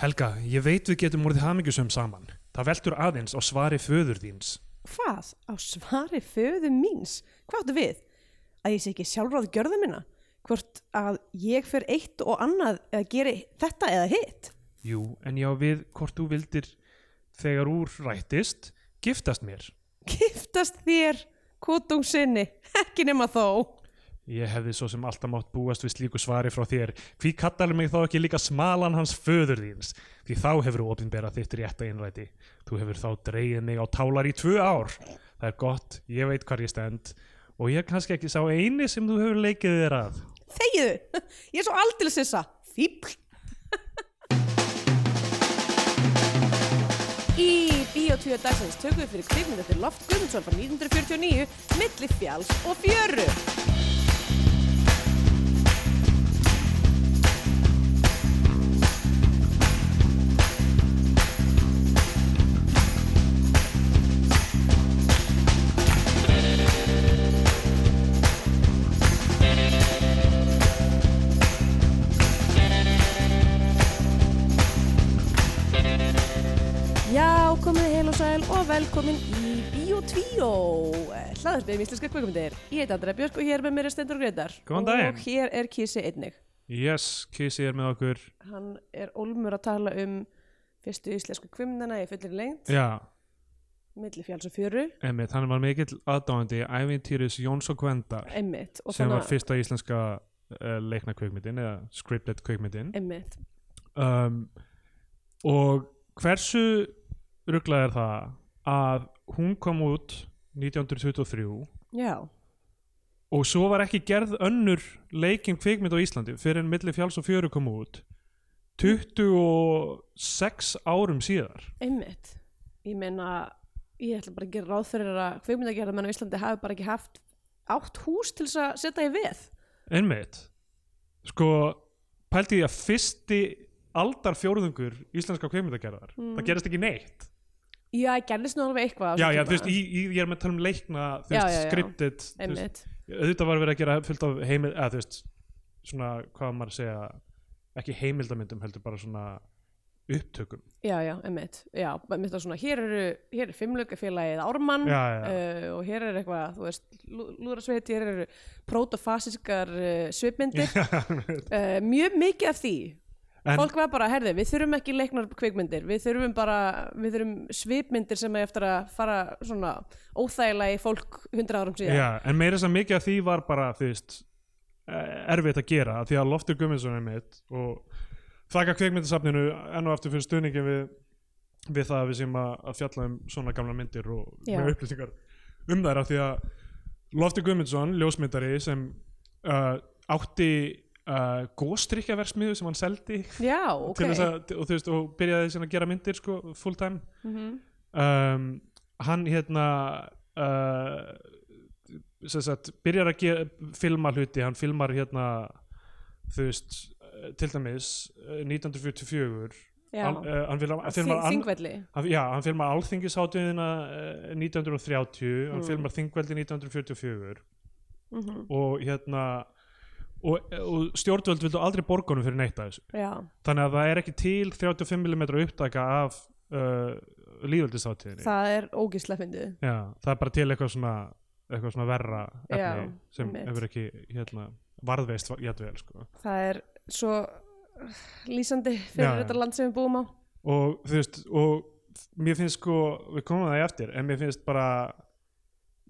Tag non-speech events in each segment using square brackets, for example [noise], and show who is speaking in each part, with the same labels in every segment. Speaker 1: Helga, ég veit við getum orðið hamingjusum saman. Það veltur aðeins á svari föður þíns.
Speaker 2: Hvað? Á svari föðu míns? Hvað áttu við? Að ég sé ekki sjálfráð gjörðu minna? Hvort að ég fer eitt og annað eða geri þetta eða hitt?
Speaker 1: Jú, en já við hvort þú vildir þegar úr rættist, giftast mér.
Speaker 2: Giftast þér, kótung sinni, ekki nema þó.
Speaker 1: Ég hefði svo sem alltaf mátt búast við slíku svari frá þér. Hví kallar mig þá ekki líka smalan hans föður þíns? Því þá hefur þú opinberað þitt rétta innræti. Þú hefur þá dreyið mig á tálar í tvö ár. Það er gott, ég veit hvar ég stend og ég er kannski ekki sá eini sem þú hefur leikið þér að.
Speaker 2: Þegiðu, [laughs] ég er svo aldils þessa, fíbl. [laughs] Í Bíotvíu dagsins tökum við fyrir kvikmynd eftir Loft Guðmundsson frá 1949, Milli fjáls og fjöru. Já, komið heil og sæl og velkomin í Bíotvíó, hlaðarpið um íslenska kvikmyndir. Ég heit Andra Björk og hér með mér er Stendur Greitar.
Speaker 1: Góðan daginn.
Speaker 2: Og hér er Kissi einnig.
Speaker 1: Yes, Kissi er með okkur.
Speaker 2: Hann er ólmur að tala um fyrstu íslensku kvikmyndina í fullir lengt,
Speaker 1: Já,
Speaker 2: milli fjáls og fjöru,
Speaker 1: emmitt, hann var mikill aðdáandi ævintýris Jóns og Gvendar
Speaker 2: emmitt. og
Speaker 1: sem
Speaker 2: þannig
Speaker 1: var
Speaker 2: að-
Speaker 1: fyrsta íslenska uh, leikna kvikmyndin eða scripted kvikmyndin.
Speaker 2: Einmitt.
Speaker 1: um, og hversu ruglað er það að hún kom út 1923
Speaker 2: Já,
Speaker 1: og svo var ekki gerð önnur leikin kvikmynd á Íslandi fyrir en milli fjáls og fjöru kom út 26 árum síðar
Speaker 2: einmitt. Ég meina, ég ætla bara að gera ráð fyrir að kvikmyndagerðar menn á Íslandi hafi bara ekki haft átt hús til þess að setja í veð.
Speaker 1: einmitt sko pælti því að fyrsti aldar fjórðungur íslenska kvikmyndagerðar það gerist ekki neitt
Speaker 2: Já, ég gerðist nú alveg eitthvað. Mm. á
Speaker 1: já, já, þú
Speaker 2: þessum tíma.
Speaker 1: veist, í, í, ég er með að tala um leikna þú
Speaker 2: Já,
Speaker 1: veist,
Speaker 2: já, já.
Speaker 1: scripted þú veist,
Speaker 2: Einmitt.
Speaker 1: auðvitað var verið að gera fullt af heimild eða þú veist, svona hvað á maður að segja ekki heimildamyndum heldur bara svona upptökum
Speaker 2: Já, já, einmitt. Já, einmitt að svona, hér eru, hér er fimmlökafélagið Ármann
Speaker 1: Já, já, já.
Speaker 2: Uh, og hér er eitthvað, þú veist, lú- lúðrasveit, hér eru prótofasískar uh,
Speaker 1: [laughs]
Speaker 2: svipmyndir. Uh, mjög mikið af því.
Speaker 1: En-
Speaker 2: Fólk var bara, herði, við þurfum ekki leiknar kvikmyndir, við þurfum bara, við þurfum svipmyndir sem er eftir að fara svona óþægilega í fólk hundra árum síðan.
Speaker 1: Já, en meira þess að mikið af því var bara þú veist, eh, erfitt að gera af því að Loftur Gumminsson er mitt og þakka kveikmyndasafninu enn og aftur fyrir stuðningin við, við það að við séum að, að fjalla um svona gamla myndir og
Speaker 2: Já.
Speaker 1: með upplýsingar um þær af því að Loftur Gumminsson, ljósmyndari sem uh, átti uh, góstrykkjaversmiðu sem hann seldi
Speaker 2: Já, ok.
Speaker 1: til þess að, og þú veist, og byrjaði síðan að gera myndir sko, full time
Speaker 2: Mhm.
Speaker 1: um, hann hérna uh, sem sagt, byrjar að gera, filma hluti, hann filmar hérna þú veist, eh, til dæmis eh, 1944
Speaker 2: Já.
Speaker 1: Al, uh, hann filmar,
Speaker 2: Þing-
Speaker 1: filmar an,
Speaker 2: Þingvelli.
Speaker 1: hann, já, hann filmar alþingishátuðina uh, 1930
Speaker 2: Mm.
Speaker 1: hann filmar þingveldi 1944
Speaker 2: Mhm.
Speaker 1: og hérna og, og stjórnvöld vildu aldrei borgunum fyrir neitt að þessu
Speaker 2: Já,
Speaker 1: þannig að það er ekki til 35mm upptaka af uh, líföldisáttíðinni
Speaker 2: það er ógislega fyndið.
Speaker 1: Já, það er bara til eitthvað svona, eitthvað svona verra efni
Speaker 2: Já,
Speaker 1: sem
Speaker 2: einmitt.
Speaker 1: hefur ekki hérna, varðveist jætvel sko.
Speaker 2: það er svo uh, lýsandi fyrir
Speaker 1: Já, já.
Speaker 2: þetta land sem við búum á
Speaker 1: og þú veist og mér finnst sko, við komum að það í eftir en mér finnst bara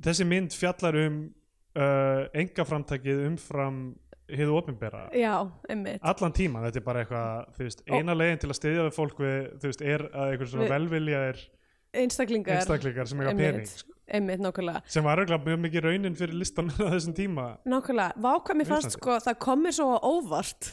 Speaker 1: þessi mynd fjallar um uh, engaframtakið umfram hið opinbera
Speaker 2: já, einmitt
Speaker 1: allan tíman, þetta er bara eitthvað þú veist, eina leiðin til að styðja við fólk við, þú veist, er að einhver svona
Speaker 2: Við-
Speaker 1: velviljaðir
Speaker 2: einstaklingar,
Speaker 1: einstaklingar sem eiga pening sko.
Speaker 2: einmitt, einmitt nákvæmlega
Speaker 1: sem var auðvitað mjög mikið raunin fyrir listamenn [laughs] á þessum tíma
Speaker 2: nákvæmlega, vákvæm mér fannst
Speaker 1: Íslandi.
Speaker 2: sko það komið svo á óvart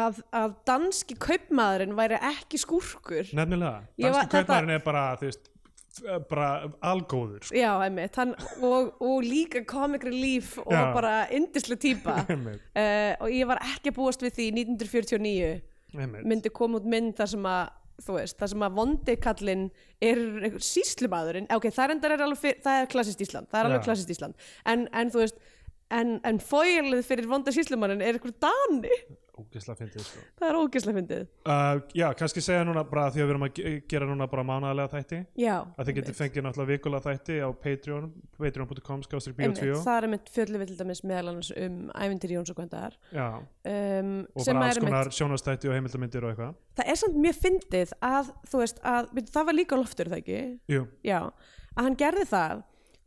Speaker 2: að, að danski kaupmaðurinn væri ekki skúrkur
Speaker 1: nefnilega,
Speaker 2: Ég
Speaker 1: danski
Speaker 2: var-
Speaker 1: var, kaupmærin er bara þú veist, f- bara algóður sko.
Speaker 2: já, einmitt, hann, og, og líka comic relief og
Speaker 1: Já.
Speaker 2: bara yndislega
Speaker 1: [laughs]
Speaker 2: típa
Speaker 1: Einmitt,
Speaker 2: Uh, og ég var ekki að búast við því 1949
Speaker 1: einmitt.
Speaker 2: myndi koma út mynd þar sem að þú veist, þar sem að vondikallin er einhver- síslumaðurinn, ok, það er endar er alveg fyr, það er klassist Ísland, það er alveg
Speaker 1: Já.
Speaker 2: klassist Ísland en, en þú veist, en, en fóilið fyrir vonda síslumannin er einhver dani
Speaker 1: ógeðslega fyndið sko.
Speaker 2: það er ógislega fyndið
Speaker 1: uh, já, kannski segja núna bara því að við erum að ge- gera núna bara mánaðarlega þætti
Speaker 2: já,
Speaker 1: að þið getur
Speaker 2: einmitt.
Speaker 1: fengið náttúrulega vikulega þætti á Patreon patreon.com skástrík bíó 2
Speaker 2: Einmitt, það er einmitt fjöllum við til dæmis meðal annars um ævindir Jóns og Gvendaðar
Speaker 1: já,
Speaker 2: um,
Speaker 1: og bara
Speaker 2: sem er
Speaker 1: alls
Speaker 2: einmitt,
Speaker 1: konar sjónastætti og heimildamindir og eitthvað
Speaker 2: það er samt mjög fyndið að þú veist að, veit, það var líka á loftur það ekki
Speaker 1: jú,
Speaker 2: já, að hann gerði það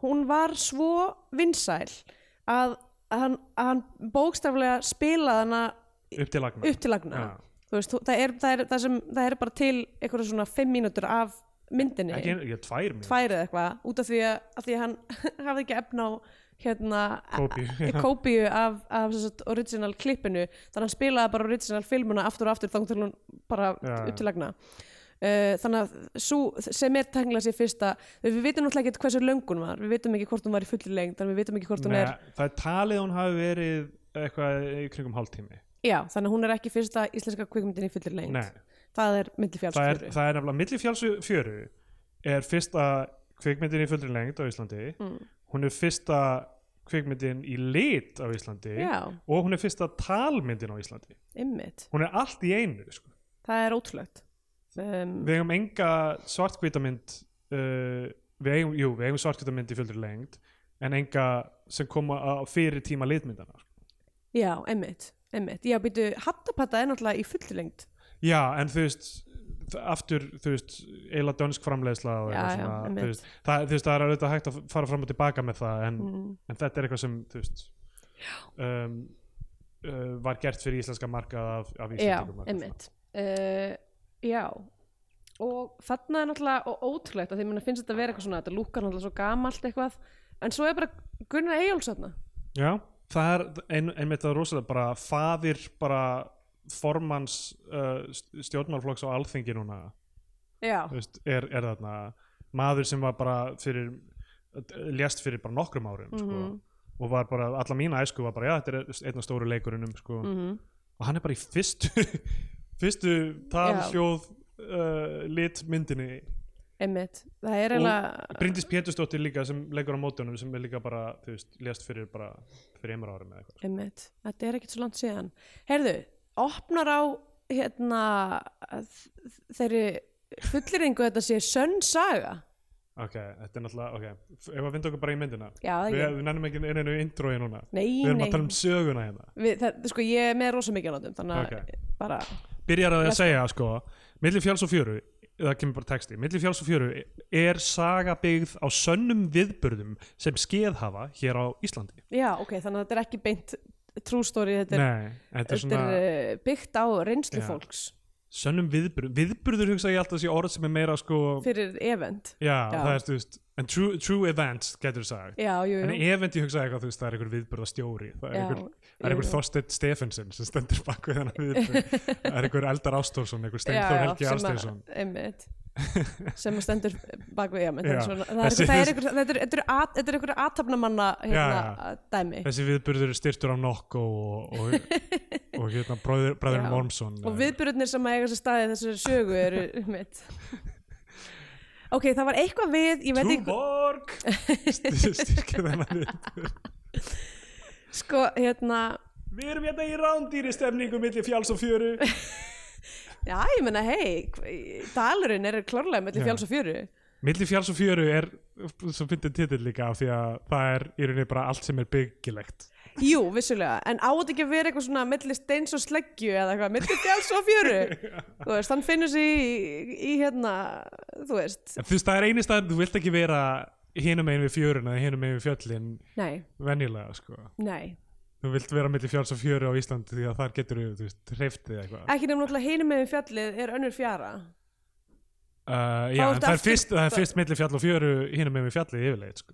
Speaker 2: hún var svo vinsæl að, að hann, að hann bókstaflega spilaði hana
Speaker 1: upp til lagna
Speaker 2: upp til lagna
Speaker 1: Já.
Speaker 2: þú veist, þú- það er, það, er, það, sem, það er bara til einhverja svona fimm mínútur af myndinni
Speaker 1: ekki, einu- ég, tvær mér
Speaker 2: tvær eða eitthvað út af því að, að því að hann [laughs] hafði ekki efna á hérna
Speaker 1: Kópíu,
Speaker 2: a- a- kópíu af, af sem sagt, original klippinu þannig að hann spilaði bara original filmuna aftur og aftur þá til hún bara
Speaker 1: Já,
Speaker 2: upp til lagna uh, þannig að sú sem er tengla sér fyrsta við vitum náttúrulega ekki hversu löngun var við vitum ekki hvort hún var í fulli lengd þannig að við vitum ekki hvort hún er
Speaker 1: það er talið að hún hafi verið eitthvað í kringum hálftími
Speaker 2: já, þannig að hún er ekki fyrsta íslenska kvikmyndin í fulli lengd
Speaker 1: Nei,
Speaker 2: það er myndi
Speaker 1: það er,
Speaker 2: fjálsfjöru
Speaker 1: það er nefnilega milli fjálsu fjöru er fyrsta kvikmyndin í fullri lengd á Íslandi
Speaker 2: Mm.
Speaker 1: hún er fyrsta kvikmyndin í lit á Íslandi
Speaker 2: Já.
Speaker 1: og hún er fyrsta talmyndin á Íslandi
Speaker 2: ymmit,
Speaker 1: hún er allt í einu sko.
Speaker 2: það er ótrúlegt um,
Speaker 1: við eigum enga svartkvítamynd uh, við eigum, jú, við eigum svartkvítamynd í fullri lengd en enga sem koma á fyrir tíma litmyndana sko.
Speaker 2: já, ymmit, ymmit já, býtu, hattapatta er náttúrulega í fulli lengd
Speaker 1: já, en þú veist þ- aftur, þú veist, eiginlega dönsk framleiðsla og
Speaker 2: Já,
Speaker 1: eitthvað
Speaker 2: já,
Speaker 1: svona,
Speaker 2: einmitt. Mm.
Speaker 1: þú veist, það, þú veist, það er auðvitað hægt að fara fram og tilbaka með það en, en þetta er eitthvað sem, þú veist um, uh, var gert fyrir íslenska markað af, af
Speaker 2: já,
Speaker 1: íslendingum og eitthvað
Speaker 2: einmitt uh, já og þarna er náttúrulega og ótrúlegt að því mér finnst þetta að vera eitthvað svona þetta lúkar náttúrulega svo gamalt eitthvað en svo er bara Gunnar Eyjóls þarna
Speaker 1: svona. já, það er ein, einmitt það er rosalega bara faðir bara formans uh, st- stjórnmálflokks á alþingi núna
Speaker 2: já,
Speaker 1: þú veist, er, er þarna maður sem var bara fyrir lést fyrir bara nokkrum árum
Speaker 2: Mhm.
Speaker 1: sko, og var bara, alla mína æsku var bara já, þetta er einn af stóru leikurunum sko,
Speaker 2: mm
Speaker 1: og hann er bara í fyrstu [laughs] fyrstu
Speaker 2: Já.
Speaker 1: talhljóð uh, litmyndinni
Speaker 2: einmitt það er eiginlega
Speaker 1: Bryndís Pétursdóttir líka sem leikur á mótunum sem er líka bara, þú veist, lést fyrir bara fyrir einmur árum eða eitthvað sko.
Speaker 2: einmitt, þetta er ekkert svo langt síðan heyrðu, opnar á hérna þ- þeirri fulliringu þetta sé sönn saga
Speaker 1: ok, þetta er náttúrulega, ok F- ef að vinda okkur bara í myndina
Speaker 2: já, það
Speaker 1: við,
Speaker 2: ekki,
Speaker 1: við nennum ekki einu introi núna
Speaker 2: nei,
Speaker 1: við erum
Speaker 2: nei
Speaker 1: að tala um söguna hérna
Speaker 2: Við, það, sko, ég er með rosa mikið á náttúm þannig að
Speaker 1: Ok.
Speaker 2: bara,
Speaker 1: byrjar að því
Speaker 2: Já,
Speaker 1: að segja sko milli fjáls og fjöru, það kemur bara texti milli fjáls og fjöru er saga byggð á sönnum viðburðum sem skeð hafa hér á Íslandi
Speaker 2: já, ok, þannig að þetta er ekki beint true story, þetta er
Speaker 1: Nei, þetta er
Speaker 2: Þetta
Speaker 1: svona
Speaker 2: er uh, byggt á reynslu
Speaker 1: Já.
Speaker 2: fólks
Speaker 1: sönnum viðburðum viðburður hugsa ég alltaf sé orð sem er meira sko
Speaker 2: fyrir event.
Speaker 1: já,
Speaker 2: Já.
Speaker 1: það er þú veist en true, true events getur sagt
Speaker 2: Já, jú,
Speaker 1: en
Speaker 2: jú.
Speaker 1: event ég hugsa eitthvað þú veist það er einhver viðburðastjóri það er
Speaker 2: Já,
Speaker 1: einhver, það
Speaker 2: jú,
Speaker 1: er einhver
Speaker 2: jú.
Speaker 1: Þorsteinn Stefensen sem stendur bak við hennar
Speaker 2: [laughs]
Speaker 1: viðburð það er einhver Eldar Ástórsson einhver
Speaker 2: Já,
Speaker 1: Steinþór
Speaker 2: já,
Speaker 1: Helgi
Speaker 2: sem að-
Speaker 1: Arsteinsson [laughs]
Speaker 2: Einmitt. Sem að stendur bak við event.
Speaker 1: Já.
Speaker 2: Það er
Speaker 1: Þessi-
Speaker 2: einhver, það er einhver, þetta er- þetta er einhver aðtapnamanna
Speaker 1: Já,
Speaker 2: hérna, dæmi.
Speaker 1: þessi viðburður er styrtur af Nokko og, og, og hérna bræður, bræður
Speaker 2: Já.
Speaker 1: Mormsson
Speaker 2: Og viðbyrjunir sem að eiga sér staði þessari sögu eru,
Speaker 1: [laughs]
Speaker 2: einmitt. Ok, það var eitthvað við, ég veit ekki, [laughs]
Speaker 1: Túborg styrkir þennan viðburð
Speaker 2: sko, hérna,
Speaker 1: Við erum hérna í rándýri stemningu milli fjáls og fjöru
Speaker 2: já, ég menna, hei, dalurinn er klárlega mellir
Speaker 1: Já.
Speaker 2: fjáls og fjöru.
Speaker 1: Milli fjáls og fjöru er svo fyndið titill líka af því að það er í rauninni bara allt sem er byggilegt
Speaker 2: Jú, vissulega, en á þetta ekki að vera eitthvað svona milli steins og sleggju eða eitthvað, milli fjáls og
Speaker 1: [laughs]
Speaker 2: fjöru þú veist, hann finnur sér í, í hérna, þú veist
Speaker 1: En þú veist það er eini staðan, þú vilt ekki vera hinum einu við fjörun eða hinum einu við fjöllin
Speaker 2: Nei,
Speaker 1: venjulega sko
Speaker 2: nei,
Speaker 1: Þú vilt vera milli fjáls og fjöru á Íslandi því að þar getur þú veist hreiftið eitthvað
Speaker 2: ekki nefnum náttúrulega hinum með fjallið er önnur fjara
Speaker 1: Uh, já, en
Speaker 2: Þá ertu
Speaker 1: það er,
Speaker 2: aftur-
Speaker 1: fyrst, það er
Speaker 2: það-
Speaker 1: fyrst milli fjall og fjöru hinum með fjallið yfirleitt sko.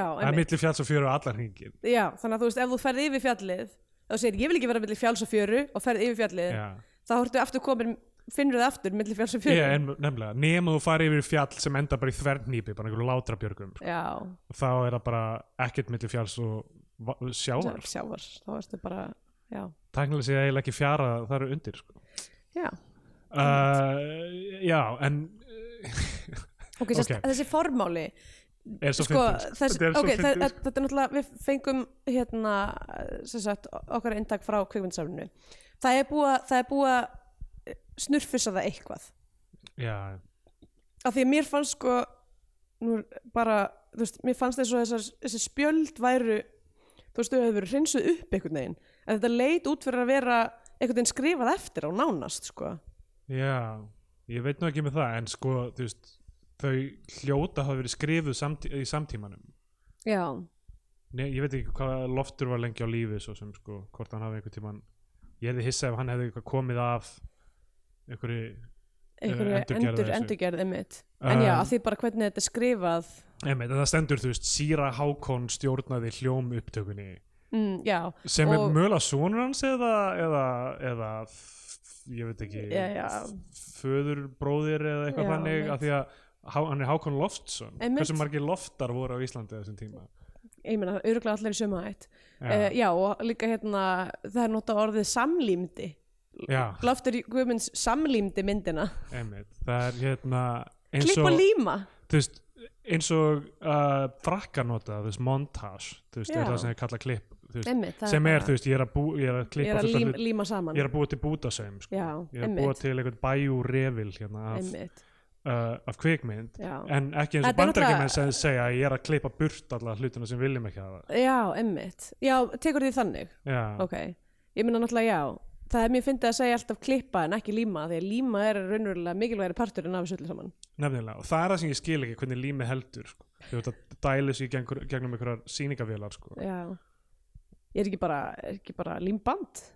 Speaker 1: það er
Speaker 2: einmitt,
Speaker 1: milli fjalls og fjöru allar hringin
Speaker 2: já, þannig að þú veist, ef þú ferð yfir fjallið þá segir, ég vil ekki vera milli fjáls og fjöru og ferð yfir fjallið,
Speaker 1: já.
Speaker 2: þá ertu aftur komin finnur það aftur milli fjáls og fjöru
Speaker 1: Ég, en, nefnilega, nema þú farið yfir fjall sem enda bara í þverrnýpi, bara einhverju látrabjörgum sko.
Speaker 2: Já,
Speaker 1: þá er það bara ekkert milli fjalls og va- sjávar
Speaker 2: sjávar, þá ertu bara, já,
Speaker 1: tæknilega sé eiginlega ekki fjara, það eru undir sko.
Speaker 2: já
Speaker 1: uh, já, en
Speaker 2: Ok, sérst,
Speaker 1: Ok.
Speaker 2: þessi formáli
Speaker 1: er svo
Speaker 2: sko,
Speaker 1: fyndið,
Speaker 2: þess,
Speaker 1: Þetta er svo
Speaker 2: ok, það,
Speaker 1: fyndið, sko.
Speaker 2: þetta er náttúrulega við fengum hérna, sem sagt, okkar eintak frá kvikmyndasafninu það er búið að- það er búið að snurfisa það eitthvað
Speaker 1: sko. já,
Speaker 2: af því að mér fannst sko nú er bara, þú veist, mér fannst eins og þessar, þessi spjöld væru þú veist, þau hefur verið hreinsuð upp einhvern veginn en þetta leit út fyrir að vera einhvern veginn skrifað eftir á nánast sko.
Speaker 1: Já, ég veit nú ekki með það en sko, þú veist þau hljóta hafa verið skrifuð samtí í samtímanum
Speaker 2: já,
Speaker 1: Nei, ég veit ekki hvað loftur var lengi á lífi svo sem sko, hvort hann hafi einhvern tímann ég hefði hissað ef hann hefði eitthvað komið af einhverju
Speaker 2: einhverju
Speaker 1: endurgerð af
Speaker 2: endur,
Speaker 1: þessu.
Speaker 2: endurgerð einmitt en já,
Speaker 1: Um,
Speaker 2: af því bara hvernig þetta er skrifað
Speaker 1: emi, það stendur, þú veist, Síra Hákon stjórnaði hljóm upptökunni
Speaker 2: mm, já,
Speaker 1: sem
Speaker 2: Og-
Speaker 1: er mögulega sonur hans eða, eða, eða f- ég veit ekki
Speaker 2: Já, já.
Speaker 1: föðurbróðir eða eitthvað
Speaker 2: Já,
Speaker 1: þannig
Speaker 2: einmitt.
Speaker 1: af því að Há- hann er Hákon Loftsson
Speaker 2: Einmitt.
Speaker 1: hversu margir loftar voru á Íslandi á þessum tíma
Speaker 2: ég meina, örgulega allir í sömu hætt
Speaker 1: já,
Speaker 2: já. Eh, já, og líka hérna það er nota orðið samlímdi
Speaker 1: já,
Speaker 2: Loftur Guðmunds samlímdi myndina
Speaker 1: einmitt það er hérna eins
Speaker 2: klipp og
Speaker 1: og,
Speaker 2: líma
Speaker 1: þú veist, eins og uh, frakkanota, þú veist, montage þú veist,
Speaker 2: Já.
Speaker 1: er það sem ég kalla klipp þú veist,
Speaker 2: einmitt, það
Speaker 1: sem er,
Speaker 2: bara-
Speaker 1: þú veist, ég er að, bú, ég er að
Speaker 2: ég
Speaker 1: klippa
Speaker 2: er að
Speaker 1: fullt af
Speaker 2: lím,
Speaker 1: hlut-
Speaker 2: líma saman
Speaker 1: ég er að búa til bútasöim sko.
Speaker 2: Já,
Speaker 1: ég er að
Speaker 2: einmitt.
Speaker 1: búa til einhvern bæjú revil hérna af,
Speaker 2: einmitt,
Speaker 1: uh, af kvikmynd
Speaker 2: já
Speaker 1: en ekki eins og
Speaker 2: Þetta er
Speaker 1: bandarækjumenn sem
Speaker 2: náttúrulega-
Speaker 1: segja að ég er að klippa burt alla hlutina sem viljum ekki hafa
Speaker 2: Já, emmitt. Já, tekur því þannig,
Speaker 1: já,
Speaker 2: ok. Ég meina náttúrulega já, það er mér fyndið að segja alltaf klippa en ekki líma því að líma er raunverulega mikilvægri partur en af þessu öllu saman.
Speaker 1: nefnilega, og það er það sem ég skil ekki hvernig lími heldur sko. þú veit að dæli sig í gengur, gegnum einhverjar sýningavélar sko.
Speaker 2: Já. Ég er ekki bara, er ekki bara límband.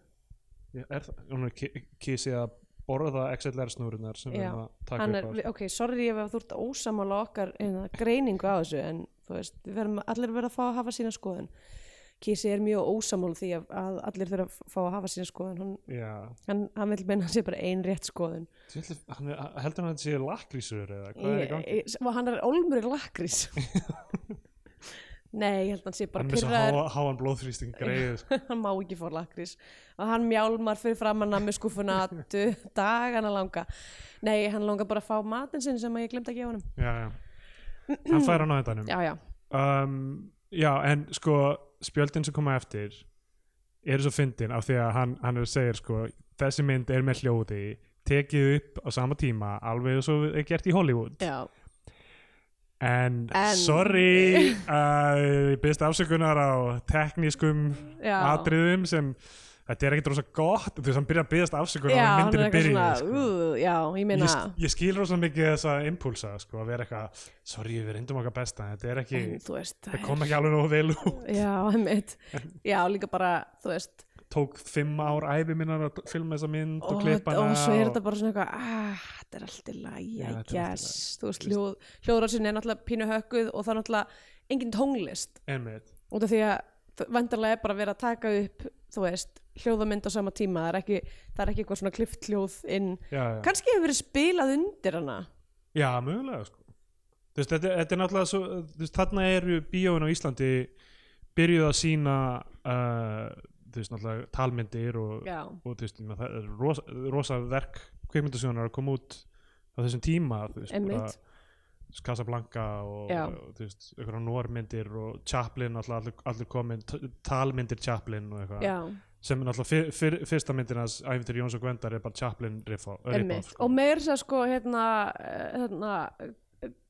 Speaker 1: Ég- er það, hún er ki- kísið að borða XLR snúrunar sem við
Speaker 2: Já,
Speaker 1: erum að taka
Speaker 2: Hann
Speaker 1: upp
Speaker 2: er,
Speaker 1: á
Speaker 2: við- ok, sorry ef þú ert ósamála okkar hérna, greiningu á þessu en þú veist, við verðum allir verða að fá að hafa sína skoðun. Kísi er mjög ósamála því að, að allir þurfa að fá að hafa sína skoðun. Hann,
Speaker 1: já,
Speaker 2: hann, hann vil meina að sé bara ein rétt skoðun.
Speaker 1: Þú ætli- hann er, heldur hann að þetta sé lakrísur eða hvað er í
Speaker 2: Ég-
Speaker 1: gangi
Speaker 2: ég- og hann er olmur
Speaker 1: [laughs]
Speaker 2: í lakrís nei, ég held að hann sé bara
Speaker 1: hann er með svo
Speaker 2: pyrraður
Speaker 1: háa- háan blóðþrýsting greið
Speaker 2: [laughs]
Speaker 1: sko.
Speaker 2: hann má ekki fá lakrís og hann mjálmar fyrir framann að með skúfuna
Speaker 1: [laughs]
Speaker 2: du- dagana langa nei, hann langar bara að fá matinn sinn sem að ég glemt að gefa honum
Speaker 1: já, já. hann fær hann á endanum
Speaker 2: já, já,
Speaker 1: um, já, en sko spjöldin sem koma eftir eru svo fyndin af því að hann, hann er að segja sko, þessi mynd er með hljóði tekið upp á sama tíma alveg eins og er gert í Hollywood
Speaker 2: já,
Speaker 1: en,
Speaker 2: En-
Speaker 1: sorry uh, ég byrst afsökunar á teknískum
Speaker 2: já.
Speaker 1: atriðum sem þetta er ekkert rosa gott þú veist, hann byrja að byrjast afsökunar
Speaker 2: já,
Speaker 1: á
Speaker 2: hann er
Speaker 1: myndinu
Speaker 2: eitthvað
Speaker 1: byrja
Speaker 2: svona
Speaker 1: sko.
Speaker 2: uh, já, ég
Speaker 1: ég,
Speaker 2: meina
Speaker 1: sk- ég skil rosa mikið þessa impulsa sko, að vera eitthvað, sorry, við reyndum okkar besta en þetta er ekki,
Speaker 2: en þú veist,
Speaker 1: það
Speaker 2: það er
Speaker 1: kom ekki alveg nógu vel út
Speaker 2: já, [laughs] einmitt já, líka bara, þú veist
Speaker 1: tók fimm ár æfi minnar að filma þessa mynd og,
Speaker 2: og,
Speaker 1: klippa
Speaker 2: og
Speaker 1: hana
Speaker 2: svo er
Speaker 1: og-
Speaker 2: þetta bara svona eitthvað ah, þetta er allt í lagi,
Speaker 1: Já,
Speaker 2: I
Speaker 1: þetta er allt í
Speaker 2: guess þú veist,
Speaker 1: Þú
Speaker 2: hljóð, hljóðrásin er náttúrulega pínu hökkuð og það er náttúrulega engin tónlist
Speaker 1: Einmitt.
Speaker 2: út af því að vendarlega er bara verið að taka upp þú veist, hljóðamynd á sama tíma það er ekki, það er ekki eitthvað svona klift hljóð inn
Speaker 1: já, já.
Speaker 2: kannski hefur verið spilað undir hana
Speaker 1: já, mögulega sko. Þú veist, þetta, þetta er náttúrulega svo, þú veist, þarna eru bíóin á Íslandi byrjuð að sína uh, þú veist, náttúrulega talmyndir og,
Speaker 2: já,
Speaker 1: og þú veist, ég meina, það er rosa, rosa verk kvikmyndasjónar að koma út á þessum tíma þú veist, bara
Speaker 2: Einmitt.
Speaker 1: Casablanca og,
Speaker 2: Já.
Speaker 1: og þú veist, einhverja normyndir og Chaplin, náttúrulega allir, allir komin talmyndir Chaplin og eitthvað
Speaker 2: já,
Speaker 1: sem er náttúrulega fyr, fyr, fyrsta myndin hans æfintur Jóns og Gwendar er bara Chaplin riff-off
Speaker 2: emmitt
Speaker 1: sko.
Speaker 2: og meir sér sko hérna, eh, hérna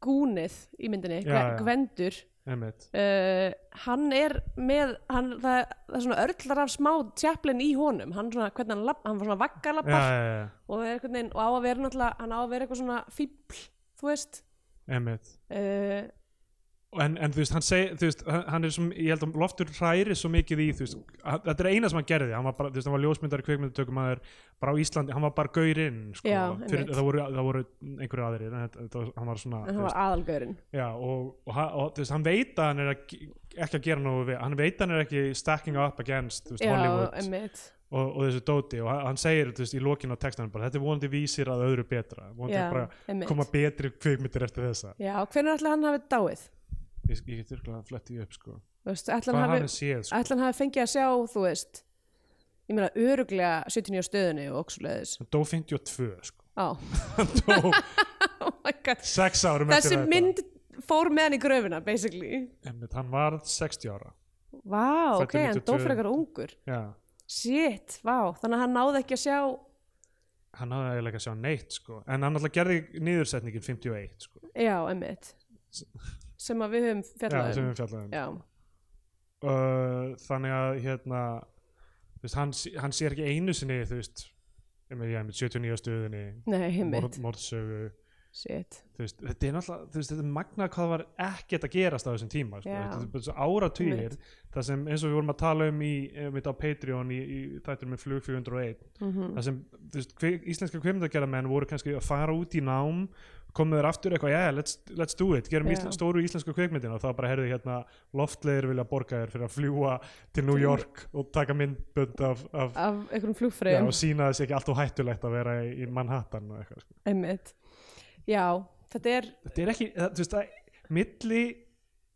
Speaker 2: gúnið í myndinni,
Speaker 1: Já, já.
Speaker 2: Gvendur
Speaker 1: einmitt,
Speaker 2: uh, hann er með hann, það, það er svona örlar af smá tjaplin í honum hann, svona, hvernig hann, lapp, hann var svona
Speaker 1: já,
Speaker 2: vaggalabbar
Speaker 1: já, já,
Speaker 2: og, er einhvern veginn- og á að vera náttúrulega hann á að vera eitthvað svona fíbl þú veist
Speaker 1: einmitt
Speaker 2: uh,
Speaker 1: en, en þú veist, hann seg, þú veist, hann- hann er sem, ég held að loftur hræri svo mikið í þú veist, að, þetta er eina sem hann gerði hann var bara, þú veist, hann var ljósmyndari kveikmyndutökumæður bara á Íslandi, hann var bara gaurinn sko,
Speaker 2: Já,
Speaker 1: fyrir,
Speaker 2: einmitt.
Speaker 1: það, voru, það voru einhverju aðrir en þetta, þetta, var- hann var svona
Speaker 2: en hann
Speaker 1: þú
Speaker 2: var aðalgaurinn
Speaker 1: Já, og, og, hann- og þú veist, hann veit að hann er að, ge- ekki að gera nógu við, hann veit að hann er ekki stacking up against þú veist,
Speaker 2: já,
Speaker 1: Hollywood
Speaker 2: emmitt
Speaker 1: og, og þessu dóti og hann- hann segir þú veist, í lokinu á textanum bara þetta er vonandi vísir að öðru betra vonandi
Speaker 2: já,
Speaker 1: bara koma
Speaker 2: emmitt
Speaker 1: betri kvikmyndir eftir þessa
Speaker 2: já, hvernig ætla hann hafi dáið
Speaker 1: ég, ég get þurrklega að fletti því upp sko.
Speaker 2: þú veist, ætla
Speaker 1: hvað
Speaker 2: hann
Speaker 1: hann
Speaker 2: hafi
Speaker 1: er séð sko.
Speaker 2: ætla hann hafi fengið að sjá þú veist ég meina öruglega 79 á stöðunni og oksulegðis
Speaker 1: hann dó 52 sko.
Speaker 2: [laughs] oh.
Speaker 1: hann dó
Speaker 2: [laughs] oh my god
Speaker 1: 6 árum
Speaker 2: þessi
Speaker 1: eftir
Speaker 2: mynd fór með hann í gröfina basically
Speaker 1: Einmitt, hann varð 60 ára
Speaker 2: Vá,
Speaker 1: Fæddur
Speaker 2: ok, hann dó
Speaker 1: 92.
Speaker 2: frekar ungur
Speaker 1: já,
Speaker 2: shit, vá, þannig að hann náði ekki að sjá
Speaker 1: hann náði eiginlega ekki að sjá neitt sko. en hann alltaf gerði niðursetningin 51 sko.
Speaker 2: já, emmitt sem að við höfum
Speaker 1: já,
Speaker 2: fjallað
Speaker 1: sem
Speaker 2: um
Speaker 1: við fjallaðum
Speaker 2: já,
Speaker 1: uh, þannig að hérna, þú veist, hann, sé- hann sér ekki einu sinni þú veist ég með, ég með 79 stöðinni
Speaker 2: nei,
Speaker 1: morð,
Speaker 2: emmitt,
Speaker 1: morðsögu
Speaker 2: shit
Speaker 1: þú veist, þetta er náttúrulega þú veist, þetta er magnað hvað það var ekkert að gerast á þessum tíma sko.
Speaker 2: Já.
Speaker 1: þetta er bara svo áratugir það sem eins og við vorum að tala um í, um á Patreon í, í þættur með flug 401
Speaker 2: mm
Speaker 1: það sem þú veist, hve, íslenska kvimdagerðamenn voru kannski að fara út í nám komu þeir aftur eitthvað, yeah, let's, let's do it gerum
Speaker 2: Já.
Speaker 1: ísl, stóru íslensku kveikmyndina og það bara herði hérna loftleðir vilja borga þér fyrir að fljúa til New York og taka myndbönd af, af
Speaker 2: af einhverjum
Speaker 1: já,
Speaker 2: flugfröðum
Speaker 1: og sína þess ekki allt og hættulegt að vera í, í Manhattan og eitthvað sko.
Speaker 2: Einmitt. Já, þetta er
Speaker 1: þetta er ekki, það, þú veist, það milli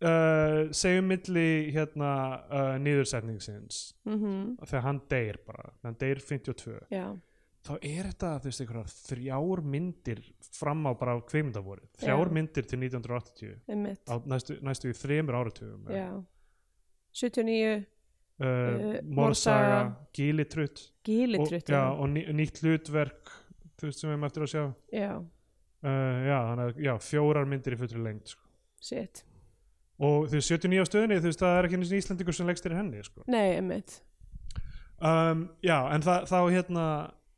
Speaker 1: uh, segjum milli hérna uh, niðursetningsins
Speaker 2: mm
Speaker 1: þegar hann deyr bara, hann deyr 52
Speaker 2: já,
Speaker 1: þá er þetta þú veist einhverjar þrjár myndir fram á bara kveimundavórið þrjár
Speaker 2: Já.
Speaker 1: myndir til 1980
Speaker 2: einmitt
Speaker 1: á næstu, næstu í þremur áratugum
Speaker 2: já. 79
Speaker 1: uh,
Speaker 2: Eh,
Speaker 1: Morsaga,
Speaker 2: Morsaga,
Speaker 1: Gilitrutt og,
Speaker 2: gílitruttu
Speaker 1: já, og ný, nýtt hlutverk þú veist sem við erum eftir að sjá uh,
Speaker 2: já,
Speaker 1: já, þannig að já, fjórar myndir í fullri lengd sko.
Speaker 2: shit
Speaker 1: og þú veist 79 á stöðinni þú veist það er ekki einu sinni Íslendingur sem leggst þér henni sko.
Speaker 2: Nei, einmitt
Speaker 1: um, já, en það, þá hérna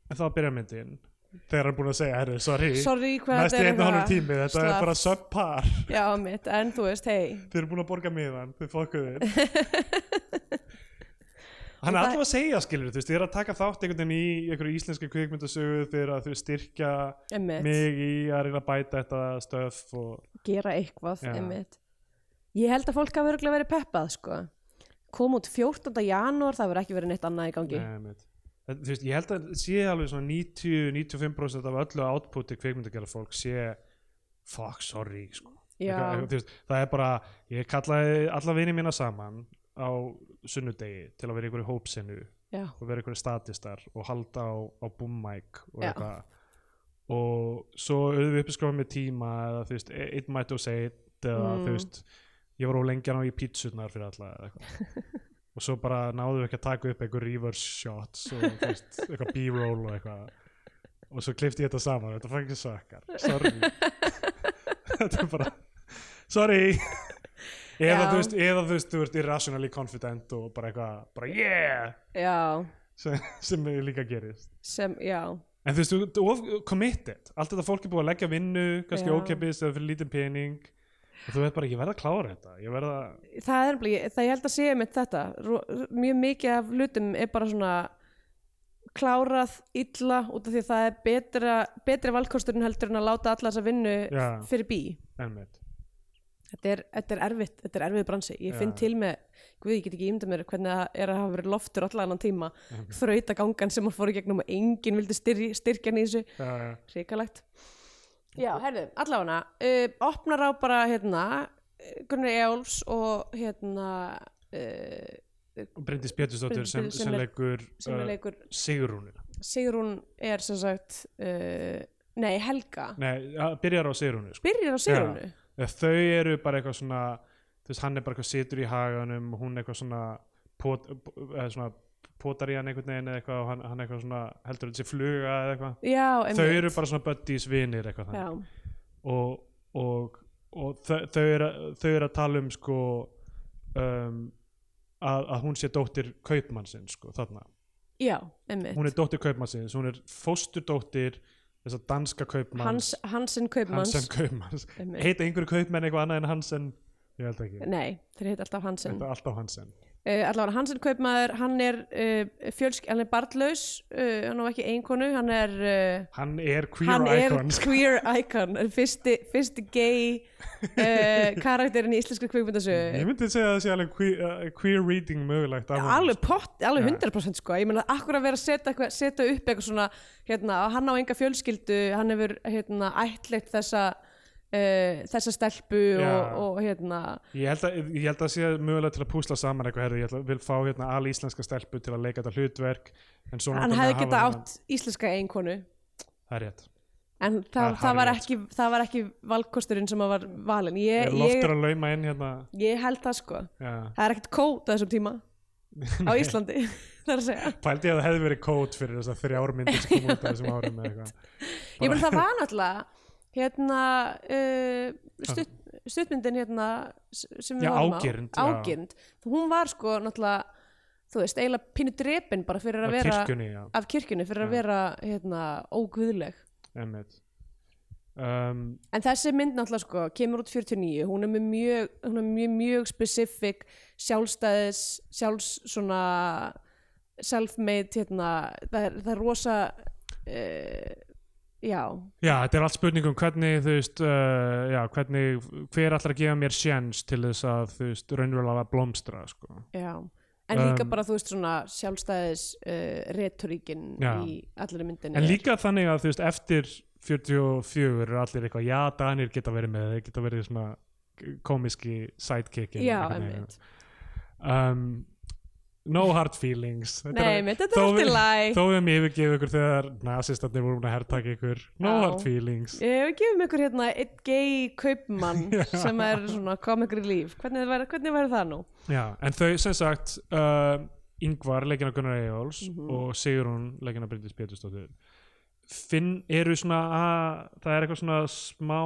Speaker 1: en þá byrjar myndin þegar hann er búin að segja, herri, sorry,
Speaker 2: Sorry hvað
Speaker 1: næstu einu hálfum tími þetta
Speaker 2: slapp.
Speaker 1: er bara subpar
Speaker 2: Já, einmitt, en þú veist, hei
Speaker 1: Þið eru búin að borga miðan, þið fokkuðir
Speaker 2: [laughs]
Speaker 1: Hann er
Speaker 2: Og það-
Speaker 1: alltaf að segja skilur, þú veist, þið er að taka þátt einhvern veginn í einhverju íslenski kvikmyndasögu þið er að þau styrkja
Speaker 2: Einmitt,
Speaker 1: mig í að reyna að bæta þetta stöf og
Speaker 2: gera eitthvað,
Speaker 1: Já.
Speaker 2: einmitt Ég held að fólk hafa örgulega verið peppað, sko Kom út 14. janúar, það verið ekki verið neitt annað í gangi
Speaker 1: Nei, einmitt. Þetta- þú veist, ég held að sé alveg svona 90-95% af öllu outputi kvikmyndagjara fólk sé fuck, sorry sko.
Speaker 2: Já,
Speaker 1: Eitthvað- þú veist, það er bara, ég kallaði alla vini mína saman á sunnudegi til að vera í einhverju hópsinu
Speaker 2: já,
Speaker 1: og vera einhverjir statistar og halda á, á boommæk og
Speaker 2: Já.
Speaker 1: eitthvað og svo auðvitað við uppskráðum með tíma eða þú veist, einn mætti og segið eða
Speaker 2: Mm.
Speaker 1: þú veist, ég var ólengjan á í pítsunar fyrir alla eða eitthvað
Speaker 2: [laughs]
Speaker 1: og svo bara náðum við ekki að taka upp einhver reverse shots og þú veist, eitthvað b-roll og eitthvað og svo klifti ég þetta saman, þetta fann ekki sökkar sorry
Speaker 2: [laughs]
Speaker 1: þetta er bara, sorry eða
Speaker 2: Já.
Speaker 1: þú veist, eða þú veist, þú ert irrationally confident og bara eitthvað, bara yeah
Speaker 2: já
Speaker 1: sem, sem líka gerist
Speaker 2: sem, já,
Speaker 1: en þú veist, þú- þú of committed allt þetta fólk er búið að leggja vinnu kannski
Speaker 2: Já.
Speaker 1: ókeppis eða fyrir lítinn pening og þú veit bara, ég verð að klára þetta ég verð að,
Speaker 2: það er nefnilega, það ég held að sé mitt þetta, Ró- mjög mikið af hlutum er bara svona klárað illa út af því að það er betra, betri valkosturinn heldur en að láta alla þessa vinnu
Speaker 1: Já.
Speaker 2: fyrir bí
Speaker 1: ennveit
Speaker 2: þetta er, þetta er erfitt, þetta er erfið bransi ég
Speaker 1: Já.
Speaker 2: finn til með, guð ég get ekki ímda mér hvernig það er að hafa verið loftur allan tíma þrauta gangan sem hann fór í gegnum og enginn vildi styr, styrkja hann í þessu
Speaker 1: já, já,
Speaker 2: Ríkalegt. Já, herðu, allavega, uh, opnar á bara, hérna, eh, Gunnar Ejáls og, hérna, uh,
Speaker 1: og Bryndís Pétursdóttir sem,
Speaker 2: Bryndís
Speaker 1: sem
Speaker 2: sem le-
Speaker 1: leggur
Speaker 2: sem er
Speaker 1: uh,
Speaker 2: leikur,
Speaker 1: Sigrúnu
Speaker 2: Sigrún er sem sagt, uh, nei, Helga,
Speaker 1: nei, að- byrjar á Sigrúnu sko.
Speaker 2: byrjar á Sigrúnu.
Speaker 1: Eða þau eru bara eitthvað svona þú veist, hann er bara eitthvað situr í haganum og hún eitthvað svona, pot, eða svona potar í hann einhvern veginn eða eitthvað og hann, hann eitthvað svona heldur þessi fluga eða eitthvað
Speaker 2: Já,
Speaker 1: þau eru bara svona buddies vinir eitthvað þannig
Speaker 2: Já,
Speaker 1: og, og, og þau, þau, eru, þau eru að tala um sko um, að, að hún sé dóttir kaupmannsins sko þarna,
Speaker 2: já, einmitt.
Speaker 1: hún er dóttir kaupmannsins hún er fósturdóttir þess að danska kaupmanns
Speaker 2: Hans, Hansen Kaupmanns.
Speaker 1: Hansen kaupmanns
Speaker 2: einmitt.
Speaker 1: heita einhverju kaupmenn eitthvað annað en Hansen ég held ekki,
Speaker 2: Nei, þeir heit alltaf Hansen.
Speaker 1: þetta er alltaf Hansen
Speaker 2: Uh, allavega Hansen Kaupmaður, hann er, uh, fjölsk, hann er barnlaus, uh, hann á ekki einkonu, hann er... Uh,
Speaker 1: hann er queer
Speaker 2: hann
Speaker 1: icon [laughs] sko.
Speaker 2: er queer icon er fyrsti, fyrsti gay
Speaker 1: [laughs]
Speaker 2: uh, karakterin í íslenskri
Speaker 1: ég
Speaker 2: kvikmyndasögu
Speaker 1: myndi segja að það sé alveg queer, uh, queer reading mögulegt af honum,
Speaker 2: alveg
Speaker 1: sko.
Speaker 2: pott, alveg
Speaker 1: Já.
Speaker 2: 100% sko ég meina akkur að vera að setja, eitthvað- setja upp eitthvað svona hérna, að hann á enga fjölskyldu hann hefur hérna, ætlitt þessa uh, þessa stelpu
Speaker 1: Já.
Speaker 2: og, og hérna
Speaker 1: Ég held, að, ég held að sé mögulega til að púsla saman eitthvað herri, ég ætla, vil fá hérna alíslenska stelpu til að leika þetta hlutverk en svo
Speaker 2: hann
Speaker 1: langar mig
Speaker 2: hefði
Speaker 1: að hafa
Speaker 2: geta
Speaker 1: þennan-
Speaker 2: átt íslenska einkonu
Speaker 1: Það er rétt.
Speaker 2: en
Speaker 1: Það
Speaker 2: það,
Speaker 1: er
Speaker 2: það, var
Speaker 1: hárrétt,
Speaker 2: ekki, það var ekki valkosturinn sem að var valin
Speaker 1: Ég
Speaker 2: ég, ég,
Speaker 1: loftur að lauma inn hérna.
Speaker 2: ég held það sko
Speaker 1: Já.
Speaker 2: það er ekkert kóta þessum tíma
Speaker 1: [laughs]
Speaker 2: á Íslandi [laughs] það er að segja
Speaker 1: Pældi ég að það hefði verið kót fyrir þess að þrjármyndir sem kom út af þessum árum eða eitthvað.
Speaker 2: ég
Speaker 1: [laughs]
Speaker 2: meina það var náttúrulega hérna uh, stutt, stuttmyndin hérna s- sem við
Speaker 1: Já,
Speaker 2: horfum á,
Speaker 1: Ágirnd, já.
Speaker 2: ágirnd hún var sko náttúrulega þú veist, eiginlega pínu drepin bara fyrir
Speaker 1: Af
Speaker 2: að vera
Speaker 1: kirkjunni, já.
Speaker 2: af kirkjunni fyrir að
Speaker 1: Já.
Speaker 2: vera hérna óguðleg
Speaker 1: Einmitt. Um,
Speaker 2: en þessi mynd náttúrulega sko kemur út 49, hún er með mjög hún er mjög, mjög specific sjálfstæðis, sjálfs svona self-made hérna, það er, það er rosa uh, já
Speaker 1: já, þetta er allt spurning um hvernig, þú veist, uh, já, hvernig, hver ætlar að gefa mér sjens til þess að, þú veist, raunverulega blómstra, sko.
Speaker 2: já en líka
Speaker 1: Um,
Speaker 2: bara þú veist svona sjálfstæðis uh, retoríkin
Speaker 1: Já.
Speaker 2: í allir myndinni
Speaker 1: En
Speaker 2: er-
Speaker 1: líka þannig að, þú veist, eftir 44 eru allir eitthvað, já, Danir geta verið með, þeir geta verið svona komiski sidekickin.
Speaker 2: já,
Speaker 1: einhvern veginn.
Speaker 2: einmitt
Speaker 1: um, no hard feelings Þetta
Speaker 2: nei,
Speaker 1: er-
Speaker 2: einmitt, þetta er
Speaker 1: þó
Speaker 2: alltaf
Speaker 1: við-
Speaker 2: læg
Speaker 1: þó við hefum yfirgefið ykkur þegar nasistarnir voru búin að hertaka ykkur no
Speaker 2: Já.
Speaker 1: hard feelings
Speaker 2: Við gefum ykkur hérna einn gay kaupmann
Speaker 1: [laughs] Já.
Speaker 2: sem er svona comic relief. Hvernig væri, hvernig væri það nú?
Speaker 1: Já, en þau sem sagt uh, Ingvar, leikina Gunnar Eyjóls
Speaker 2: Mhm.
Speaker 1: og Sigrún, leikina Bryndis Pétursdóttir finn eru svona að, það er eitthvað svona smá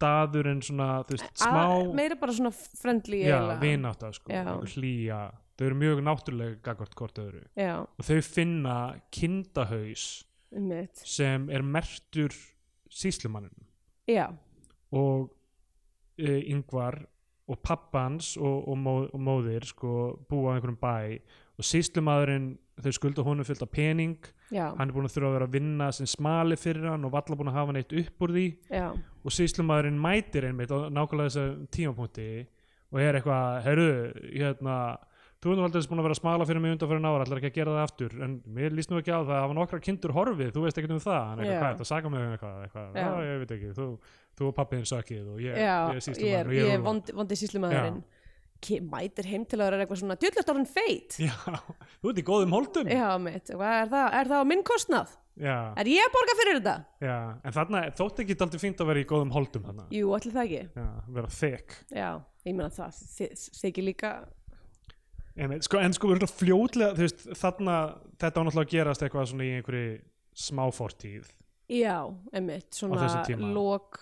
Speaker 1: daður en svona þú veist,
Speaker 2: Að-
Speaker 1: smá
Speaker 2: meira bara svona friendly
Speaker 1: já,
Speaker 2: eiginlega.
Speaker 1: vináta sko,
Speaker 2: Já.
Speaker 1: einhver hlýja þau eru mjög náttúrulega gagvart hvort öðru
Speaker 2: já,
Speaker 1: og þau finna kindahaus
Speaker 2: einmitt.
Speaker 1: sem er mertur síslumanninu
Speaker 2: já,
Speaker 1: og uh, yngvar og pappans og, og, móð, og móðir sko, búa á einhverjum bæ og síslumadurinn, þau skulda honum fullt af pening
Speaker 2: já,
Speaker 1: hann er búin að þurfa að vera að vinna sem smali fyrir hann og valla búin að hafa hann eitt upp úr því
Speaker 2: já,
Speaker 1: og síslumadurinn mætir einmitt á nákvæmlega þessu tímapunkti og er eitthvað, herru, hérna þú ert nú aldrei búin að vera að smala fyrir mig undanfærin ára ætlar ekki að gera það aftur, en mér líst nú ekki á það að hafa nokkra kindur horfið, þú veist ekkert um það hann er
Speaker 2: Já.
Speaker 1: eitthvað, hvað er þetta, saga mig um eitthvað, eitthvað.
Speaker 2: Já.
Speaker 1: Já. ég veit ekki, þú, þú og pappiðin sökið og ég,
Speaker 2: já,
Speaker 1: ég er
Speaker 2: ég er,
Speaker 1: síslumadur og
Speaker 2: ég
Speaker 1: ég
Speaker 2: er vondi, vondi síslumæðurinn mætir heim til að vera eitthvað svona djöllast orðin feit
Speaker 1: [laughs] Já, þú ert í góðum holdum
Speaker 2: já, mitt, hvað er það, er það á minn kostnað
Speaker 1: Já,
Speaker 2: er ég að borga fyrir þetta
Speaker 1: já. en þarna þótt ekki daldi fínt að vera í góðum holdum þarna
Speaker 2: jú, allir það ekki,
Speaker 1: Já, vera þekk
Speaker 2: já, ég meina það þi- þykir líka
Speaker 1: En, sko, en sko, örugglega fljótlega, þú veist, þarna, þetta á náttúrulega að gerast eitthvað svona í einhverju smáfortíð,
Speaker 2: já, einmitt, svona
Speaker 1: þessum tíma.
Speaker 2: lok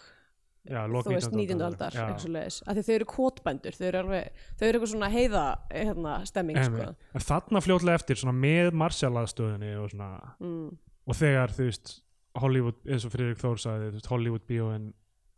Speaker 1: já, lok
Speaker 2: þú veist, 19. aldar,
Speaker 1: aldar.
Speaker 2: eitthvað svoleiðis. af því þau eru kótbændur, þau eru alveg þau eru eitthvað svona heiða, hérna, stemming sko.
Speaker 1: Einmitt. En þarna fljótlega eftir, svona með marsjalaðstöðinni og svona,
Speaker 2: mm,
Speaker 1: og þegar, þú veist, Hollywood, eins og Friðrik Þór sagði, þú veist, Hollywood bíóin,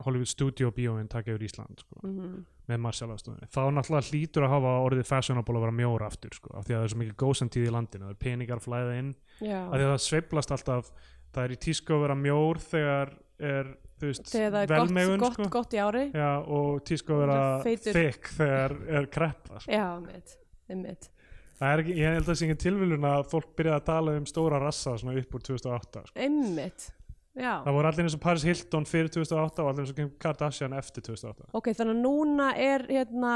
Speaker 1: Hollywood studio bíóin taka yfir Ísland, sko,
Speaker 2: mm
Speaker 1: með marsjalaðstöðinni. Þá náttúrulega hlýtur að hafa orðið fashionable að vera mjóra aftur, sko, af því að það er svo mikið góðsendtíð í landinu, það er peningar að flæða inn,
Speaker 2: já,
Speaker 1: af því að það sveiflast alltaf, það er í tísku að vera mjór þegar er, þú veist,
Speaker 2: þegar það er gott,
Speaker 1: velmegun,
Speaker 2: gott,
Speaker 1: sko.
Speaker 2: gott í ári
Speaker 1: Já, og tísku að vera
Speaker 2: Svona feitur.
Speaker 1: þykk þegar er kreppa. sko.
Speaker 2: Já, mitt, mitt.
Speaker 1: Það er ekki, ég held að það sé engin tilviljun að fólk byrjaði að tala um stóra rassa svona upp úr 2008. Sko.
Speaker 2: Einmitt, já.
Speaker 1: Það voru allir eins og Paris Hilton fyrir 2008 og allir eins og Kim Kardashian eftir 2008.
Speaker 2: Ok, þannig að núna er hérna,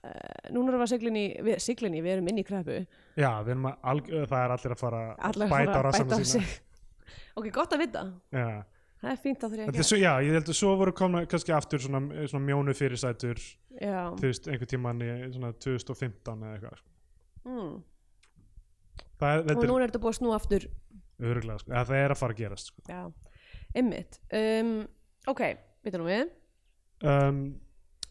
Speaker 2: uh, núna erum við að siglinni, við, siglinni, við erum inn í kreppu.
Speaker 1: Já, við erum að, alg, það er allir að fara að
Speaker 2: Allar
Speaker 1: bæta á
Speaker 2: fara að
Speaker 1: rassana
Speaker 2: á
Speaker 1: sína.
Speaker 2: [laughs] ok, gott að vita.
Speaker 1: Já.
Speaker 2: Það er fínt að þurfa
Speaker 1: Þetta
Speaker 2: ekki.
Speaker 1: er Svo, já, ég held að svo voru komna kannski aftur svona, svona mjónu fyrirsætur,
Speaker 2: Já,
Speaker 1: þú veist, einhvern tímann í svona 2015 eða eitthvað. sko.
Speaker 2: mm.
Speaker 1: Það er,
Speaker 2: og
Speaker 1: þetta
Speaker 2: núna er þetta búið að snúa aftur.
Speaker 1: er öruglega, sko. Eða það er að fara að gerast. Sko.
Speaker 2: Já, einmitt. Um, ok, vita nú við.
Speaker 1: um,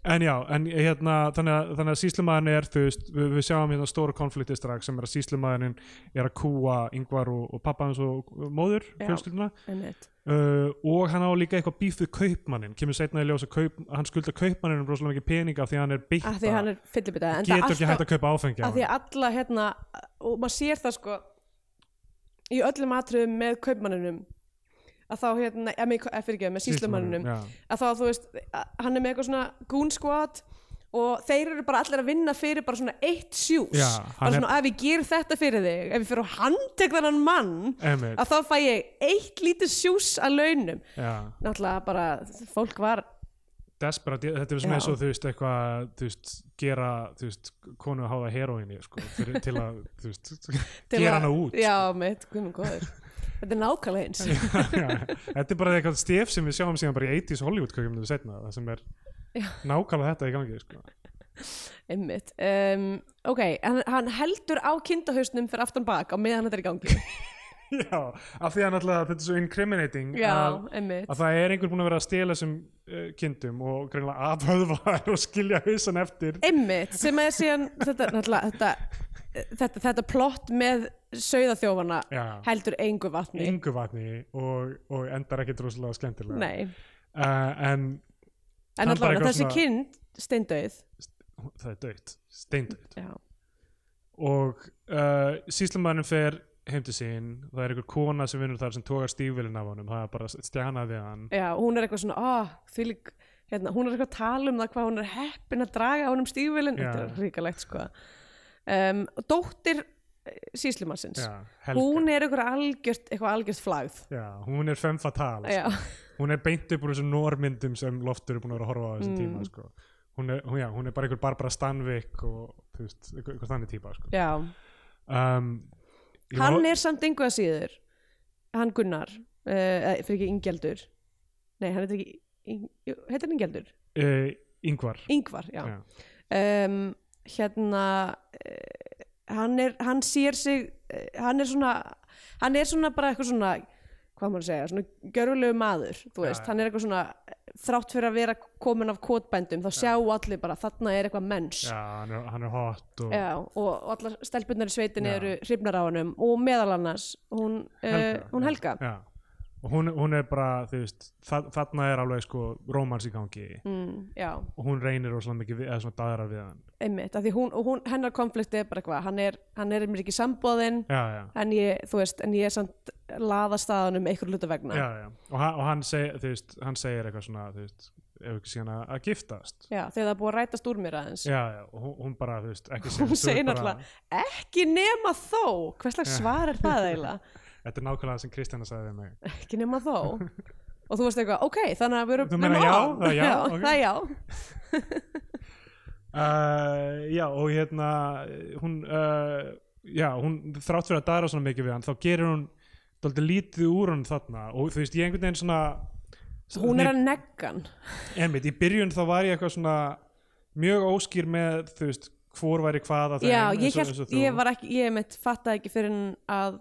Speaker 1: en já, en hérna þannig að, þannig að síslumæðin er þú veist, við, við sjáum hérna stóra konflikti strax sem er að síslumæðin er að kúa yngvar og, og pappa hans og og móður
Speaker 2: Já.
Speaker 1: fjölskylduna
Speaker 2: Einmitt.
Speaker 1: uh, og hann á líka eitthvað bífuð kaupmannin kemur setna í ljós að kaup, hann skulda kaupmanninum rosalega mikið peninga af því að hann er beitt
Speaker 2: Af því að hann er fyllibitað.
Speaker 1: getur ekki hægt að kaupa áfengi á
Speaker 2: að því
Speaker 1: hann
Speaker 2: að alla hérna og maður sér það sko í öllum atriðum með kaupmanninum að þá hérna, eða með, eða fyrirgeðu, með síslumanninum
Speaker 1: já,
Speaker 2: að þá þú veist, að hann er með eitthvað svona goon squad og þeir eru bara allir að vinna fyrir bara svona eitt sjús
Speaker 1: Já, hann
Speaker 2: bara
Speaker 1: er-
Speaker 2: svona ef ég ger þetta fyrir þig ef ég fyrir að handtek þennan mann
Speaker 1: emir,
Speaker 2: að þá fæ ég eitt lítið sjús að launum
Speaker 1: já
Speaker 2: náttúrulega bara, fólk var
Speaker 1: desperat, þetta er svona
Speaker 2: Já.
Speaker 1: eins og þú veist eitthvað, þú veist, gera þú veist, konu að háða heroinni sko, fyrir, til að, þú veist,
Speaker 2: [laughs] til
Speaker 1: gera
Speaker 2: að-
Speaker 1: hana út sko.
Speaker 2: já, mitt, guð minn góður þetta er nákvæmlega eins
Speaker 1: [laughs] já, þetta er bara eitthvað
Speaker 2: [laughs]
Speaker 1: stef sem við sjáum síðan bara í 80s Hollywood kökjum þetta setna, það sem er nákvæmlega þetta í gangi sko.
Speaker 2: einmitt um, ok, hann, hann heldur á kindahausnum fyrir aftan bak á meðan þetta er
Speaker 1: [laughs]
Speaker 2: í gangi
Speaker 1: Já, af því að náttúrulega þetta er svo incriminating
Speaker 2: já,
Speaker 1: að,
Speaker 2: einmitt
Speaker 1: að það er einhver búin að vera að stela þessum uh, kindum og greinlega afhöðva þær og skilja hausan eftir
Speaker 2: einmitt, sem er
Speaker 1: [laughs]
Speaker 2: síðan þetta, náttúrulega, þetta, þetta, þetta plott með sauðaþjófana
Speaker 1: Já.
Speaker 2: heldur engu vatni
Speaker 1: engu vatni og, og endar ekki droslega skemmtilega
Speaker 2: nei,
Speaker 1: Uh, en Hann
Speaker 2: en
Speaker 1: bara
Speaker 2: allavega
Speaker 1: eitthvað
Speaker 2: þessi
Speaker 1: svona-
Speaker 2: kind steindauð
Speaker 1: það er döitt, steindöitt
Speaker 2: já,
Speaker 1: og uh, síslumæðurinn fer heim til sín, það er einhver kona sem vinnur þar sem tókar stífvelin af honum, það er bara stjánað við hann
Speaker 2: já, og hún er eitthvað svona ah, því lík, hérna, hún er eitthvað að tala um það hvað hún er heppin að draga á honum stífvelin
Speaker 1: Já.
Speaker 2: þetta er ríkalegt sko um, og dóttir eh, síslimansins
Speaker 1: já, Helga.
Speaker 2: hún er eitthvað algjört, eitthvað algjört flagð
Speaker 1: já, hún er femme fatale
Speaker 2: já,
Speaker 1: sko. hún er beint upp úr þessum normyndum sem loftur er búin að vera að horfa á
Speaker 2: Mm.
Speaker 1: þessum tíma sko. hún, er, hún, já, hún er bara einhver Barbara Stanwyck og þú veist, einhver, einhver þannig típa sko.
Speaker 2: já.
Speaker 1: um, ég var-
Speaker 2: hann er samt engu að síður hann Gunnar uh, fyrir ekki Ingjaldur nei, hann heitir ekki Ing- jú, heitir hann Ingjaldur?
Speaker 1: uh, yngvar
Speaker 2: Ingvar, já, Um, hérna uh, hann er, hann sér sig uh, hann er svona hann er svona bara eitthvað svona hvað maður að segja, svona görulegu maður þú
Speaker 1: Já,
Speaker 2: veist,
Speaker 1: já.
Speaker 2: hann er eitthvað svona eh, þrátt fyrir að vera komin af kotbændum þá sjá allir bara, þarna er eitthvað menns
Speaker 1: já, hann er, hann er hot og
Speaker 2: Já, og og allar stelpunnar í sveitinni
Speaker 1: Já.
Speaker 2: eru hrifnar á hannum og meðal annars hún
Speaker 1: Helga,
Speaker 2: Helga, Eh,
Speaker 1: já.
Speaker 2: hún Helga.
Speaker 1: Já. og hún, hún er bara, þú veist þa- þarna er alveg sko rómans í gangi
Speaker 2: Mm, já,
Speaker 1: og hún reynir rosalega mikið við, eða svona daðrar við hann
Speaker 2: einmitt af því hún, og hún, hennar konflikti er bara eitthvað hann er, hann er mér ekki sambóðinn
Speaker 1: já, já,
Speaker 2: en ég, þú veist, en ég er samt laðast að honum einhver hluta vegna
Speaker 1: já, já. Og, hann, og hann, seg, þú veist, hann segir eitthvað svona þú veist, ef ekki síðan að, að giftast já,
Speaker 2: Já, þegar það er búið að rætast úr mér aðeins
Speaker 1: já, og hún, hún bara, þú veist,
Speaker 2: [laughs]
Speaker 1: ekki sér
Speaker 2: hún segir náttúrulega ekki nema þó hvers slags svar er það eiginlega
Speaker 1: þetta er nákvæmlega það sem Kristjana sagði við mig
Speaker 2: ekki nema þó og þú veist eitthvað, ok, þannig að við erum
Speaker 1: Þú
Speaker 2: við erum
Speaker 1: meinar já,
Speaker 2: on.
Speaker 1: það er já, ok.
Speaker 2: það er já,
Speaker 1: uh, já, og hérna hún, uh, já, hún þrátt fyrir að daðra svona mikið við hann, þá gerir hún dálítið lítið úr hann þarna og þú veist, ég einhvern veginn svona
Speaker 2: hún er að neggan
Speaker 1: Einmitt, í byrjun þá var ég eitthvað svona mjög óskýr með, þú veist, hvor væri hvað að þeim,
Speaker 2: Já, ég,
Speaker 1: eins og-
Speaker 2: held,
Speaker 1: eins og þú.
Speaker 2: ég var ekki, ég mitt fattaði ekki fyrir en að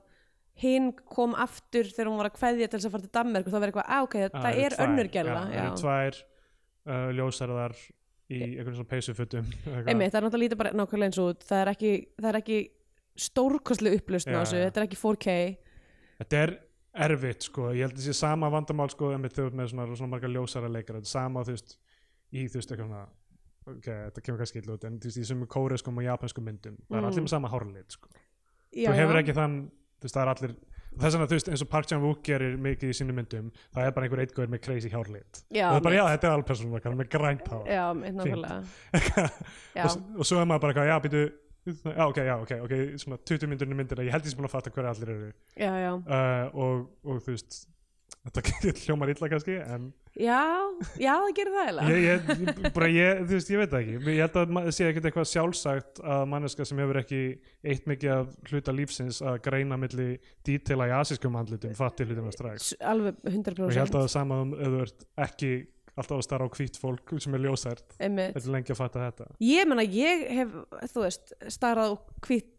Speaker 2: hinn kom aftur þegar hún var að kveðja til þess að fara til Danmark og það var eitthvað, á, ok,
Speaker 1: Já,
Speaker 2: það, það
Speaker 1: Ah, eru
Speaker 2: er
Speaker 1: tvær,
Speaker 2: önnur gerða
Speaker 1: já, það
Speaker 2: já,
Speaker 1: eru tvær uh, ljósarðar í einhvern svona peysufutum [laughs] eitthvað.
Speaker 2: einmitt, það er náttúrulega lítið bara nákvæmlega eins og út, það er ekki, það er ekki stórkostlega upplustn á
Speaker 1: Já,
Speaker 2: þessu,
Speaker 1: já.
Speaker 2: þetta er ekki 4K
Speaker 1: þetta er erfitt sko, ég held að þessi sama vandamál sko, einmitt þau með svona, svona marga ljósara leikar þetta er sama, þú veist, í þú veist eitthvað svona, ok, þetta kemur kannski illa út en þú veist, í sömu kóreskum og japanskum myndum það er
Speaker 2: Mm.
Speaker 1: allir með sama hárlit sko.
Speaker 2: já,
Speaker 1: þú hefur
Speaker 2: já.
Speaker 1: ekki þann þú veist, það er allir þess vegna, þú veist, eins og Park Chan-wook gerir mikið í sínum myndum, það er bara einhver eitthvað með crazy hárlit,
Speaker 2: Já,
Speaker 1: það er bara,
Speaker 2: mitt.
Speaker 1: já, þetta er alveg persónum hann er með grænt hár
Speaker 2: Já, mitt nákvæmlega Já,
Speaker 1: [laughs] og, s- og svo er maður bara, eitthvað, já, býtu já, ok, já, ok, ok, svona 20 myndunum myndina, ég held ég sem búin að fatta hverja allir eru
Speaker 2: já, já
Speaker 1: uh, og, og þú veist þetta [laughs] getur hljómar illa kannski en
Speaker 2: Já, já, það gerir það eiginlega
Speaker 1: ég, ég, bara ég, þú veist, ég veit það ekki ég held að ma- sé ekkert eitthvað sjálfsagt að manneska sem hefur ekki eitt mikið af hluta lífsins að greina milli dítela í asískum handlutum fatti hlutum að strax
Speaker 2: S- Alveg
Speaker 1: og ég held
Speaker 2: 100%
Speaker 1: að það er sama um ef þú ert ekki alltaf að starra á hvít fólk sem er ljósært
Speaker 2: einmitt
Speaker 1: þetta er lengi að fatta þetta
Speaker 2: Ég menna, ég hef, þú veist, starrað og hvít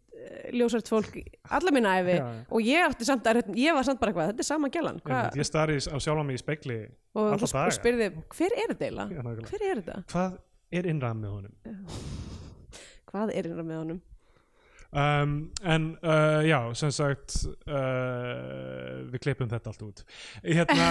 Speaker 2: ljósart fólk í alla mína æfi
Speaker 1: Já, já.
Speaker 2: og ég átti samt að, ég var samt bara eitthvað, þetta er sama gælan
Speaker 1: Einmitt,
Speaker 2: hvað-
Speaker 1: ég starri á sjálfa mig í spegli
Speaker 2: og,
Speaker 1: alla
Speaker 2: og,
Speaker 1: daga.
Speaker 2: og spyrði, hver er
Speaker 1: Já,
Speaker 2: þetta eiginlega?
Speaker 1: nákvæmlega.
Speaker 2: Hver er þetta?
Speaker 1: hvað er innræð með honum
Speaker 2: Hvað er þetta með honum?
Speaker 1: um, en uh, já, sem sagt uh, við klippum þetta allt út hérna,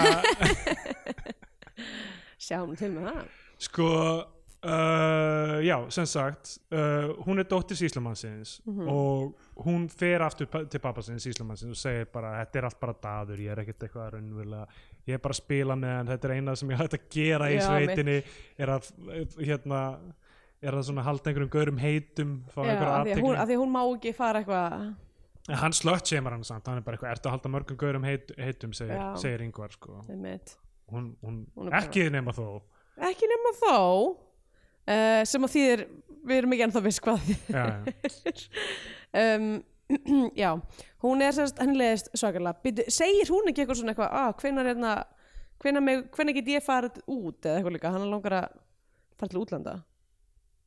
Speaker 2: Sjáum til með það
Speaker 1: sko uh, já, sem sagt uh, hún er dóttir síslamannsins
Speaker 2: Mhm.
Speaker 1: og hún fer aftur pa- til pappasins síslamannsins og segir bara þetta er allt bara daður, ég er ekkert eitthvað raunvöla ég er bara að spila með hann, þetta er eina sem ég hægt að gera í
Speaker 2: Já,
Speaker 1: sveitinni er að, hérna er að svona halda einhverjum gaurum heitum fá
Speaker 2: Já,
Speaker 1: einhverja
Speaker 2: af því að hún,
Speaker 1: athygli.
Speaker 2: af því að hún má ekki fara eitthvað
Speaker 1: En hann slött semar hann samt, hann er bara eitthvað, ertu að halda mörgum gaurum heit, heitum, segir,
Speaker 2: Já.
Speaker 1: segir yngvar sko.
Speaker 2: einmitt.
Speaker 1: Hún, hún,
Speaker 2: Hún er bara-
Speaker 1: ekki nema þó.
Speaker 2: ekki nema þá uh, sem að þýðir, við erum ekki ennþá viss hvað
Speaker 1: Já, já.
Speaker 2: um, [clears throat] já, hún er sérst henni leiðist svakalega Bíddu, segir hún ekki eitthvað svona eitthvað ah, hvenær, hérna, hvenær, meg, hvenær get ég farið út eða eitthvað líka, hann langar að fara til útlanda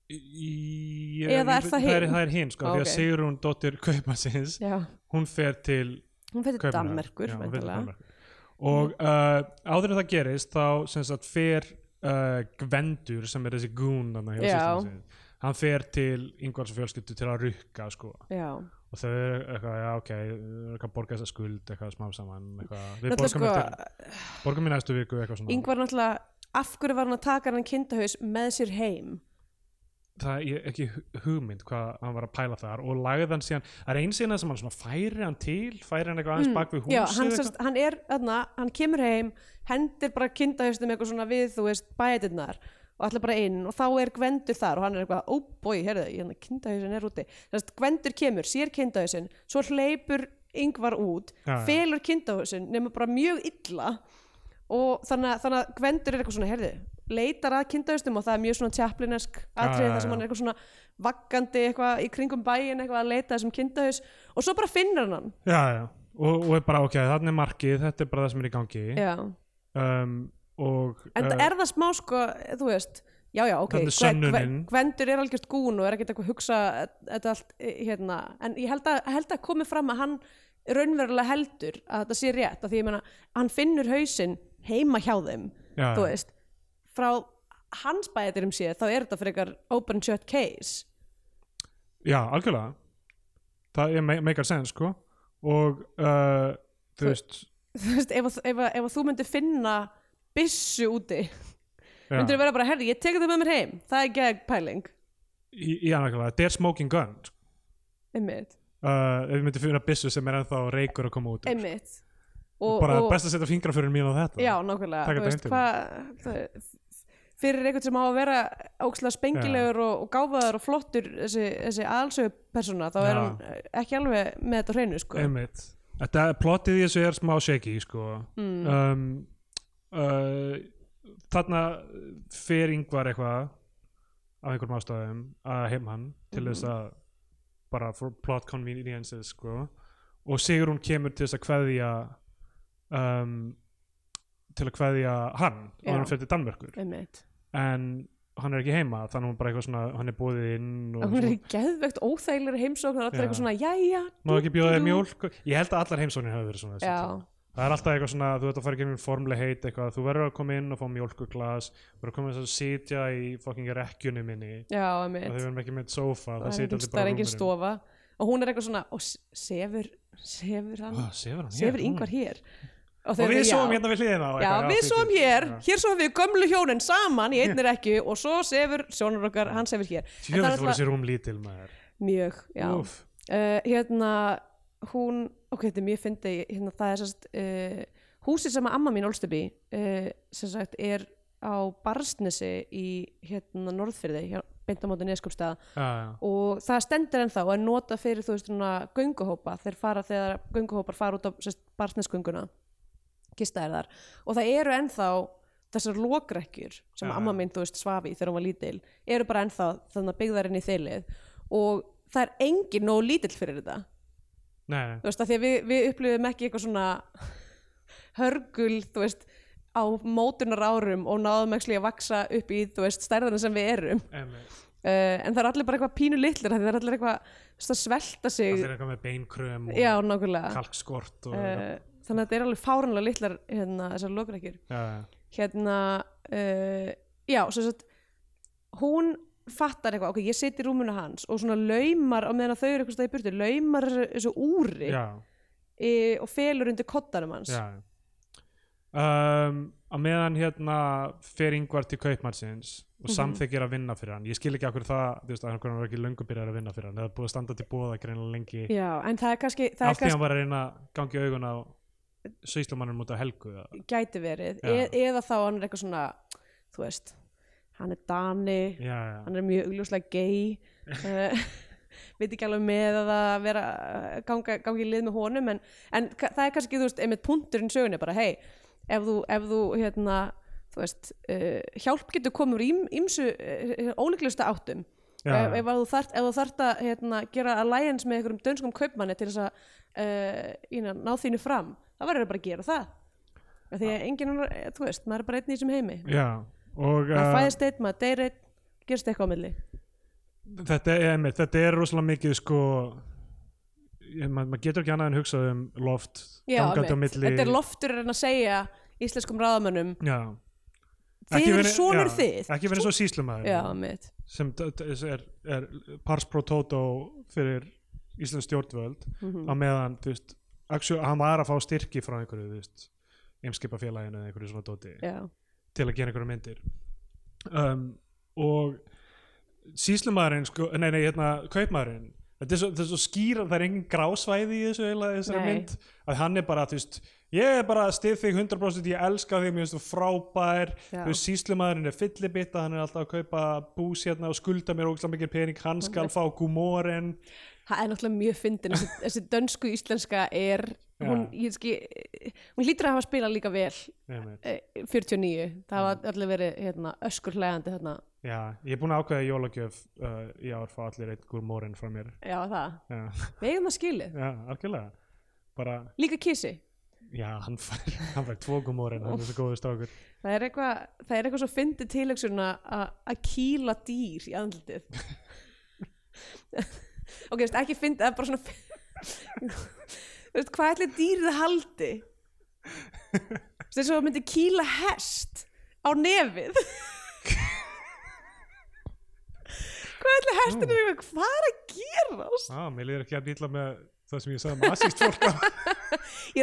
Speaker 1: Í- ég-
Speaker 2: Eða er það
Speaker 1: það er,
Speaker 2: hin?
Speaker 1: það er hinn sko,
Speaker 2: Ó,
Speaker 1: því að
Speaker 2: ok.
Speaker 1: Sigrún dóttir Kaupmannsins,
Speaker 2: Já,
Speaker 1: hún fer til
Speaker 2: hún fyrir
Speaker 1: Kaupmannahafnar.
Speaker 2: Danmerkur
Speaker 1: Já, hún fer til
Speaker 2: væntanlega. Mhm.
Speaker 1: Danmerkur. og uh, áður en það gerist þá sem sagt fer uh, Gvendur sem er þessi gún þarna hjá
Speaker 2: Já.
Speaker 1: systur sinni. hann fer til yngvars fjölskyldu til að rukka sko
Speaker 2: Já,
Speaker 1: og þau eru eitthvað, já ok, þau eru eitthvað að borga þessa skuld eitthvað smám saman eitthvað. við
Speaker 2: náttúrulega
Speaker 1: borgum,
Speaker 2: sko
Speaker 1: eftir, borgum í næstu viku eitthvað svona
Speaker 2: Ingvar náttúrulega, af hverju var hann að taka hann kindahaus með sér heim?
Speaker 1: það er ekki hu- hugmynd hvað hann var að pæla þar og lagði hann síðan, það er einsýna sem hann svona færi hann til, færi hann eitthvað aðeins bak við húsið
Speaker 2: Mm, Já, hann,
Speaker 1: eitthvað.
Speaker 2: sérst, hann er, þarna, hann kemur heim hendir bara kindahaustum eitthvað svona við, þú veist, bæðirnar og allir bara inn og þá er Gvendur þar og hann er eitthvað, ó oh boi, heyrðu, hérna, kindahausin er úti sérst, Gvendur kemur, sér kindahausin svo hleypur yngvar út
Speaker 1: Já, já.
Speaker 2: felur kindahausin, nema bara mjög illa og þannig, að- þannig að Gvendur er eitthvað svona, heyrðu, leitar að kindahaustum og það er mjög svona tjaplinesk atrið
Speaker 1: já,
Speaker 2: þar sem
Speaker 1: já.
Speaker 2: hann er eitthvað svona vaggandi eitthvað í kringum bæin eitthvað að leita að þessum kindahaus og svo bara finnur hann hann
Speaker 1: já, já. Og, og er bara ok, þannig er markið þetta er bara það sem er í gangi
Speaker 2: Já.
Speaker 1: um, og
Speaker 2: En
Speaker 1: eh,
Speaker 2: það er það smá sko, þú veist Já, já, ok,
Speaker 1: Þarna er sönnunin.
Speaker 2: Gvendur er algjört gún og er ekkert eitthvað að hugsa þetta allt, eh, hérna, en ég held að, held að komi fram að hann raunverulega heldur að þetta sé rétt, af því ég meina hann finnur hausinn heima hjá þeim
Speaker 1: Já,
Speaker 2: þú
Speaker 1: já.
Speaker 2: veist, frá hans bæðirum séð, þá er þetta frekar open shut case [laughs]
Speaker 1: já, algjörlega það er me- meikar sense sko og uh, þú veist
Speaker 2: þú veist, ef, að- ef, að- ef að þú myndir finna byssu úti,
Speaker 1: já,
Speaker 2: myndir vera bara, herri, ég tekur það með mér heim, það er gegn pæling
Speaker 1: í, já, nákvæmlega, þetta er smoking gun sko.
Speaker 2: einmitt,
Speaker 1: uh, ef við myndum finna byssu sem er ennþá reykur að koma út úr.
Speaker 2: einmitt og,
Speaker 1: bara best að setja fingraförun mín á þetta
Speaker 2: Já, nákvæmlega,
Speaker 1: Taka
Speaker 2: þú
Speaker 1: þetta
Speaker 2: veist
Speaker 1: heim til
Speaker 2: hvað það er- fyrir einhvern sem á að vera ókslega spengilegur og, og gáfaður og flottur þessi, þessi aðalsögu persóna þá
Speaker 1: Já.
Speaker 2: er hann eh, ekki alveg með þetta á hreinu sko.
Speaker 1: einmitt þetta plottið í þessu er smá shaky sko.
Speaker 2: Hmm.
Speaker 1: um, uh, þarna fer yngvar eitthvað af einhverjum ástæðum að heim hann til þess
Speaker 2: Hmm.
Speaker 1: að bara for plot conveniences sko. og Sigrún kemur til þess að kveðja um, til að kveðja hann og
Speaker 2: Já.
Speaker 1: hann fyrir til Danmörkur
Speaker 2: Einmitt.
Speaker 1: en hann er ekki heima þannig að hún bara eitthvað svona, hann er búið inn og
Speaker 2: Og hún er
Speaker 1: svona-
Speaker 2: í geðveikt óþægilegri heimsókn og allir
Speaker 1: Já.
Speaker 2: eitthvað svona, jæja
Speaker 1: Má ekki bjóða þér
Speaker 2: dú-dú-dú."
Speaker 1: mjólk? Ég held að allar heimsóknir hafa verið svona þessi
Speaker 2: Já.
Speaker 1: tíma. Það er alltaf eitthvað svona, þú ert að fara í gegnum formleg heit eitthvað, þú verður að koma inn og fá mjólkuglas, þú verður að koma þess að sitja í fucking rekkjunni minni,
Speaker 2: Já,
Speaker 1: og þau
Speaker 2: einmitt
Speaker 1: verðum ekki með sófa, það,
Speaker 2: Það er
Speaker 1: sitja
Speaker 2: engin-
Speaker 1: allir
Speaker 2: það
Speaker 1: bara
Speaker 2: er
Speaker 1: á
Speaker 2: engin
Speaker 1: rúminu.
Speaker 2: stofa og hún er eitthvað svona, og s- sefur sefur hann,
Speaker 1: Ó, Ah, Sefur hann Ó.
Speaker 2: sefur yngvar hér þau
Speaker 1: Og
Speaker 2: eru
Speaker 1: við
Speaker 2: eitthvað,
Speaker 1: sofum
Speaker 2: "Já."
Speaker 1: hérna við hliðina á
Speaker 2: Já,
Speaker 1: eitthvað,
Speaker 2: við
Speaker 1: fyndið.
Speaker 2: sofum hér,
Speaker 1: Já.
Speaker 2: hér sofum við gömlu hjónin saman í einnig ekki og svo sefur sjónur okkar, hann sefur hér. En það er
Speaker 1: Djöfull voru
Speaker 2: alltaf-
Speaker 1: sér rúm lítil maður.
Speaker 2: Mjög, já. Uh,
Speaker 1: Úff.
Speaker 2: hérna, hún, ok, þetta er mjög fyndi, hérna, það er sérst, uh, húsið sem að amma mín ólst upp í, uh, sem sagt, er á Barsnesi í, hérna, Norðfyrði, hjá, beint á móti neskupstaða
Speaker 1: Já, já.
Speaker 2: og það stendur ennþá og er nota fyrir, þú veist, svona, gönguhópa, þeir fara þegar gönguhópar fara út á sérst, Barsnesgönguna, kista er þar og það eru ennþá þessar lokrekkjur sem
Speaker 1: Já,
Speaker 2: amma
Speaker 1: já.
Speaker 2: minn, þú veist, svafi þegar hún var lítil eru bara ennþá þannig að byggðar inn í þeilið og það er engin nóg lítill fyrir þetta
Speaker 1: Nei, nei.
Speaker 2: þú veist, að því að við, við upplifum ekki eitthvað svona hörgul, þú veist á mótunar árum og náðum ekki að vaksa upp í, þú veist, stærðana sem við erum
Speaker 1: einmitt.
Speaker 2: uh, en það er allir bara eitthvað pínu litlir það er allir eitthvað þú veist, að svelta sig
Speaker 1: Allir er eitthvað með beinkröm
Speaker 2: já, Eh.
Speaker 1: og
Speaker 2: nákvæmlega uh,
Speaker 1: kalkskort og...
Speaker 2: þannig að þetta er alveg fáránlega litlar hérna, þessar lokrekkjur
Speaker 1: Já, já.
Speaker 2: hérna uh, já, sem sagt hún fattar eitthvað, ok, ég sit í rúmuna hans og svona laumar, á meðan að þau eru eitthvað stað í burtu, laumar þessu- þessu úri
Speaker 1: Já,
Speaker 2: e, og felur undir koddanum hans
Speaker 1: Já. Um, að meðan hérna fer yngvar til kaupmannsins og
Speaker 2: Mhm.
Speaker 1: samþykir að vinna fyrir hann ég skil ekki akkur það, þú veist, að hann var ekki löngu byrjar að vinna fyrir hann, eða búið að standa til búða greinilega lengi,
Speaker 2: Já, en það er kannski, það
Speaker 1: af því
Speaker 2: er
Speaker 1: hann
Speaker 2: kannski
Speaker 1: var að reyna að gangi augun á sýslumannum út af helgu eða-
Speaker 2: gæti verið,
Speaker 1: Já.
Speaker 2: e, eða þá hann er eitthvað svona þú veist, hann er dani
Speaker 1: já, já,
Speaker 2: hann er mjög augljóslega gay
Speaker 1: [laughs]
Speaker 2: uh, [laughs] veit ekki alveg með að það vera eh, ganga, gangi í lið með honum en, en ka- það er kannski, þú veist, einmitt punkturinn í sögunni bara, hei, ef þú, ef þú hérna, þú veist uh, hjálp getur komið úr ím, ímsu uh, ólíklustu áttum
Speaker 1: já,
Speaker 2: ef, ef, að þú þart, ef þú þart að hérna, gera alliance með einhverjum dönskum kaupmanni til þess að uh, you know, ná þínu fram það verður bara að gera það Af því að enginn, annar- eh, þú veist, maður er bara einn í þessum heimi
Speaker 1: já og
Speaker 2: maður
Speaker 1: uh,
Speaker 2: fæðist einn, maður deyr einn gerst eitthvað á milli
Speaker 1: þetta er, einmitt, þetta er rosalega mikið sko ég- ma- maður getur ekki annað en hugsað um loft
Speaker 2: Já,
Speaker 1: gangandi á
Speaker 2: einmitt.
Speaker 1: milli
Speaker 2: Þetta er loftur en að segja íslenskum ráðamönnum
Speaker 1: já.
Speaker 2: Þið
Speaker 1: Ekki
Speaker 2: eru
Speaker 1: verið-
Speaker 2: sonur
Speaker 1: já,
Speaker 2: þið.
Speaker 1: ekki verið svo síslumæður
Speaker 2: Já, mitt
Speaker 1: sem d- d- er, er pars pro toto fyrir Íslands stjórnvöld á meðan, þú veist, actually, hann var að fá styrki frá einhverju, þú veist eimskipafélaginu eða einhverju svona dóti
Speaker 2: Já,
Speaker 1: til að gera einhverju myndir um, og síslumæðurinn, sko, nei, nei, hérna kaupmæðurinn, þetta er svo, þetta er svo skýra það er engin grásvæði í þessu eiginlega, þessari
Speaker 2: Nei.
Speaker 1: mynd, að hann er bara, þú veist ég er bara stið þig 100%, ég elska þig mér finnst þú frábær,
Speaker 2: Já.
Speaker 1: þú veist síslumæðurinn er fyllibitta, hann er alltaf að kaupa bús hérna og skulda mér ógislega mikið pening hann skal fá gúmóren
Speaker 2: það er náttúrulega mjög fyndin
Speaker 1: [laughs]
Speaker 2: þessi, þessi dönsku íslenska er
Speaker 1: Já.
Speaker 2: hún, ég skil, hún lítur að hafa spilað líka vel
Speaker 1: Einmitt.
Speaker 2: eh, 49, það hafa allir verið hérna, öskur hlægandi þarna
Speaker 1: Já, ég er búin að ákveða í jólagjöf uh, í ár fá allir einn gúmóren frá mér
Speaker 2: já það,
Speaker 1: Já,
Speaker 2: við eigum það skilið
Speaker 1: já algjörlega bara,
Speaker 2: líka kissi,
Speaker 1: já, hann fær, hann fær tvo gúmóren, hann er svo góður stákur
Speaker 2: það er eitthvað það er eitthvað svo fyndið tilöksun að kýla dýr í andlitið [laughs] ok, veist, ekki fyndið, það er bara svona Þú veist, hvað ætli dýrið haldi þess að það myndi kýla hest á nefið [laughs] hvað ætli hestin er eitthvað hvað er að gerast
Speaker 1: Já, mér liður ekki að nýtla með það sem ég sagði um asíst fólk
Speaker 2: ég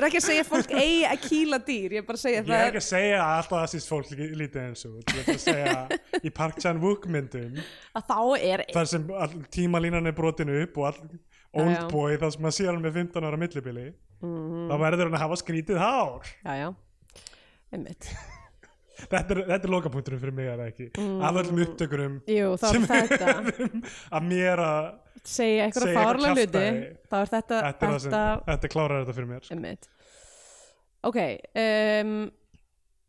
Speaker 2: er ekki að segja að fólk eigi að kýla dýr ég er bara að
Speaker 1: Ég
Speaker 2: segja það
Speaker 1: er ekki að segja að alltaf asíst fólk lí- lítið eins og Ég er bara að segja í Park Chan-wook myndum
Speaker 2: að þá er
Speaker 1: þar sem all, tímalínan er brotin upp og all, old
Speaker 2: já. Mhm.
Speaker 1: boy þar sem maður sér hann með 15 ára millibili þá verður hann að hafa skrítið hár
Speaker 2: já já, einmitt
Speaker 1: Þetta er, þetta er lokapunkturinn fyrir mig að ekki af öllum upptökurum
Speaker 2: jú, Mhm. þá er þetta
Speaker 1: að mér að
Speaker 2: segja
Speaker 1: Segja
Speaker 2: eitthvað
Speaker 1: eitthvað
Speaker 2: fárlega hluti
Speaker 1: kjaftæði.
Speaker 2: þá er þetta,
Speaker 1: þetta, er það sem,
Speaker 2: þetta
Speaker 1: þetta klárar þetta fyrir mér
Speaker 2: emmitt ok um,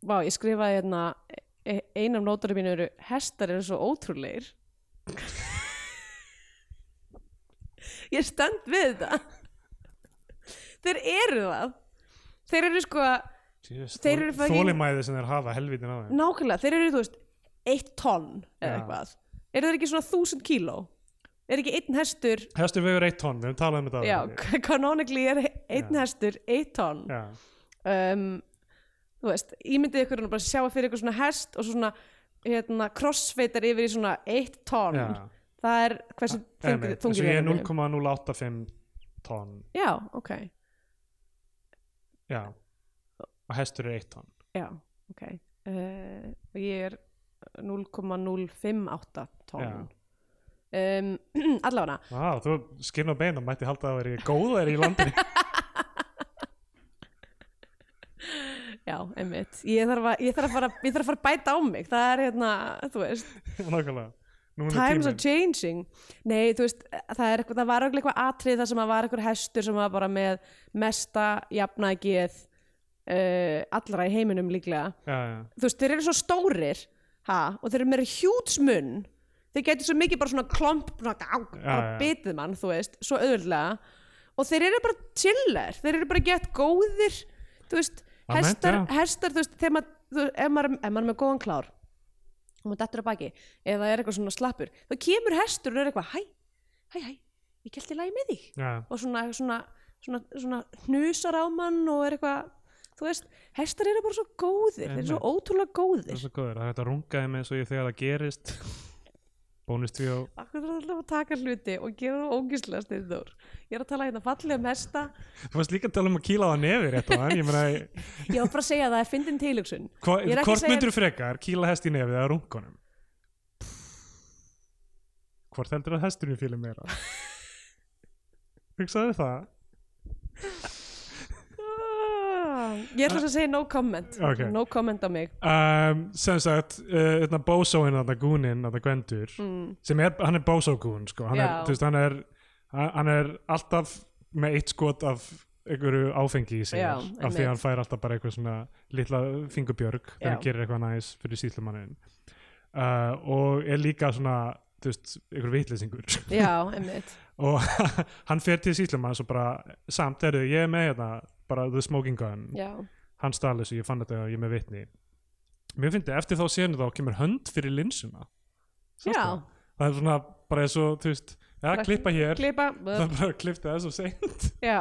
Speaker 2: vá, ég skrifaði hérna e- einum nóturum mínu eru hestar eru svo ótrúleir [laughs] ég stend við þetta þeir eru það þeir eru sko Þeir eru fucking-
Speaker 1: þólimæði sem þeir hafa helvítin á þeim
Speaker 2: nákvæmlega, þeir eru þú veist eitt tonn eða
Speaker 1: Já.
Speaker 2: eitthvað eru þeir ekki svona þúsund kíló er ekki einn hestur
Speaker 1: Hestur vegur eitt tonn, við höfum talað um þetta
Speaker 2: já,
Speaker 1: áður.
Speaker 2: kanonikli er e- einn hestur eitt tonn
Speaker 1: já.
Speaker 2: um, þú veist, ímyndið ykkur hann bara sjá fyrir ykkur svona hest og svo svona hérna, crossfit er yfir í svona eitt tonn,
Speaker 1: Já. Ah,
Speaker 2: það er hversu þungir
Speaker 1: Einmitt, eins og
Speaker 2: þungir
Speaker 1: ég er
Speaker 2: eru
Speaker 1: 0,085
Speaker 2: þeir?
Speaker 1: tonn
Speaker 2: já, ok,
Speaker 1: já. og hestur er eitt tonn
Speaker 2: já, ok uh, og ég er 0,058 tonn um, [clears throat] allavega
Speaker 1: Vá, þú skinn og bein og mætti halda að vera góðar í
Speaker 2: [laughs]
Speaker 1: landinu
Speaker 2: já, einmitt ég þarf að, ég þarf að, fara, ég þarf að fara að bæta á mig það er hérna, þú veist
Speaker 1: Nákvæmlega. Núna er
Speaker 2: times are
Speaker 1: tíminn.
Speaker 2: changing nei, þú veist, það, er, eitthvað- það var örugglega eitthvað atrið þar sem að var eitthvað hestur sem var bara með mesta jafnægið uh, allra í heiminum líklega
Speaker 1: já, já.
Speaker 2: þú veist, þeir eru svo stórir ha, og þeir eru meira hjútsmunn þeir getur svo mikið bara svona klomp svona, á, bara
Speaker 1: já.
Speaker 2: bitið mann, þú veist, svo auðvöldlega og þeir eru bara chiller þeir eru bara gett góðir þú veist,
Speaker 1: Amen,
Speaker 2: hestar,
Speaker 1: já.
Speaker 2: hestar þú veist, þegar maður, þú- ef maður, ef maður er með góðan klár og maður dettur að baki eða er eitthvað svona slappur, þá kemur hestur og er eitthvað, hæ, hæ, hæ ég gælt í lagi með þig
Speaker 1: Já.
Speaker 2: og svona, svona, svona, svona hnusar á mann og er eitthvað þú veist, hestar eru bara svo góðir þeir eru svo
Speaker 1: Það
Speaker 2: ótrúlega
Speaker 1: er
Speaker 2: góðir
Speaker 1: svo góður, það er hægt að rungaði með svo ég þegar það gerist Bónuství og
Speaker 2: Akkur þarf alltaf að taka hluti og gera það ógíslega styrður. Ég er að tala hérna fallega um hesta.
Speaker 1: Þú varst líka að tala um að kýla á það nefi rétt á hann Ég meina,
Speaker 2: Ég var bara að segja að það er fyndin tilhugsun.
Speaker 1: hva,
Speaker 2: Ég er ekki að
Speaker 1: hvort
Speaker 2: segja-
Speaker 1: myndur frekar kýla hest í nefið eða rungunum? Hvort heldur að hesturinn fýlir
Speaker 2: [laughs]
Speaker 1: meira? Hugsaðu það?
Speaker 2: Ah, Ég ætla þess að segja no comment.
Speaker 1: Ok.
Speaker 2: No comment á mig.
Speaker 1: Um, sem sagt, uh, þetta bósóin þetta gúnin, þetta gwendur mm. sem er, hann er bósógún sko. hann, er,
Speaker 2: Já.
Speaker 1: þú veist, hann, er, hann hann er alltaf með eitt skot af einhverju áfengi í sig
Speaker 2: Já,
Speaker 1: af því
Speaker 2: einmitt.
Speaker 1: að hann fær alltaf bara eitthvað svona litla fingurbjörg þegar
Speaker 2: Já.
Speaker 1: hann gerir eitthvað næs fyrir síslumannin uh, og er líka svona þú veist, einhver vitleysingur [laughs]
Speaker 2: Já, einmitt.
Speaker 1: og [laughs] hann fer til síslumanns og bara samt eru, ég er með hérna bara the smoking gun
Speaker 2: Já.
Speaker 1: hann stali þessu, ég fann þetta og ég er með vitni mér finnst þetta, eftir þá senu þá kemur hönd fyrir linsuna Sástu
Speaker 2: Já.
Speaker 1: það? það er svona bara eins og þú veist, ja,
Speaker 2: Bara
Speaker 1: klippa hér
Speaker 2: klippa
Speaker 1: það er bara að klippa það svo seint
Speaker 2: já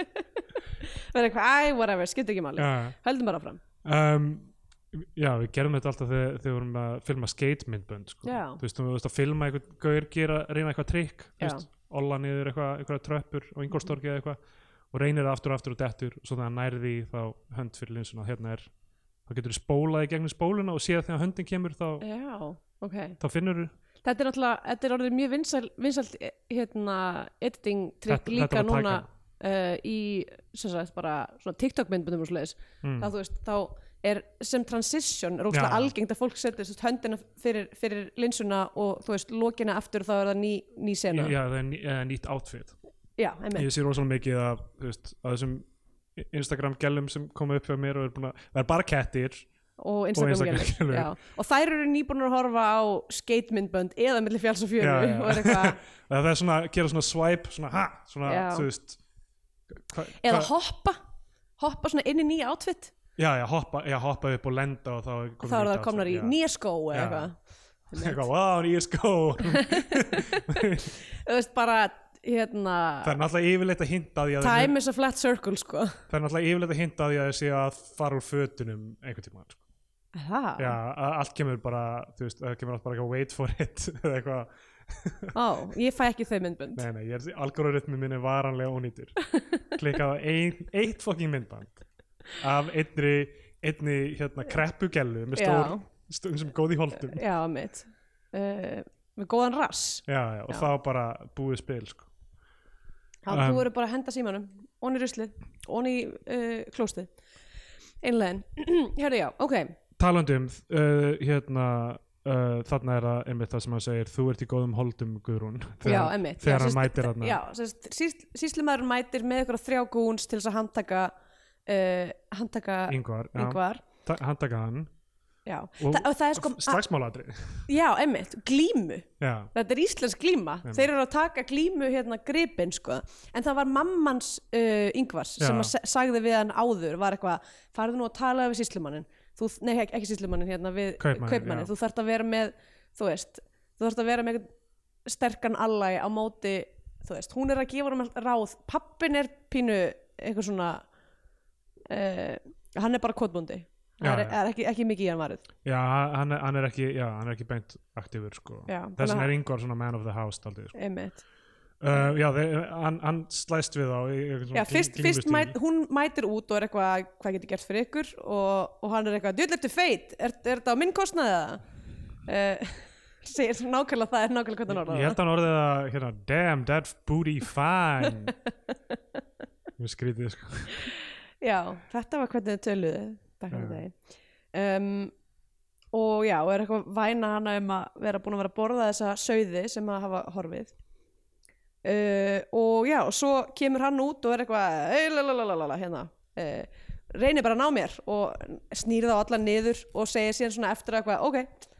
Speaker 2: [laughs] það er eitthvað, æ, whatever, skipt ekki máli
Speaker 1: já,
Speaker 2: höldum bara fram
Speaker 1: um, já, við gerðum þetta alltaf þegar, þegar við vorum að filma skeittmyndbönd sko.
Speaker 2: Já.
Speaker 1: þú veist, þú veist að filma eitthvað gaur gera, reyna eitthvað trikk þú
Speaker 2: Já.
Speaker 1: veist, olla niður eitthvað, eitthvað tröppur og yngolstorki eða eitthvað og reynir það aftur og aftur og dettur og svo þegar hann nærði í þá hönd fyrir linsuna hérna er, þá getur þú spólað í gegnum spóluna og síðan þegar höndin kemur þá,
Speaker 2: já, ok
Speaker 1: þá finnur þú
Speaker 2: þetta er náttúrulega, þetta er orðið mjög vinsælt vinsæl, hérna, editing trikk
Speaker 1: Þetta-
Speaker 2: líka
Speaker 1: þetta var
Speaker 2: núna uh, í, sem sagt, bara svona TikTok myndbundum og svoleiðis
Speaker 1: Mm.
Speaker 2: þá þú veist, þá er sem transition rókslega
Speaker 1: Já.
Speaker 2: algengt að fólk setja þú veist, höndina fyrir, fyrir linsuna og þú veist, lokina aftur þá er það ný, ný sena
Speaker 1: já, það er ný, eða nýtt outfit
Speaker 2: já einmitt,
Speaker 1: ég sé rosalega mikið af, þú veist, af þessum Instagram gælum sem koma upp hjá mér og er búin að, það er bara kettir
Speaker 2: og Instagram
Speaker 1: Instagram
Speaker 2: og,
Speaker 1: gerðu.
Speaker 2: já. og þær eru nýbúin að horfa á skatemyndbönd eða millir fjáls og fjöru
Speaker 1: Já, já.
Speaker 2: og
Speaker 1: [laughs]
Speaker 2: er eitthvað,
Speaker 1: Eða það er svona, gera svona swipe svona, ha, svona,
Speaker 2: Já.
Speaker 1: þú veist hva,
Speaker 2: eða
Speaker 1: hva-
Speaker 2: hoppa hoppa svona inn í nýja outfit
Speaker 1: já, já, hoppa, já, hoppa upp og lenda og þá er komin
Speaker 2: þá
Speaker 1: nýtt
Speaker 2: eru það
Speaker 1: outfit,
Speaker 2: komnar í
Speaker 1: já.
Speaker 2: nýja skó eða
Speaker 1: Já.
Speaker 2: eitthvað
Speaker 1: [laughs] eitthvað, wow, nýja skó [laughs]
Speaker 2: þú veist bara hérna,
Speaker 1: það er náttúrulega yfirleitt að hinta að því að þeir-
Speaker 2: time is a flat circle sko
Speaker 1: það er náttúrulega yfirleitt að hinta að því að þeir sé að fara úr fötunum einhvern tíma sko.
Speaker 2: það,
Speaker 1: já, að allt kemur bara, þú veist, það kemur allt bara eitthvað wait for it [laughs] eða eitthvað,
Speaker 2: ó, ég fæ ekki þau myndbönd
Speaker 1: nei, nei, ég er, algoritmi minn er varanlega ónýtur klikkað á ein, eitt fokking myndband af einni, einni hérna, kreppugellu með stór,
Speaker 2: Já.
Speaker 1: stór sem góð í holdum
Speaker 2: já, mitt uh, með góðan rass
Speaker 1: já, já, og
Speaker 2: Já.
Speaker 1: þá bara búið spil sko.
Speaker 2: þá
Speaker 1: Um.
Speaker 2: þú eru bara að henda símanum onni ruslið, onni uh, klóstið [clears throat] einlegin, herri já, ok
Speaker 1: talandi um uh, hérna uh, þarna er það einmitt það sem hann segir þú ert í góðum holdum Guðrún
Speaker 2: já,
Speaker 1: þegar,
Speaker 2: emmitt
Speaker 1: þegar hann mætir þarna
Speaker 2: já, sérst, sísl, síslumæður mætir með ykkur þrjá gúns til þess að handtaka uh, handtaka
Speaker 1: yngvar, já,
Speaker 2: yngvar
Speaker 1: ta- hann taka hann
Speaker 2: já,
Speaker 1: Og-
Speaker 2: Þa, og það er sko a,
Speaker 1: slagsmáladri
Speaker 2: já, emmitt, glímu
Speaker 1: já,
Speaker 2: þetta er íslensk glíma
Speaker 1: Einmitt.
Speaker 2: þeir eru að taka glímu hérna gripin sko. en það var mammans uh, yngvars sem
Speaker 1: Já.
Speaker 2: að sa- sagði við hann áður var eitthvað, farðu nú að tala við síslumannin þú, nei ekki, ekki síslumannin hérna við
Speaker 1: Kaupmanninn, já.
Speaker 2: þú þarft að vera með þú veist, þú þarft að vera með einhvern sterkan allæg á móti þú veist, hún er að gefa hann ráð pappin er pínu eitthvað svona uh, hann er bara kotbúndi
Speaker 1: Já,
Speaker 2: það er,
Speaker 1: já.
Speaker 2: er ekki, ekki mikið í hann varð
Speaker 1: já hann, er- hann er ekki já, hann er ekki beint aktífur sko.
Speaker 2: Já,
Speaker 1: þess
Speaker 2: þannig
Speaker 1: vegna
Speaker 2: að-
Speaker 1: er yngvar svona man of the house aldrei, sko.
Speaker 2: einmitt
Speaker 1: uh, já, þeir, hann, hann slæst við þá í, í,
Speaker 2: Já, fyrst, fyrst mæt, hún mætir út og er eitthvað hvað getur gert fyrir ykkur og, og hann er eitthvað, djöld eftir feit, er, er þetta á minn kostnaði eða? Uh, [laughs] segir svo nákvæmlega það er nákvæmlega hvað hann
Speaker 1: ég
Speaker 2: orðaði
Speaker 1: held að hann orðið að hérna, damn that booty
Speaker 2: [laughs]
Speaker 1: fine Mjög skrítið sko.
Speaker 2: það Já, þetta var hvernig þau töluðu back in the day um, og já, og er eitthvað væna hana um að vera búin að vera að borða þessa sauði sem að hafa horfið uh, og já, og svo kemur hann út og er eitthvað "Ey, lalalala, hérna uh, reynir bara að ná mér og snýr þá alla niður og segir síðan svona eftir eitthvað ok,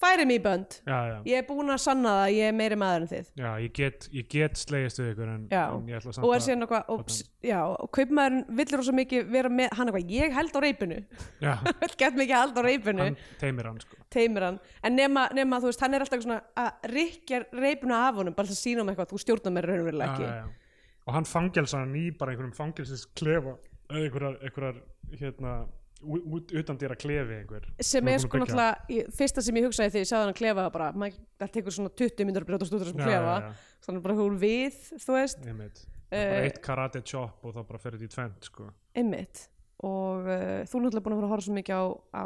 Speaker 2: færi mig í bönd
Speaker 1: já, já.
Speaker 2: ég er búin að sanna það, að ég er meiri maður en þið
Speaker 1: Já, ég get, ég get slegist við ykkur en,
Speaker 2: Já.
Speaker 1: en ég ætla samt
Speaker 2: og er síðan eitthvað, og, já, og kaupmaðurinn villur svo mikið vera með, hann eitthvað, ég held á reipinu [laughs]
Speaker 1: Já,
Speaker 2: vill gett mikið hald á reipinu
Speaker 1: hann teimir hann sko.
Speaker 2: teimir hann, en nema, nema þú veist hann er alltaf eitthvað svona að rikja reipinu af honum, bara til að sína um eitthvað, þú stjórnar mér raunverulega
Speaker 1: já,
Speaker 2: ekki,
Speaker 1: já. Og hann fangelsa hann í bara einhverjum fangelsis klefa einhverjar, einhverjar hérna ú- út, utan dýra klefi einhver
Speaker 2: sem
Speaker 1: Hann búinn
Speaker 2: er sko
Speaker 1: að byggja.
Speaker 2: náttúrulega í- fyrsta sem ég hugsaði þegar ég sagði hann að klefa var bara, maður, það tekur svona 20 minnur að brjóta stútur sem
Speaker 1: Já,
Speaker 2: klefa,
Speaker 1: já, já.
Speaker 2: þannig bara hún við þú veist,
Speaker 1: einmitt Það er
Speaker 2: Eh.
Speaker 1: bara eitt karate chop og þá bara ferði í tvend sko.
Speaker 2: einmitt og uh, þú er náttúrulega búin að fara að horfa svo mikið á, á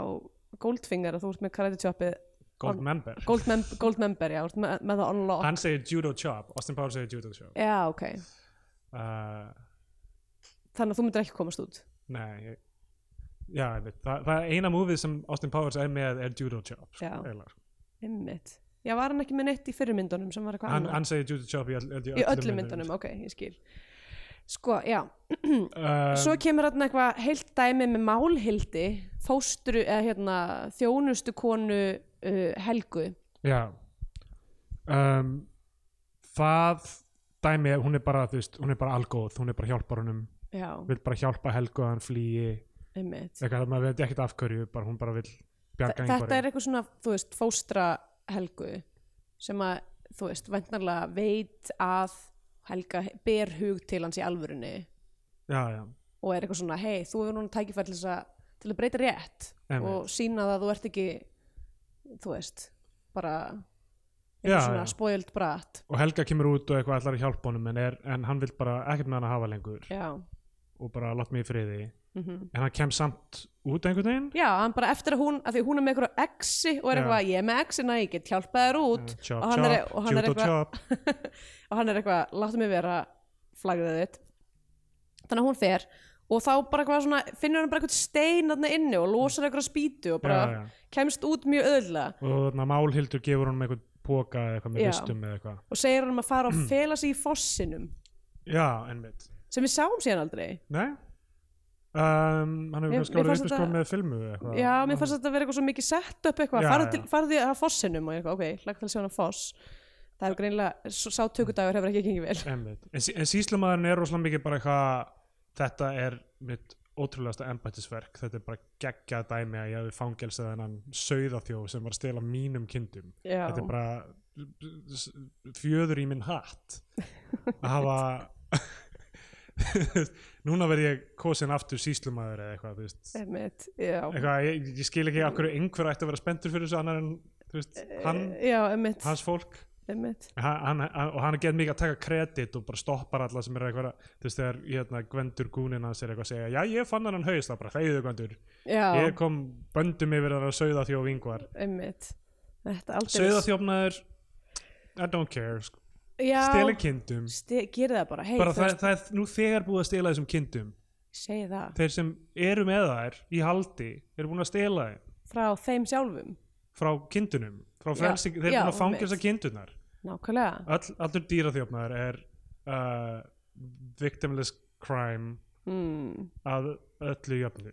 Speaker 2: Goldfinger að þú ert með karate choppið
Speaker 1: Gold member
Speaker 2: Goldmember, Goldmember, já, þú ert með, með það unlock
Speaker 1: Hann segir judo chop, Austin Powers segir judo chop
Speaker 2: já, ok,
Speaker 1: uh,
Speaker 2: þannig að þú myndir ekki komast út
Speaker 1: Nei ég, Já, einmitt, Þa, það er eina múfið sem Austin Powers er með er judo chop sko,
Speaker 2: Já.
Speaker 1: eiginlega, sko.
Speaker 2: einmitt, já, var hann ekki með neitt í fyrirmyndunum sem var eitthvað
Speaker 1: hann,
Speaker 2: annað?
Speaker 1: hann segir judo chop í, all, í
Speaker 2: í öllum myndunum, ok, ég skil sko, já,
Speaker 1: uh,
Speaker 2: svo kemur hann eitthvað heilt dæmi með málhildi fóstru, eða hérna þjónustu konu uh, Helgu
Speaker 1: Já um, Það dæmi, hún er bara, þú veist, hún er bara algóð, hún er bara hjálpar honum,
Speaker 2: já,
Speaker 1: vill bara hjálpa Helgu að hann flýi,
Speaker 2: einmitt
Speaker 1: eitthvað að maður veit ekkert af hverju, bara hún bara vill bjarga
Speaker 2: þetta
Speaker 1: einhverju.
Speaker 2: er eitthvað svona, þú veist, fóstra Helgu sem að, þú veist, væntanlega veit að Helga ber hug til hans í alvörunni
Speaker 1: já, já,
Speaker 2: og er eitthvað svona, hei, þú hefur núna tækifæri til, þess að- til að breyta rétt
Speaker 1: Einmitt.
Speaker 2: og sína það að þú ert ekki þú veist, bara
Speaker 1: Já,
Speaker 2: eitthvað svona
Speaker 1: já.
Speaker 2: spoilt bratt
Speaker 1: og Helga kemur út og eitthvað ætlar að hjálpa honum en, er, en hann vil bara ekkert með hann að hafa lengur
Speaker 2: já,
Speaker 1: og bara látt mig í friði
Speaker 2: mhm
Speaker 1: en hann kem samt út einhvern veginn
Speaker 2: Já, hann bara eftir að hún, að því hún er með eitthvað exi og er
Speaker 1: Já.
Speaker 2: eitthvað, ég er með exina, ég get hjálpað þér út
Speaker 1: Eh, chop,
Speaker 2: og hann er,
Speaker 1: chop,
Speaker 2: og hann er
Speaker 1: judo
Speaker 2: eitthvað
Speaker 1: chop.
Speaker 2: og hann er eitthvað, láttu mig vera flagraðið þitt þannig að hún fer og þá bara eitthvað svona, finnur hann bara eitthvað stein þarna inni og losar eitthvað spýtu og bara
Speaker 1: Já, já.
Speaker 2: kemst út mjög öðlega
Speaker 1: og þarna Málhildur gefur honum einhvern póka eða eitthvað með
Speaker 2: Já.
Speaker 1: vistum eða eitthvað
Speaker 2: og segir hann um að
Speaker 1: [clears throat]
Speaker 2: fara og fela sig í fossinum
Speaker 1: já, einmitt,
Speaker 2: sem við sáum síðan aldrei
Speaker 1: nei um, hann hefur
Speaker 2: Mér-
Speaker 1: kannski
Speaker 2: mér
Speaker 1: árið
Speaker 2: fannst
Speaker 1: uppi
Speaker 2: þetta-
Speaker 1: sko með filmu eða eitthvað
Speaker 2: Já, mér fannst þetta að vera eitthvað svo mikið sett upp eitthvað,
Speaker 1: Já,
Speaker 2: farðu
Speaker 1: já.
Speaker 2: til- farðu að fossinum og ég eitthvað, ok, lagt til að sjá hann að foss það hefur greinilega, sá sá tökudagur hefur ekki gengið vel
Speaker 1: Einmitt. En, sí- en síslamaðurinn er rosalega mikið bara eitthvað þetta er mitt ótrúlegasta embættisverk, þetta er bara geggjað dæmi að ég hefði fangelsið þennan sauðaþjóf sem var að stela mínum kindum
Speaker 2: Já.
Speaker 1: [laughs] þetta er bara s- fjöður í minn hatt að hafa [laughs] núna verð ég kosin aftur síslamaður eða eitthvað, þú
Speaker 2: Eh.
Speaker 1: veist
Speaker 2: Einmitt, já.
Speaker 1: eitthvað, ég, ég skil ekki af hverju einhver ætti að vera spenntur fyrir þessu annar en þú veist,
Speaker 2: Eh.
Speaker 1: hann,
Speaker 2: já, einmitt,
Speaker 1: hans fólk
Speaker 2: einmitt.
Speaker 1: hann, hann, og hann er gett mikið að taka kredit og bara stoppar alla sem er eitthvað að- þú veist þegar hérna, Gvendur Gúnin hans er eitthvað að segja já ég fann hann haust það bara þeyðu Gvendur
Speaker 2: Já,
Speaker 1: ég kom böndum yfir það að sauða þjóf yngvar
Speaker 2: einmitt. Þetta aldrei...
Speaker 1: sauða þjófnaður I don't care sko.
Speaker 2: Já,
Speaker 1: stela kindum
Speaker 2: ste- gerið það sko. bara. Hei,
Speaker 1: bara
Speaker 2: þú
Speaker 1: það,
Speaker 2: veist,
Speaker 1: það er nú þegar búið að stela þessum kindum
Speaker 2: segi það.
Speaker 1: þeir sem eru með þær í haldi eru búin að stela þeim
Speaker 2: Frá þeim sjálfum. frá
Speaker 1: frá kindunum frá
Speaker 2: Já,
Speaker 1: frelsi, þeir eru
Speaker 2: já,
Speaker 1: búin að fangelsa
Speaker 2: einmitt.
Speaker 1: kindunar
Speaker 2: Nákvæmlega.
Speaker 1: All, allur dýraþjófnaður er uh, victimless crime
Speaker 2: Mm,
Speaker 1: að öllu jöfnu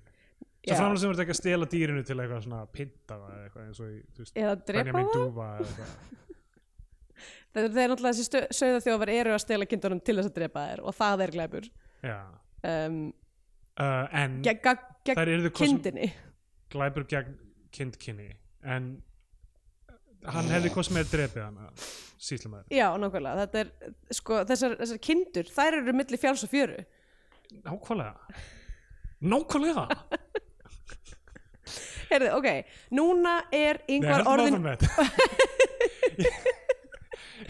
Speaker 2: já.
Speaker 1: svo framlega sem verður ekki að stela dýrinu til eitthvað svona að pinta það eða eitthvað eins og í, þú veist,
Speaker 2: Eða drepa
Speaker 1: Benjamin
Speaker 2: það.
Speaker 1: Dúfa eða eitthvað.
Speaker 2: Þeir eru náttúrulega þessi sögðaþjófar eru að stela kindunum til þess að drepa þær og það er glæpur.
Speaker 1: Já.
Speaker 2: Um,
Speaker 1: uh, en
Speaker 2: gegn geg, geg,
Speaker 1: þær eru kosum
Speaker 2: kindinni.
Speaker 1: glæpur gegn kindkynni en hann hefði kosum með að drepið hana síslumæður,
Speaker 2: Já, nákvæmlega. Þetta er, sko, þessar, þessar kindur, þær eru milli fjáls og fjöru.
Speaker 1: nákvæmlega nákvæmlega
Speaker 2: Heyrðu, ok, núna er
Speaker 1: Nei,
Speaker 2: yngvar
Speaker 1: höldum
Speaker 2: orðin
Speaker 1: áfram með þetta [laughs]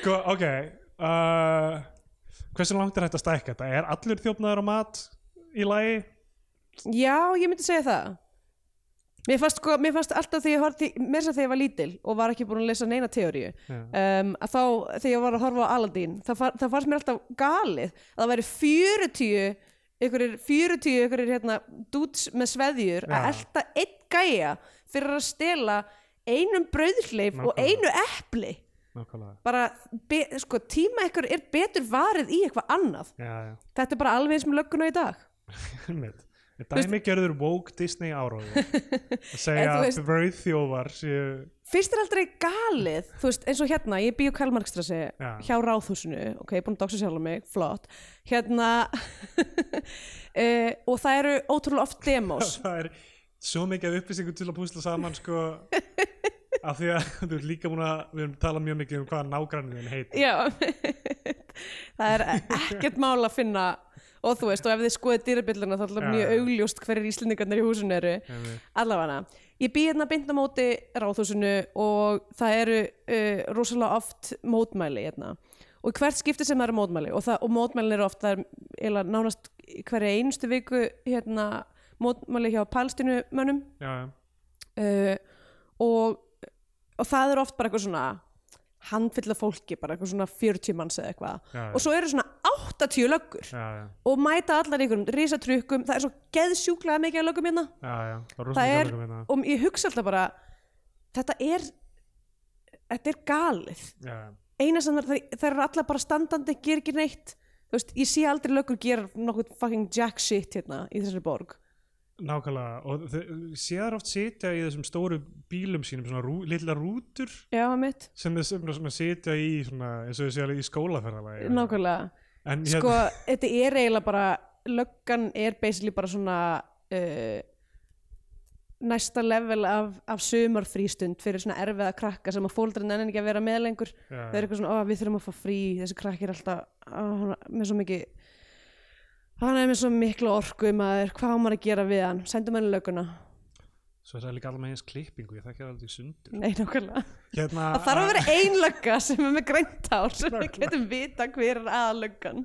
Speaker 1: sko, ok uh, hversu langt er þetta að stækka þetta er allur þjófnaður á mat í lagi
Speaker 2: Já, ég myndi segja það Mér fannst, sko, mér fannst alltaf þegar ég horfði mér sem þegar ég var lítil og var ekki búin að lesa neina teóriu
Speaker 1: Já.
Speaker 2: um, að þá þegar ég var að horfa á Aladdin það, fa það fannst mér alltaf galið að það væri 40 ykkurir 40 ykkurir hérna dúts með sveðjur að
Speaker 1: Já.
Speaker 2: elta einn gæja fyrir að stela einum brauðhleif og
Speaker 1: Nákvæmlega.
Speaker 2: einu epli
Speaker 1: nákvæmlega
Speaker 2: bara be, sko, tíma ykkur er betur varið í eitthvað annað
Speaker 1: já, [laughs] já
Speaker 2: þetta er bara alveg eins með lögguna í dag
Speaker 1: Einmitt. En Dæmi gerður woke Disney
Speaker 2: [laughs]
Speaker 1: áróður að segja
Speaker 2: En þú
Speaker 1: að
Speaker 2: veist-
Speaker 1: brauðþjófar séu
Speaker 2: fyrst er aldrei galið þú veist, eins og hérna, ég býju Kalmarkstrasi
Speaker 1: Já.
Speaker 2: hjá Ráðhúsinu, ok, ég er búin að doxa sjálf um mig flott, hérna [laughs] uh, og það eru ótrúlega oft demos
Speaker 1: það er svo mikið af upplýsingum til að púsla saman sko af því að þú ert líka múin að við höfum talað mjög mikið um hvað nágrannir þinn heitir
Speaker 2: já [laughs] það er ekkert mál að finna og þú veist, og ef þið skoðið dýrabilluna þá er alltaf
Speaker 1: Já,
Speaker 2: mjög
Speaker 1: já.
Speaker 2: augljóst hverjir íslendingarnir í húsinu eru
Speaker 1: Einmitt.
Speaker 2: allavega ég býð hérna beint á móti ráðhúsinu og það eru uh, rosalega oft mótmæli hérna og í hvert skipti sem það eru mótmæli og, það, og mótmælin eru oft það er eiginlega nánast í hverja einustu viku hérna mótmæli hjá palstinumönnum
Speaker 1: Já, já.
Speaker 2: uh, og, og það eru oft bara eitthvað svona handfyll af fólki, bara eitthvað svona 40 manns eða eitthvað
Speaker 1: Já, já.
Speaker 2: og svo eru svona 80 löggur
Speaker 1: Já, já,
Speaker 2: og mæta allar í einhverjum risatrykkum, það er svo geðsjúklega mikið af löggum hérna
Speaker 1: já, já. Það
Speaker 2: það
Speaker 1: rosalega
Speaker 2: er,
Speaker 1: gaman að-
Speaker 2: og ég hugsa alltaf bara þetta er þetta er galið
Speaker 1: Já, já.
Speaker 2: eina sem það, það er allar bara standandi ger ekki neitt, þú veist, ég sé aldrei lögur gera nokkuð fucking jack shit hérna í þessari borg
Speaker 1: Nákvæmlega og þau- séðar oft sitja í þessum stóru bílum sínum svona rú, lilla rútur
Speaker 2: já, mitt,
Speaker 1: sem þau sem- svona sitja í svona, eins og þau séu alveg í skólaferðalagi
Speaker 2: nákvæmlega
Speaker 1: En hérna-
Speaker 2: sko, þetta er eiginlega bara löggan er basically bara svona uh, eh, næsta level af, af sumarfrístund fyrir svona erfiða krakka sem að fóldurinn enn ekki að vera með lengur
Speaker 1: Já.
Speaker 2: það er eitthvað svona, ó, við þurfum að fá frí þessi krakki er alltaf, ó, hann er með svo mikið hann er með svo miklu orku maður, hvað á maður að gera við hann sendum henni löguna,
Speaker 1: Svo er það líka alveg eins klippingu, ég þekki það aldrei sundur.
Speaker 2: nei nákvæmlega
Speaker 1: Hérna,
Speaker 2: Mm. það þarf að vera ein lögga sem er með greint ár sem við getum vita hver er aða löggan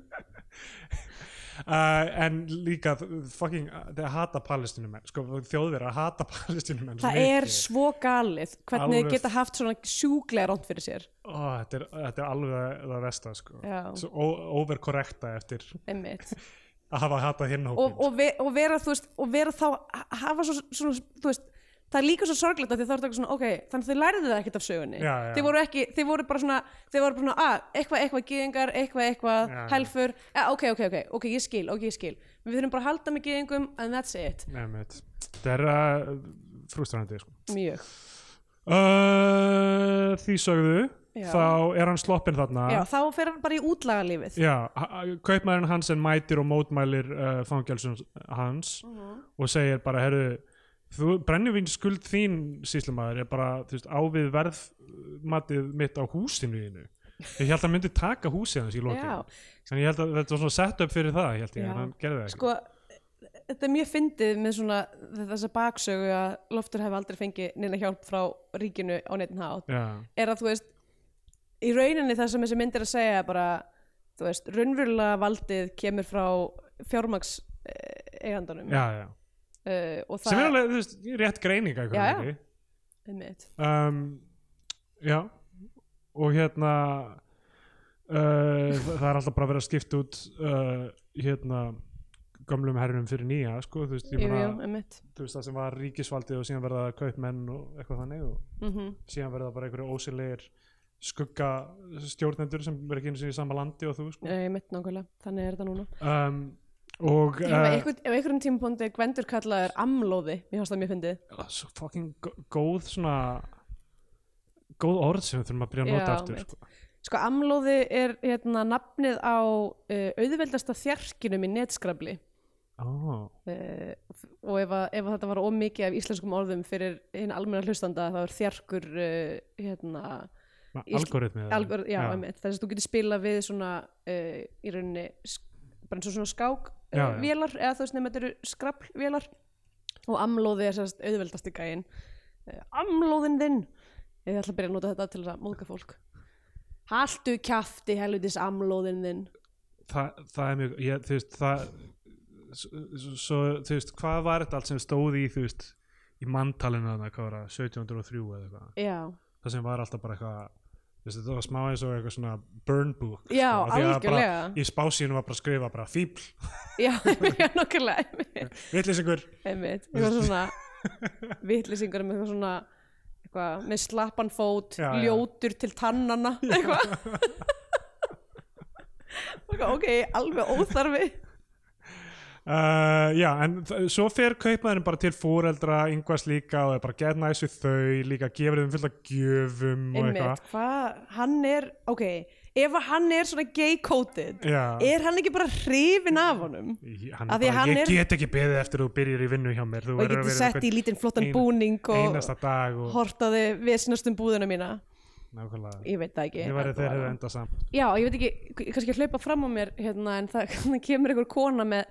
Speaker 1: Uh, en líka, þ- fucking, uh, þeir hata palestinumenn, sko, þjóðverðar hata [laughs] palestinumenn. svo
Speaker 2: það
Speaker 1: mikið.
Speaker 2: er svo galið hvernig
Speaker 1: Alveg-
Speaker 2: þið geta haft svona sjúklega ránt fyrir sér
Speaker 1: Ó, þetta, er, þetta er alveg það- það versta, sko.
Speaker 2: Já.
Speaker 1: Svo ó- overkorrekta eftir
Speaker 2: einmitt
Speaker 1: að hafa hatað hinn sko. hópin.
Speaker 2: [laughs] og, og, ve og vera þú veist og vera þá hafa svo, svona, þú veist það er líka svo sorglegt að þið þá er þetta svona ok, þannig að þið lærðu það ekkert af sögunni
Speaker 1: Já, já.
Speaker 2: þið voru ekki, þið voru bara svona þið voru bara svona, að, eitthvað, eitthvað, gyðingar, eitthvað, eitthvað
Speaker 1: Já, já.
Speaker 2: helfur, ja, ok, ok, ok ok, ég skil, ok, ég skil, við þurfum bara að halda með gyðingum and that's it,
Speaker 1: Nefnit. Þetta er uh, frústrandi, sko.
Speaker 2: mjög
Speaker 1: Uh, því sögðu,
Speaker 2: Já.
Speaker 1: þá er hann sloppinn þarna.
Speaker 2: já, þá fer hann bara í útlagalífið
Speaker 1: Já, ha- ha- kaupmaðurinn hans en mætir og mótmælir uh, fangelsun hans
Speaker 2: Mhm.
Speaker 1: og segir bara, herru, þú, brennivíns skuld þín, síslumæður, er bara, þú veist, ávið verðmatið mitt á húsinu þínu. Ég held að hann myndi taka húsið hans í
Speaker 2: Já.
Speaker 1: lokin. En ég held að þetta var svona set up fyrir það, held ég,
Speaker 2: Já.
Speaker 1: en hann gerði það ekki.
Speaker 2: sko, þetta er mjög fyndið með svona þessa baksögu að loftur hefur aldrei fengið neina hjálp frá ríkinu á neitt hát
Speaker 1: Já,
Speaker 2: er að þú veist í rauninni það sem þessi mynd er að segja er bara, þú veist, raunverulega valdið kemur frá fjármaks eigandanum
Speaker 1: já, já.
Speaker 2: uh, og
Speaker 1: Sem
Speaker 2: það
Speaker 1: er alveg, þú veist, rétt greining að
Speaker 2: Já, já.
Speaker 1: hvernig.
Speaker 2: einmitt.
Speaker 1: um, já og hérna uh, þa- það er alltaf bara verið að skipta út uh, hérna gömlum herrum fyrir nýja sko, þú veist, ég
Speaker 2: Jú, jú,
Speaker 1: meina,
Speaker 2: einmitt.
Speaker 1: þú veist það sem var ríkisvaldið og síðan verða kaupmenn og eitthvað þannig og
Speaker 2: Mm
Speaker 1: síðan verða bara einhverju ósilegir skugga stjórnendur sem verður ekki einu sinni í sama landi og þú sko.
Speaker 2: einmitt nákvæmlega, þannig er þetta núna
Speaker 1: um, og
Speaker 2: ef
Speaker 1: uh,
Speaker 2: einhvern, ef einhverjum tímpóndi er Gvendur kallaður amlóði, mér hans það mjög fyndið
Speaker 1: svo fucking gó- góð svona góð orð sem við þurfum að byrja að nota
Speaker 2: Já,
Speaker 1: aftur
Speaker 2: mitt.
Speaker 1: sko.
Speaker 2: sko amlóði er hérna nafnið á uh, auðveldasta þjarkinum í netskrabli
Speaker 1: oh.
Speaker 2: uh, og ef, að, ef að þetta var ómikið af íslenskum orðum fyrir hinn almenna hlustanda þá er þjarkur uh, hérna, Ísl-
Speaker 1: algoritmið
Speaker 2: algor, já, já. þess að þú getur spilað við svona uh, í rauninni sk- bara eins og svona skák
Speaker 1: Já,
Speaker 2: uh,
Speaker 1: já.
Speaker 2: vélar eða þú veist nefnir þetta eru skraplvélar og amlóði er sérst auðveldast í gæin uh, amlóðin þinn ég ætla að byrja að nota þetta til að móðga fólk haltu kjafti helvitis amlóðin þinn
Speaker 1: það, það er mjög ég, þú veist það svo, svo, þú veist, hvað var þetta allt sem stóð í þú veist, í manntalinu þarna, hvað var það, 1703 eða eitthvað
Speaker 2: já,
Speaker 1: það sem var alltaf bara eitthvað þú veist, þetta var smá eins og eitthvað svona burn book
Speaker 2: já
Speaker 1: sko, því að bara, [laughs]
Speaker 2: algjörlega
Speaker 1: í spásínu var bara að skrifa bara fíbl,
Speaker 2: já, [laughs] já, nokkulega einmitt.
Speaker 1: vitlýsingur
Speaker 2: einmitt, eitthvað svona vitlýsingar með eitthvað svona eitthvað, með slappan fót,
Speaker 1: Já, já.
Speaker 2: ljótur til tannana eitthvað ok, ok, alveg óþarfi
Speaker 1: Uh, já, en þ- svo fer kaupmaðurinn bara til fóreldra, yngvast líka og er bara get næs við þau, líka gefur þeim fullt af gjöfum og
Speaker 2: einmitt,
Speaker 1: eitthvað
Speaker 2: hvað, hann er ok, ef að hann er svona gay coded
Speaker 1: Já.
Speaker 2: er hann ekki bara hrifin af honum
Speaker 1: Í- hann
Speaker 2: Af
Speaker 1: er
Speaker 2: því að
Speaker 1: bara,
Speaker 2: hann
Speaker 1: ég
Speaker 2: er-
Speaker 1: get ekki beðið eftir þú byrjir í vinnu hjá mér þú
Speaker 2: og ég
Speaker 1: verður að
Speaker 2: geti
Speaker 1: vera
Speaker 2: sett í lítinn flottan
Speaker 1: ein-
Speaker 2: búning
Speaker 1: einhvern
Speaker 2: og
Speaker 1: einasta dag og
Speaker 2: hortaði vesnast um búðuna mína
Speaker 1: nákvæmlega
Speaker 2: ég veit það ekki
Speaker 1: ég væri þeir
Speaker 2: en bara-
Speaker 1: hefðu endað saman
Speaker 2: Já, ég veit ekki, k- kannski að hlaupa fram á mér hérna, en það [laughs] það kemur einhver kona með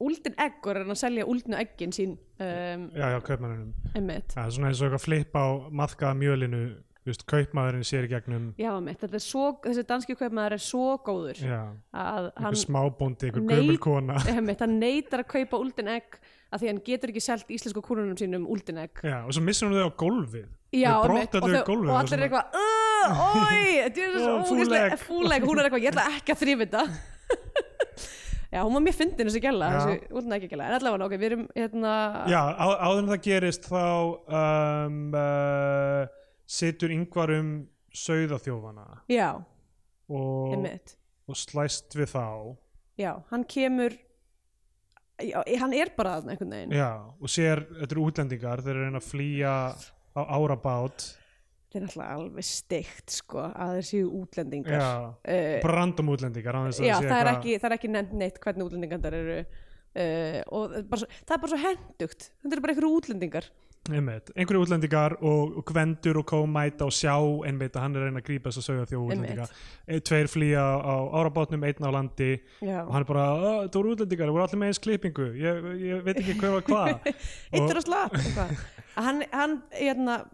Speaker 2: úldin egg og er að selja úldinu eggin sín um,
Speaker 1: já, já, kaupmannunum
Speaker 2: einmitt.
Speaker 1: það er svona eins og eitthvað flip á maðkaða mjölinu þú veist, kaupmaðurinn sér í gegnum
Speaker 2: Já, einmitt, þetta er svo, þessi danski kaupmaður er svo góður
Speaker 1: já,
Speaker 2: að hann,
Speaker 1: einhver smábóndi, einhver
Speaker 2: Nei-
Speaker 1: gömul kona
Speaker 2: [laughs] einmitt, hann neytar að kaupa úldin egg að því hann getur ekki selt íslensku kúrunum sínum úldin
Speaker 1: [laughs]
Speaker 2: egg.
Speaker 1: já, og svo missir hún þau á gólfið
Speaker 2: Já,
Speaker 1: Þau
Speaker 2: einmitt,
Speaker 1: brotna
Speaker 2: og,
Speaker 1: þau
Speaker 2: þau-
Speaker 1: í gólfið
Speaker 2: og allir er eitthvað, "Ugh, oi, þetta er
Speaker 1: [laughs]
Speaker 2: svo
Speaker 1: Ó, fúl
Speaker 2: ógeðslega-
Speaker 1: egg."
Speaker 2: fúl egg, hún er eitthvað, ég ætla ekki að þrýfa þetta. [laughs] Já, hún var mjög fyndin þessi gæla,
Speaker 1: Já.
Speaker 2: þessi úldin ekki gæla, en allavega, ok, við erum hérna,
Speaker 1: Já, á, áður en það gerist þá um, uh, situr yngvar um sauðaþjófana
Speaker 2: Já,
Speaker 1: og,
Speaker 2: einmitt.
Speaker 1: og slæst við þá
Speaker 2: Já, hann kemur já, hann er bara þarna einhvern veginn
Speaker 1: Já, og sér, þetta eru útlendingar þeir eru að reyna að flýja á árabát
Speaker 2: þetta er náttúrulega alveg steikt sko, að þeir séu útlendingar
Speaker 1: Já,
Speaker 2: Eh,
Speaker 1: bara random útlendingar án þess að
Speaker 2: já
Speaker 1: sé
Speaker 2: það, er
Speaker 1: eitthvað-
Speaker 2: ekki, það er ekki nefnt neitt hvernig Eh, útlendingar eru uh, og það er bara svo, það er bara svo hendugt þetta eru bara einhverju útlendingar
Speaker 1: einmitt, einhverju útlendingar og, og Gvendur og Kó mæta og sjá einmitt að hann er að reyna að grípa þess að sögja þjóð útlendinga Eh, tveir flýja á árabátnum, einn á landi
Speaker 2: Já.
Speaker 1: og hann er bara, "Ó, þú eru útlendingar, þú eru allir með eins klippingu ég, ég veit ekki hver var
Speaker 2: [laughs]
Speaker 1: hvað
Speaker 2: Eitt er að slapp
Speaker 1: [laughs]
Speaker 2: eitthvað. Að hann, hann hérna,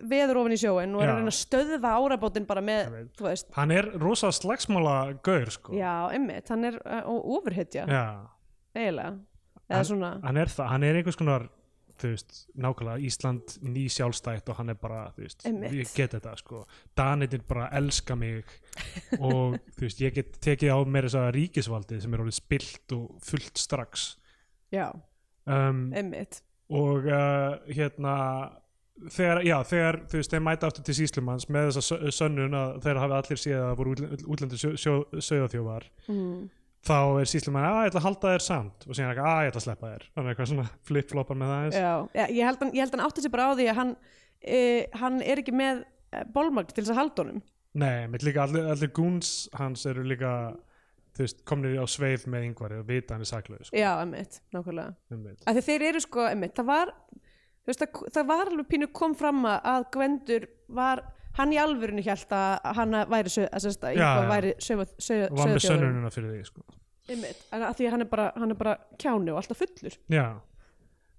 Speaker 2: veður ofan í sjóin og er
Speaker 1: Já.
Speaker 2: að reyna að stöðva árabótin bara með,
Speaker 1: Einmitt.
Speaker 2: þú veist
Speaker 1: hann er rosa slagsmála gaur sko
Speaker 2: Já, einmitt, hann er uh, ofurhetja
Speaker 1: Já.
Speaker 2: eiginlega, eða svona
Speaker 1: hann er það, hann er einhvers konar þú veist, nákvæmlega Ísland ný sjálfstætt og hann er bara, þú veist,
Speaker 2: Einmitt.
Speaker 1: ég get þetta sko, Danitin bara elska mig
Speaker 2: [laughs]
Speaker 1: og þú veist, ég get tekið á mér þess að ríkisvaldið sem er orðið spilt og fullt strax
Speaker 2: Já,
Speaker 1: um,
Speaker 2: einmitt
Speaker 1: og uh, hérna þegar, já, þegar þú veist, þeir mæta aftur til Síslumanns með þessa sö- sönnun að þeir hafi allir séð að voru útlendur sögðaþjófar
Speaker 2: mm.
Speaker 1: þá er Síslumann, að ég ætla að halda þér samt og síðan er eitthvað, að ég ætla að sleppa þér þannig eitthvað svona flip-floppar með það eins
Speaker 2: Já, Já, ég held, hann, ég held hann átti sér bara á því að hann, uh, hann er ekki með eh, bolmagn til þess að halda honum
Speaker 1: Nei, mitt líka allir, allir gúns hans eru líka þú veist, komnir á sveif með yngvari og vita hann er saklaug sko,
Speaker 2: Já, einmitt, nákvæmlega
Speaker 1: einmitt.
Speaker 2: að þeir eru sko, einmitt, það var þú veist, það, það var alveg pínu kom fram að- að Gvendur var hann í alvörinu hjælt að hann væri sög, að sérst að
Speaker 1: Já,
Speaker 2: Ingvar
Speaker 1: já.
Speaker 2: væri sög, sög,
Speaker 1: og var með sönnununa fyrir því sko.
Speaker 2: einmitt, en að því að hann er bara, hann er bara kjáni og alltaf fullur
Speaker 1: Já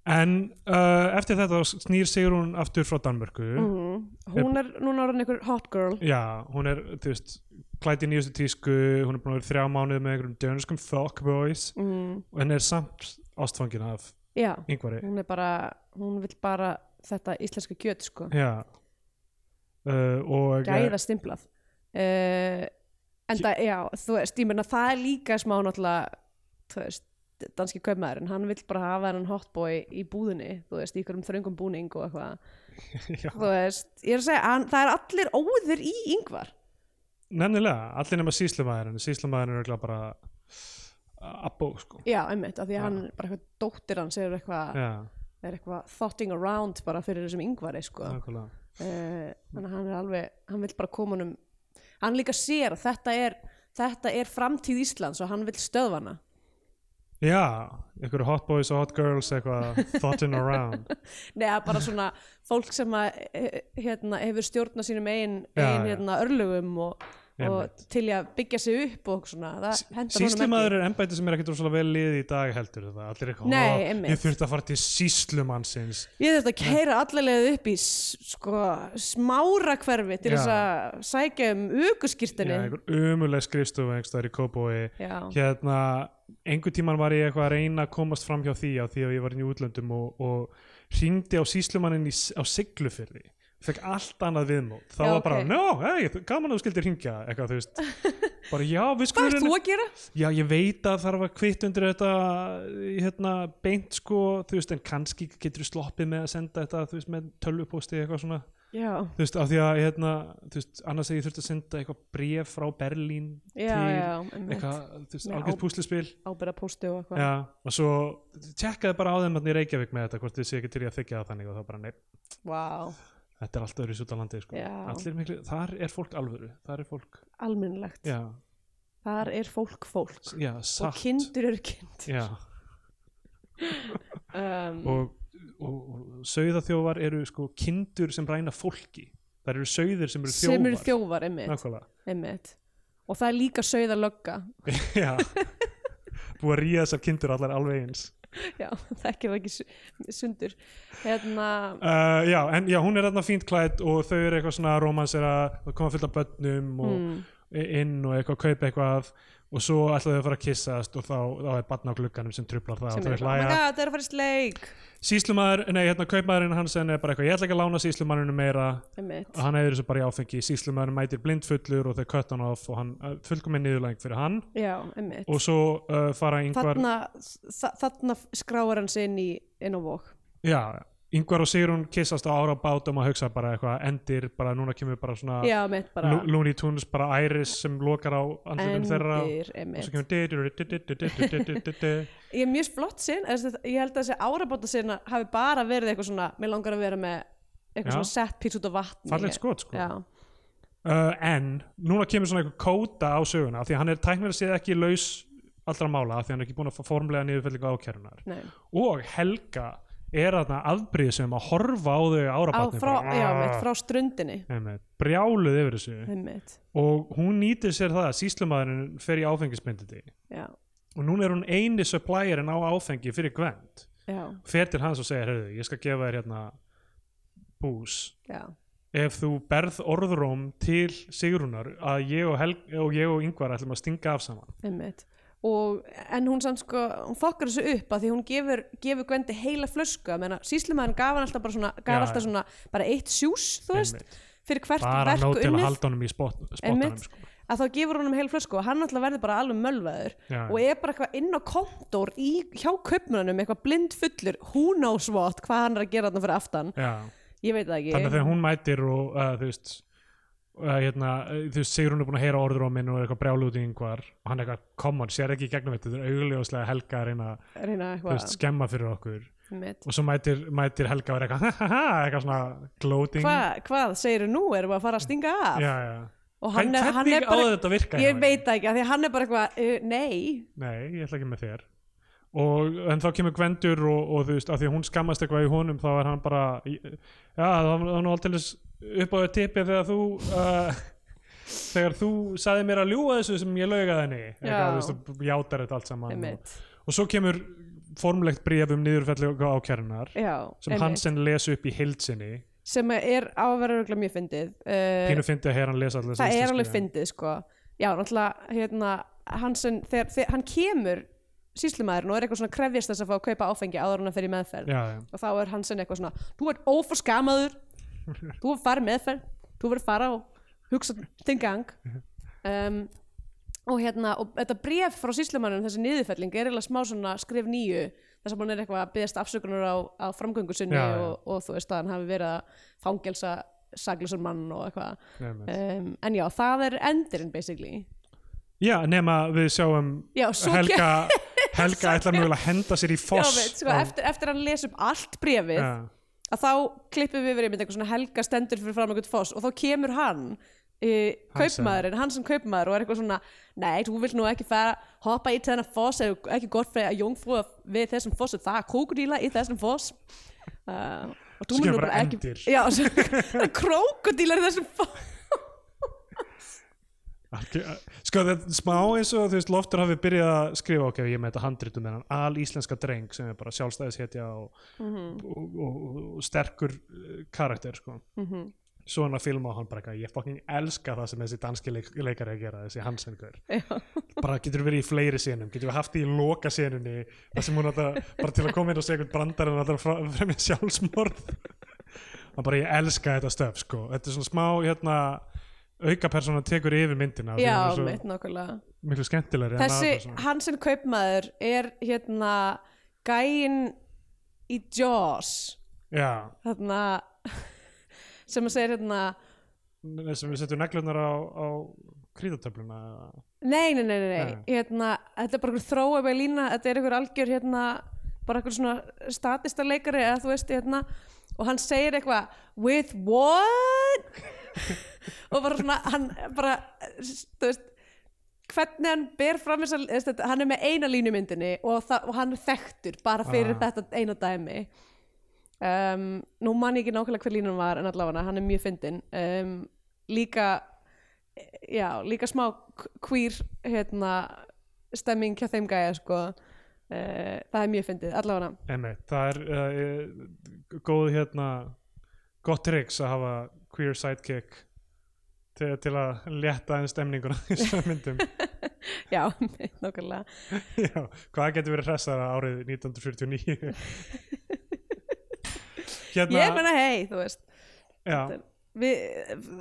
Speaker 1: En uh, eftir þetta snýr Sigrún aftur frá Danmörku
Speaker 2: Mm. Mhm, hún er núna orðin einhver hot girl
Speaker 1: Já, hún er, þú veist klætt í nýjustu tísku, hún er búin að vera í þrjá mánuð með einhverjum dönskum fuckboys
Speaker 2: mm,
Speaker 1: og henn er samt ástfangin af
Speaker 2: já,
Speaker 1: yngvari
Speaker 2: hún er bara hún vil bara þetta íslenska kjöt sko,
Speaker 1: Já uh, og
Speaker 2: gæða stimplað uh, en það, já þú veist, ég meina það er líka smá náttúrulega, þú veist danski kaupmaðurinn, hann vill bara hafa hennan hotboy í búðinni, þú veist, í ykkurum þröngum búning og eitthvað,
Speaker 1: [laughs] Já,
Speaker 2: þú veist ég er að segja, hann, það er allir óður í yngvar,
Speaker 1: nefnilega, uh, allir nema síslumæðurinn síslumæðurinn er örugglega bara uh, abbo, sko
Speaker 2: já, einmitt, af
Speaker 1: Já.
Speaker 2: því að hann bara eitthvað dóttir hans er eitthvað,
Speaker 1: Já,
Speaker 2: er eitthvað thotting around bara fyrir þessum yngvari, sko
Speaker 1: nákvæmlega
Speaker 2: Eh, þannig að hann er alveg, hann vil bara koma honum hann líka sér að þetta er þetta er framtíð Íslands og hann vil stöðva hana
Speaker 1: Já, einhverju hot boys og hot girls eitthvað thoughtin around
Speaker 2: neða bara svona fólk sem að eh, hérna, hefur stjórna sínum ein,
Speaker 1: Já,
Speaker 2: ein
Speaker 1: já.
Speaker 2: hérna, örlögum og, [laughs] og
Speaker 1: Einmitt.
Speaker 2: til í að byggja sig upp og svona, það hendur honum
Speaker 1: Sýslumaður er embæti sem er ekkert rosalega vel liðið í dag heldur það, allir eitthvað
Speaker 2: Nei,
Speaker 1: "Ó,
Speaker 2: einmitt.
Speaker 1: Ég þurfti að fara til sýslumannsins
Speaker 2: ekki ég þurfti að keira allalegið upp í s- sko, smára hverfi til
Speaker 1: Já.
Speaker 2: þess að sækja um
Speaker 1: Já,
Speaker 2: aukuskýrtinni
Speaker 1: einhver umuleg skrifstofu einhverstaðar í Kópói
Speaker 2: já,
Speaker 1: Hérna, einhver tíman var ég eitthvað að reyna að komast fram hjá því á því að ég var inn í útlöndum og, og hringdi á sýslumanninn í, s- á siglufyrði fekk allt annað viðmót, þá
Speaker 2: Já,
Speaker 1: var bara
Speaker 2: ok.
Speaker 1: no, hey, gaman að þú skildir hringja eitthvað, þú
Speaker 2: [laughs]
Speaker 1: veist bara já, við skulum reyna-
Speaker 2: hvað ert þú að gera?
Speaker 1: Já, ég veit að þarf að kvitt undir þetta hérna, beint sko, þú veist, en kannski getur sloppið með að senda þetta, þú veist, með tölvupósti eitthvað svona,
Speaker 2: já,
Speaker 1: þú veist, af því að hérna, þú veist, annars að ég þurft að senda eitthvað bref frá Berlín
Speaker 2: já,
Speaker 1: til
Speaker 2: já, einmitt.
Speaker 1: eitthvað, þú veist,
Speaker 2: Með
Speaker 1: algjörð
Speaker 2: á-
Speaker 1: púslispil
Speaker 2: ábyrða pósti og eitthvað
Speaker 1: Já, og svo tjekkaði bara á þeim hérna í Reykjavík með þetta, hvort þið sé ekki til í að þykja það þannig og það bara, nei,
Speaker 2: Vá,
Speaker 1: þetta er allt öðru út á landi, sko.
Speaker 2: Já.
Speaker 1: Allir miklu, þar er fólk alvöru, þar er fólk,
Speaker 2: almennilegt.
Speaker 1: já,
Speaker 2: Þar er fólk fólk
Speaker 1: s- já,
Speaker 2: og
Speaker 1: satt.
Speaker 2: kindur eru kind.
Speaker 1: Já,
Speaker 2: Um,
Speaker 1: og, og, og sauðaþjófar eru sko kindur sem ræna fólki það eru sauðir sem eru þjófar
Speaker 2: sem eru þjófar, einmitt,
Speaker 1: [laughs] þjófar
Speaker 2: einmitt. Og það er líka sauða lögga. [laughs]
Speaker 1: já búið að ríða þessar kindur allar alveg eins
Speaker 2: Já, það ekki það ekki su- sundur. Hérna,
Speaker 1: uh, já, en já, hún er þarna fínt klætt og þau eru eitthvað svona romansera það koma fullt af börnum og
Speaker 2: Mm. hmm,
Speaker 1: e, inn og eitthvað kaupa eitthvað og svo ætlaðu þau að fara að kissast og þá, þá er barn á glugganum sem trublar það
Speaker 2: sem
Speaker 1: og
Speaker 2: er,
Speaker 1: þau
Speaker 2: oh my
Speaker 1: hlæja
Speaker 2: god, það er að fara í sleik.
Speaker 1: síslumaður, nei hérna kaupmaðurinn hans er bara eitthvað, ég ætla ekki að lána síslumanninu meira
Speaker 2: Einmitt,
Speaker 1: hann hefur þessu bara í áfengi síslumæður mætir blindfullur og þau kött hann off og hann fullkominn niðurlæging fyrir hann
Speaker 2: já, einmitt.
Speaker 1: og svo uh, fara yngvar
Speaker 2: Þarna, þa- þarna skráar hann sig inn, í, inn á vók.
Speaker 1: já, yngvar og Sigrun kissast á ára bátum að hugsa bara eitthvað endir bara núna kemur bara svona
Speaker 2: Já, einmitt, bara
Speaker 1: Lu- Looney Tunes bara Iris sem lokar á andlutum þeirra
Speaker 2: endir,
Speaker 1: og svo
Speaker 2: einmitt.
Speaker 1: kemur di-di-di-di-di-di-di-di-di-di-di.
Speaker 2: [laughs] Ég er mjög flott sinn, ég held að þessi árabóta sinna hafi bara verið eitthvað svona, mér langar að vera með eitthvað
Speaker 1: Já.
Speaker 2: svona sett pís út á vatni.
Speaker 1: fallegt skot sko
Speaker 2: Já,
Speaker 1: uh, en núna kemur svona eitthvað kóta á söguna af því að hann er tæknir að séð ekki laus allra mála af því að hann er ekki búin að fá formlega niðurfellingu ákærunar
Speaker 2: nei,
Speaker 1: og Helga er þarna afbrýð sem að horfa á þau
Speaker 2: á,
Speaker 1: árabatni
Speaker 2: frá, já,
Speaker 1: "Ah."
Speaker 2: mitt, frá ströndinni
Speaker 1: brjáluð yfir þessu
Speaker 2: einmitt,
Speaker 1: og hún nýtir sér það að síslumæðurinn fer í áfengismyndindi
Speaker 2: já,
Speaker 1: og núna er hún eini supplierinn á áfengi fyrir Gwent
Speaker 2: já,
Speaker 1: fer til hans og segir, heyrðu, ég skal gefa þér hérna bús
Speaker 2: já
Speaker 1: ef þú berð orðróm til Sigrunar að ég og, Helg, og, ég og Ingvar ætlum að stinga af saman
Speaker 2: einmitt og, en hún samt sko, hún fokkar þessu upp að því hún gefur, gefur Gvendi heila flösku að meina síslumæðan gaf hann alltaf bara svona gaf
Speaker 1: Já,
Speaker 2: alltaf
Speaker 1: já.
Speaker 2: svona, bara eitt sjús þú veist,
Speaker 1: Einmitt.
Speaker 2: fyrir hvert
Speaker 1: bara nóg til
Speaker 2: verk
Speaker 1: að
Speaker 2: unnið
Speaker 1: halda honum í spot, spotanum
Speaker 2: einmitt,
Speaker 1: sko.
Speaker 2: að þá gefur honum heila flösku og hann alltaf verður bara alveg mölvaður
Speaker 1: Já,
Speaker 2: og er bara eitthvað inn á kontór í, hjá kaupmannum, eitthvað blind fullur who knows what, hvað hann er að gera þarna fyrir aftan
Speaker 1: já.
Speaker 2: ég veit það ekki
Speaker 1: þannig að þegar hún mætir og uh, þú veist Uh, hérna, uh, þú veist, Sigrun er búin að heyra orðróminn og er eitthvað brjálu út í yngvar og hann er eitthvað, come on, sér ekki í gegnum þetta þetta er augljóslega Helga að reyna að, þú
Speaker 2: reyna
Speaker 1: veist,
Speaker 2: eitthvað
Speaker 1: skemma fyrir okkur
Speaker 2: einmitt.
Speaker 1: og svo mætir, mætir Helga og er eitthvað, [laughs] ha ha ha, eitthvað svona gloating
Speaker 2: Hva, hvað segirðu nú, erum við að fara að stinga af
Speaker 1: já, já.
Speaker 2: og hann
Speaker 1: Hann,
Speaker 2: er, hann
Speaker 1: hvernig
Speaker 2: er
Speaker 1: á
Speaker 2: bara
Speaker 1: þetta að virka hjá
Speaker 2: ég
Speaker 1: henni?
Speaker 2: veit það ekki, af því að hann er bara eitthvað uh, nei,
Speaker 1: Nei, ég ætla ekki með þér og, En þá kemur Gvendur og, og þú veist, af því að hún skammast eitthvað í honum þá er hann bara Já, það var það var nú alltaf upp á þau tippi þegar þú uh, þegar þú saði mér að ljúga þessu sem ég laugaði henni eitthvað,
Speaker 2: Já.
Speaker 1: þú veist, og játar þetta allt saman og,
Speaker 2: einmitt
Speaker 1: og svo kemur formlegt bréf um niðurfelli og ákjærnar
Speaker 2: já,
Speaker 1: sem
Speaker 2: einmitt.
Speaker 1: Hansen lesi upp í hildsinni
Speaker 2: sem er á að vera örugglega mjög fyndið uh,
Speaker 1: Pínu fyndi að heyra hann lesa allir
Speaker 2: það er alveg fyndið sko já, náttúrulega hérna, Hansen, þegar, þegar hann kemur síslumæðurinn og er eitthvað svona að krefjast þess að fá að kaupa áfengi áður en að fer í meðferð
Speaker 1: Já, já,
Speaker 2: og þá er Hansen eitthvað svona þú ert óforskamaður þú verður farið meðferð, þú verður fara og hugsa þinn gang um, og hérna og þetta bref frá síslumannum þessi niðurfelling er eiginlega smá svona skrif nýju þess að hún er eitthvað að byggðast afsökunar á, á framgöngu sinni
Speaker 1: Já, já.
Speaker 2: Og, og þú veist að hann hafi verið að fangelsa saglausan mann og eitthvað
Speaker 1: nefnir
Speaker 2: um, en já, það er endurinn basically
Speaker 1: Já, nema við sjáum
Speaker 2: [laughs] já, svo
Speaker 1: Helga,
Speaker 2: Svo
Speaker 1: Helga ætlar
Speaker 2: ger-
Speaker 1: mjögulega að henda sér í
Speaker 2: Já,
Speaker 1: foss
Speaker 2: veit, sko, eftir, eftir að hann les upp allt brefið
Speaker 1: Já,
Speaker 2: að þá klippum við verið með eitthvað svona helga stendur fyrir fram eitthvað foss og þá kemur hann uh,
Speaker 1: Hansen.
Speaker 2: kaupmaðurinn, hann sem kaupmaður og er eitthvað svona, nei, þú vilt nú ekki fara hoppa í þennan foss eða ekki gott fyrir að jóngfrúa við þessum foss og það er kókudíla í þessum foss uh, og
Speaker 1: Svo
Speaker 2: þú
Speaker 1: kemur
Speaker 2: mun nú bara
Speaker 1: bara
Speaker 2: ekki
Speaker 1: endir.
Speaker 2: já, svo, [laughs] það er krókudílar í þessum foss
Speaker 1: algjör- Sko það er smá eins og þú veist Loftur hafi byrjað að skrifa ok, ég með þetta handritum með hann al íslenska dreng sem er bara sjálfstæðishetja og, og, og, og, og sterkur eh, karakter sko.
Speaker 2: Mhm.
Speaker 1: Svona film á hann bara eitthvað, ég fucking elska það sem þessi danski leik, leikari er að gera, þessi Hansengur bara getur verið í fleiri senum, getur við haft því í loka senunni, það sem hún alltaf bara til að koma inn og segja eitthvað brandar en alltaf fremja sjálfsmorð það bara ég elska þetta stöf sko, þetta er svona smá hérna aukapersona tekur yfir myndina af því
Speaker 2: já,
Speaker 1: hún er svo-
Speaker 2: mitt nákvæmlega
Speaker 1: miklu skemmtilegri en
Speaker 2: þessi,
Speaker 1: aðra svona.
Speaker 2: hann sem kaupmaður er hérna gæinn í Jaws
Speaker 1: já,
Speaker 2: þarna [laughs] sem að segja hérna
Speaker 1: sem við setjum neglunar á, á krítatöfluna eða-
Speaker 2: nei, nei, nei, nei, nei.
Speaker 1: Nei.
Speaker 2: Hérna, þetta er bara einhver þróa með lína, þetta er einhver algjör hérna, bara einhver svona statista leikari eða þú veist, hérna og hann segir eitthvað, with what? [laughs] og bara svona hann bara, þú veist hvernig hann ber fram þess að hann er með eina línu í myndinni og, það, og hann er þekktur bara fyrir
Speaker 1: Ah.
Speaker 2: þetta eina dæmi um, nú man ég ekki nákvæmlega hver línun var en allavega hann er mjög fyndin um, líka já, líka smá k- queer hérna, stemming hjá þeim gæja sko Uh, það er mjög fyndið, allavega
Speaker 1: einmitt, það er uh, góð hérna gott triks að hafa queer sidekick til, til að létta enn stemninguna í
Speaker 2: [laughs]
Speaker 1: þessum myndum
Speaker 2: já, [laughs] nákvæmlega
Speaker 1: já, hvað getur verið hressara árið
Speaker 2: [laughs]
Speaker 1: 1949 hérna
Speaker 2: ég menna hei, þú veist
Speaker 1: já,
Speaker 2: við,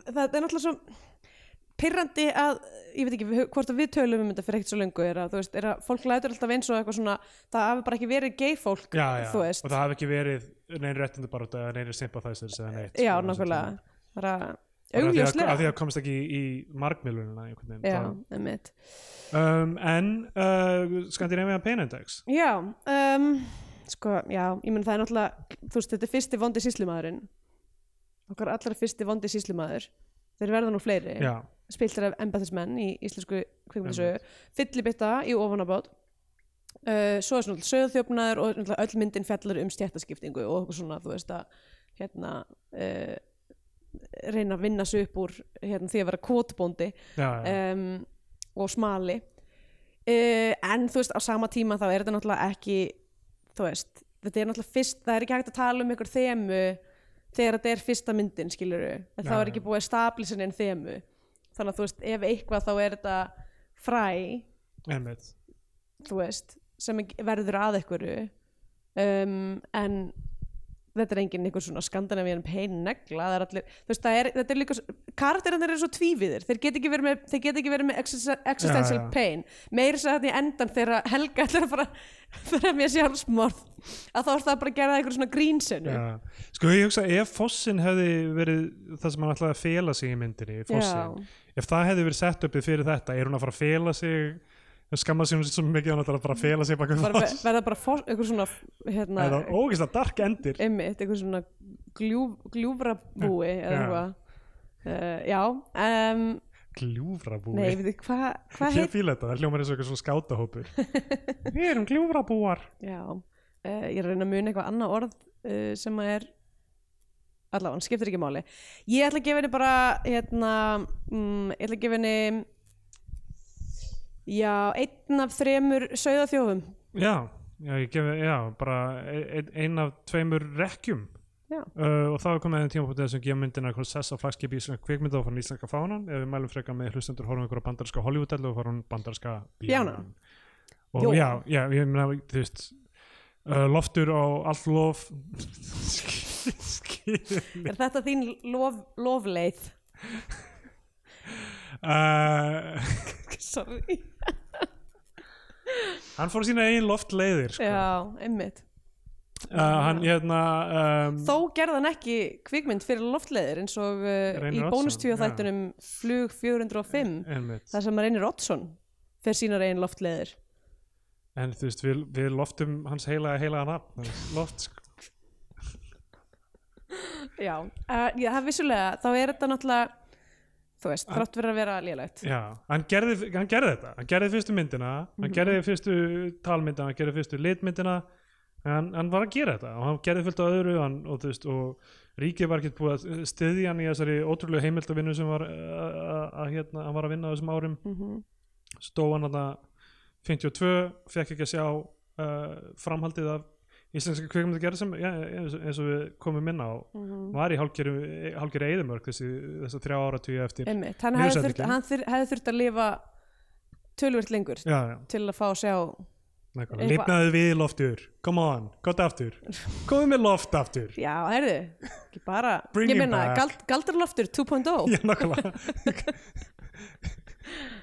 Speaker 2: það er náttúrulega svo pirrandi að, ég veit ekki við- hvort að við tölum um þetta fyrir ekkert svo lengu er að, þú veist, er að fólk lætur alltaf eins og eitthvað svona það hafi bara ekki verið gay fólk
Speaker 1: já, já.
Speaker 2: þú veist,
Speaker 1: og það hafi ekki verið neinn réttindu bara út að neinn sympathizers eða neitt
Speaker 2: já,
Speaker 1: Svona sem
Speaker 2: nákvæmlega bara
Speaker 1: Bara af því að- af því
Speaker 2: augljóslega
Speaker 1: að komast ekki í, í margmiðlunina einhvern veginn
Speaker 2: já,
Speaker 1: Það-
Speaker 2: einmitt
Speaker 1: um, en uh, Scandinavian Pain Index
Speaker 2: já, um, sko, já ég menn það er náttúrulega, þú veist, þetta er fyrsti vondi síslumaðurinn okkar allra fyrsti vondi síslumaður þeir verða nú fleiri
Speaker 1: já,
Speaker 2: spiltir af embættismenn í íslensku kvikmyndisögu fyllibitta í ofanabót uh, svo er svona söðþjófnaður og náttúrulega öll myndin fjallar um stjættaskiptingu og okkur svona þú veist að hérna uh, reyna að vinna sig upp úr hérna, því að vera kvotbóndi
Speaker 1: já, já,
Speaker 2: um, og smali uh, en þú veist á sama tíma þá er þetta náttúrulega ekki þú veist, þetta er náttúrulega fyrst það er ekki hægt að tala um ykkur þemu þegar þetta er fyrsta myndin skilur en þá
Speaker 1: Já,
Speaker 2: er ekki
Speaker 1: já.
Speaker 2: búið að stablisa neinn þemu þannig að þú veist, ef eitthvað þá er þetta fræ
Speaker 1: einmitt
Speaker 2: þú veist, sem ekki- verður að einhverju um, en þetta er engin einhver svona skandinavíðan pein negla það er allir, þú veist, það er, þetta er líka karakterinn eru svo tvíviðir, þeir get ekki verið með, þeir get ekki verið með exis- existential
Speaker 1: Já, já.
Speaker 2: pain meir þess að þetta í endan þegar Helga [laughs] ætlar að fara fyrir mér sjálfsmorð að þá er það bara að gera einhver svona grínsenu
Speaker 1: já. sko ég hugsa ef fossin hefði verið það sem hann ætlaði að fela sig í myndinni fossin, ef það hefði verið sett uppið fyrir þetta, er hún að fara að fela sig skamma sig hún sér svo mikið hann ætlar að fara að fela sig baka
Speaker 2: bara ver-
Speaker 1: foss,
Speaker 2: verða bara fos, einhver svona hérna,
Speaker 1: það er ógeðslega dark endir
Speaker 2: einmitt, einhver svona gljúf, gljúfrabúi eða
Speaker 1: Já.
Speaker 2: eitthvað uh, já, um,
Speaker 1: gljúfrabúi
Speaker 2: Nei, við þið, hvað hva
Speaker 1: ég
Speaker 2: heit?
Speaker 1: fíla þetta, það hljómar eins og eitthvað svona
Speaker 2: [laughs]
Speaker 1: skátahópur við erum gljúfrabúar
Speaker 2: Já, uh, ég er að reyna að muna eitthvað annað orð uh, sem að er allavega, hann skiptir ekki máli Ég ætla að gefa henni bara hérna, mm, ég ætla að gefa henni já, einn af þremur sauðaþjófum
Speaker 1: já, já, ég gef, já bara ein, ein af tveimur rekkjum
Speaker 2: Já.
Speaker 1: Uh, og þá er komið einn tímapótið sem gefa myndina Korsess á flagskipi íslenska kvikmynda og fann íslenska fánan ef við mælum frekar með hlustendur horfum ykkur á bandarska Hollywood-dellu og farum bandarska bjánan
Speaker 2: Bjánan.
Speaker 1: og
Speaker 2: Jó.
Speaker 1: já, já, ég meina þú veist uh, loftur á allt lof skilur
Speaker 2: Er þetta þín lof, lofleið?
Speaker 1: [laughs] uh,
Speaker 2: Sorry
Speaker 1: hann fór sína einn loftleiðir sko.
Speaker 2: Já, einmitt
Speaker 1: uh, hann hérna um,
Speaker 2: Þó gerði hann ekki kvikmynd fyrir loftleðir eins og uh,
Speaker 1: Reynir
Speaker 2: í
Speaker 1: Oddsson,
Speaker 2: bónustvíu
Speaker 1: já.
Speaker 2: þættunum Flug 405
Speaker 1: einmitt.
Speaker 2: þar sem reynir Oddsson fer sínar einn loftleðir
Speaker 1: en þú veist, við, við loftum hans heila heila nafn hans loft sko.
Speaker 2: já, uh, já, það er vissulega þá er þetta náttúrulega þú
Speaker 1: Ah.
Speaker 2: veist, þrátt verið að vera lélegt
Speaker 1: Já, hann gerði, hann gerði þetta hann gerði fyrstu myndina, hann gerði fyrstu talmyndina, hann gerði fyrstu litmyndina hann, hann var að gera þetta og hann gerði fullt á öðru hann, og, þú veist, og ríkið var ekki búið að styðja hann í þessari ótrúlegu heimildavinnu sem var, uh, að, að, hérna, hann var að vinna á þessum árum
Speaker 2: mm -hmm.
Speaker 1: stóð hann að 52 fekk ekki að sjá uh, framhaldið af íslenska kvikmynda gerði sem já, eins, og- eins og við komum inn á
Speaker 2: mhm.
Speaker 1: var í hálfgerju hálfgerju eðumörk þessi, þessi þrjá áratugja eftir
Speaker 2: einmitt, hann
Speaker 1: Mér
Speaker 2: hefði
Speaker 1: sagði
Speaker 2: þurft,
Speaker 1: ekki.
Speaker 2: hann þur, hefði þurft að lifa tölvöld lengur
Speaker 1: já, já.
Speaker 2: til að fá að sjá
Speaker 1: Eitthvað.
Speaker 2: Eitthvað-
Speaker 1: Lifnaðu við loftur, come on, gott
Speaker 2: [laughs]
Speaker 1: aftur Komðu með loft aftur [laughs]
Speaker 2: já, heyrðu, ekki bara
Speaker 1: Bring
Speaker 2: ég
Speaker 1: him
Speaker 2: meina,
Speaker 1: back.
Speaker 2: gald, galdraloftur oh. 2.0
Speaker 1: Já, nákvæmlega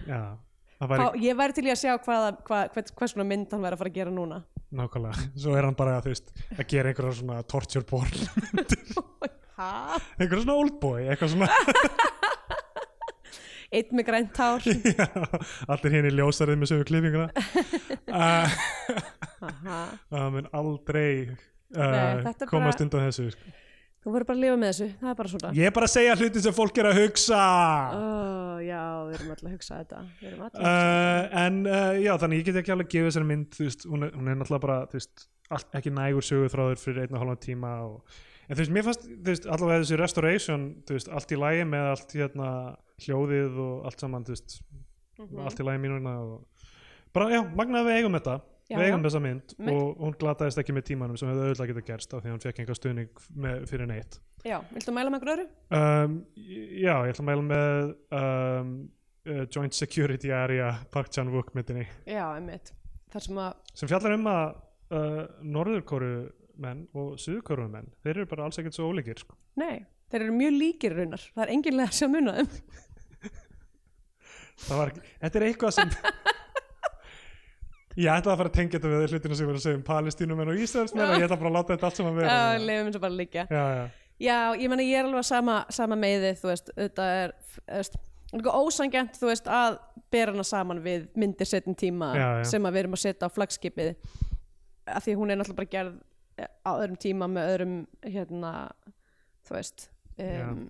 Speaker 1: Já, það væri
Speaker 2: Fá- ég væri til í að sjá hvaða, hvað, hvers, hvers konar mynd hann væri að fara að gera núna
Speaker 1: nákvæmlega Svo er hann bara þú veist, að gera einhverja svona torture porn [laughs]
Speaker 2: ha?
Speaker 1: Einhverja svona oldboy, eitthvað
Speaker 2: [laughs]
Speaker 1: svona
Speaker 2: einn með grænt hár
Speaker 1: já, Allir hinn í ljósarið með sögur klifinguna uh,
Speaker 2: [laughs] Aha.
Speaker 1: Það mun aldrei
Speaker 2: Nei,
Speaker 1: uh,
Speaker 2: þetta er
Speaker 1: komast
Speaker 2: bara-
Speaker 1: undan þessu sko.
Speaker 2: þú voru bara að lifa með þessu, það er bara svona
Speaker 1: Ég er bara að segja hluti sem fólk er að hugsa
Speaker 2: oh, já, við erum alltaf að hugsa þetta við erum alltaf
Speaker 1: uh, en uh, já þannig ég get ekki alveg gefið þessari mynd þú veist, hún, er, hún er náttúrulega bara þú veist, all, ekki nægur sögur þráður fyrir einn og halvan tíma og, en þú veist, mér fannst þú veist, allavega þessi restoration þú veist, allt í lagi með allt hérna, hljóðið og allt saman þú veist,
Speaker 2: Mhm.
Speaker 1: allt í lagi mínuna og bara já, magnaði að við eigum þetta
Speaker 2: Já,
Speaker 1: við eigum
Speaker 2: já.
Speaker 1: þessa mynd
Speaker 2: Mitt.
Speaker 1: og hún glataðist ekki með tímanum sem hefði auðvitað geta gerst af því að hún fekk enga stuðning með, fyrir neitt
Speaker 2: Já, viltu mæla með einhver öðru?
Speaker 1: Um, já, ég ætla að mæla með um, uh, Joint Security Area Park Chan-wook myndinni
Speaker 2: Já, einmitt. Þar sem að,
Speaker 1: sem fjallar um að uh, norðurkóru menn og suðurkóru menn þeir eru bara alls ekkert svo ólíkir sko.
Speaker 2: nei, þeir eru mjög líkir raunar. Það er engin leið að sjá muna þeim.
Speaker 1: það var, ekki- þetta er eitthvað sem ég ætla að fara að tengja þetta við hlutina sem ég var að segja um palestínumenn og ísraelsmenn og ég ætla bara að láta þetta allt saman
Speaker 2: Já,
Speaker 1: vera já,
Speaker 2: leiðum eins og bara líka.
Speaker 1: já,
Speaker 2: Já, ég meina, ég er alveg á sama, sama meiði, þú veist, þetta er, þú veist, einhver ósangjant, þú veist, að bera hana saman við myndir setjum tíma
Speaker 1: Já, já.
Speaker 2: sem að við erum að setja á flagskipið. Af því hún er náttúrulega bara gerð eh, á öðrum tíma með öðrum, hérna, þú veist, um,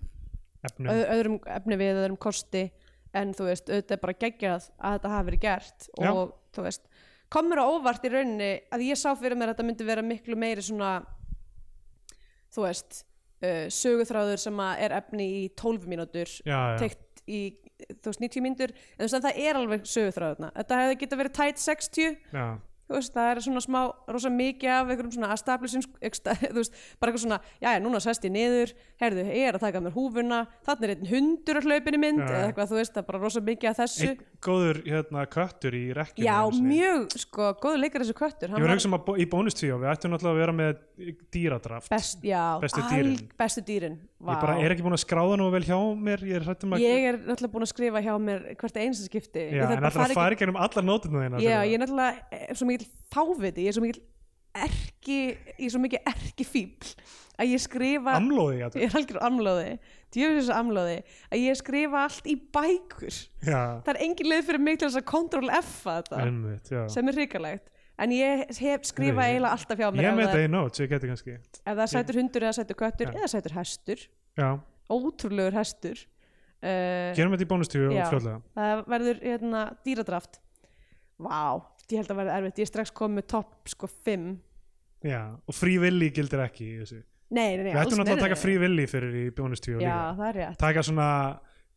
Speaker 1: efnum
Speaker 2: öð, öðrum efni við, öðrum kosti en þú veist, auðvitað er bara geggjað að þetta hafi verið gert
Speaker 1: Já.
Speaker 2: og þú veist, kom mér á óvart í rauninni að ég sá fyrir mér að þetta myndi vera miklu meiri svona þú veist uh, söguþráður sem að er efni í 12 mínútur
Speaker 1: Já, já.
Speaker 2: teikt í þú veist 90 mínútur en þú veist að það er alveg söguþráðurna þetta hefði geta verið tætt 60
Speaker 1: já,
Speaker 2: þú veist það er svona smá rosa mikið af einhverjum svona establishing eksta- [laughs] þú veist bara eitthvað svona já já núna sest ég niður herðu ég er að taka af mér húfuna þannig er einn hundur að hlaupinu mynd
Speaker 1: Já, já.
Speaker 2: eða eitthvað þú veist það er bara rosa mikið af þessu
Speaker 1: einn góður hérna köttur í rekkjum
Speaker 2: já
Speaker 1: einu sinni.
Speaker 2: mjög sko góður leikar þessu köttur
Speaker 1: ég var að hugsa um að bó- í bónustvíó við ættum náttúrulega að vera með dýradraft
Speaker 2: best, já,
Speaker 1: um Bestu
Speaker 2: al-
Speaker 1: dýrin.
Speaker 2: bestu dýrin Vá.
Speaker 1: ég bara er ekki búin að skráða nú vel hjá mér ég er hrættum að
Speaker 2: Ég er náttúrulega búin að skrifa hjá mér hvert einsa skipti
Speaker 1: já, en alltaf að fara í gegnum allar nótuna þína
Speaker 2: já, ég er náttúrulega eh, svo mikil fáviti ég er svo mikil erki ég er svo mikil erki fíbl að ég skrifa
Speaker 1: amlóði já,
Speaker 2: ég er algjör amlóði djöfisins amlóði að ég skrifa allt í bækur
Speaker 1: já,
Speaker 2: það er engin leið fyrir mig til þess að control F að þetta
Speaker 1: einmitt, já.
Speaker 2: sem er hrikalegt en ég hef skrifa
Speaker 1: Nei, ég-
Speaker 2: eiginlega alltaf hjá mér
Speaker 1: ég er
Speaker 2: ef,
Speaker 1: með
Speaker 2: það,
Speaker 1: þetta í nót, ég geti kannski
Speaker 2: ef það er sætur hundur eða sætur köttur
Speaker 1: Já.
Speaker 2: eða sætur hestur
Speaker 1: já,
Speaker 2: ótrúlegur hestur uh,
Speaker 1: gerum þetta í bónustvíó
Speaker 2: Já.
Speaker 1: fljóðlega
Speaker 2: það verður hérna, dýradraft vá, ég held að verða erfitt ég er strax komið með topp sko 5
Speaker 1: já, og frívilli gildir ekki í þessu.
Speaker 2: nei, nei, nei,
Speaker 1: við
Speaker 2: alls
Speaker 1: ættum náttúrulega að
Speaker 2: nei,
Speaker 1: taka
Speaker 2: nei.
Speaker 1: frívilli fyrir í bónustvíó
Speaker 2: já,
Speaker 1: líka
Speaker 2: það er rétt
Speaker 1: taka svona,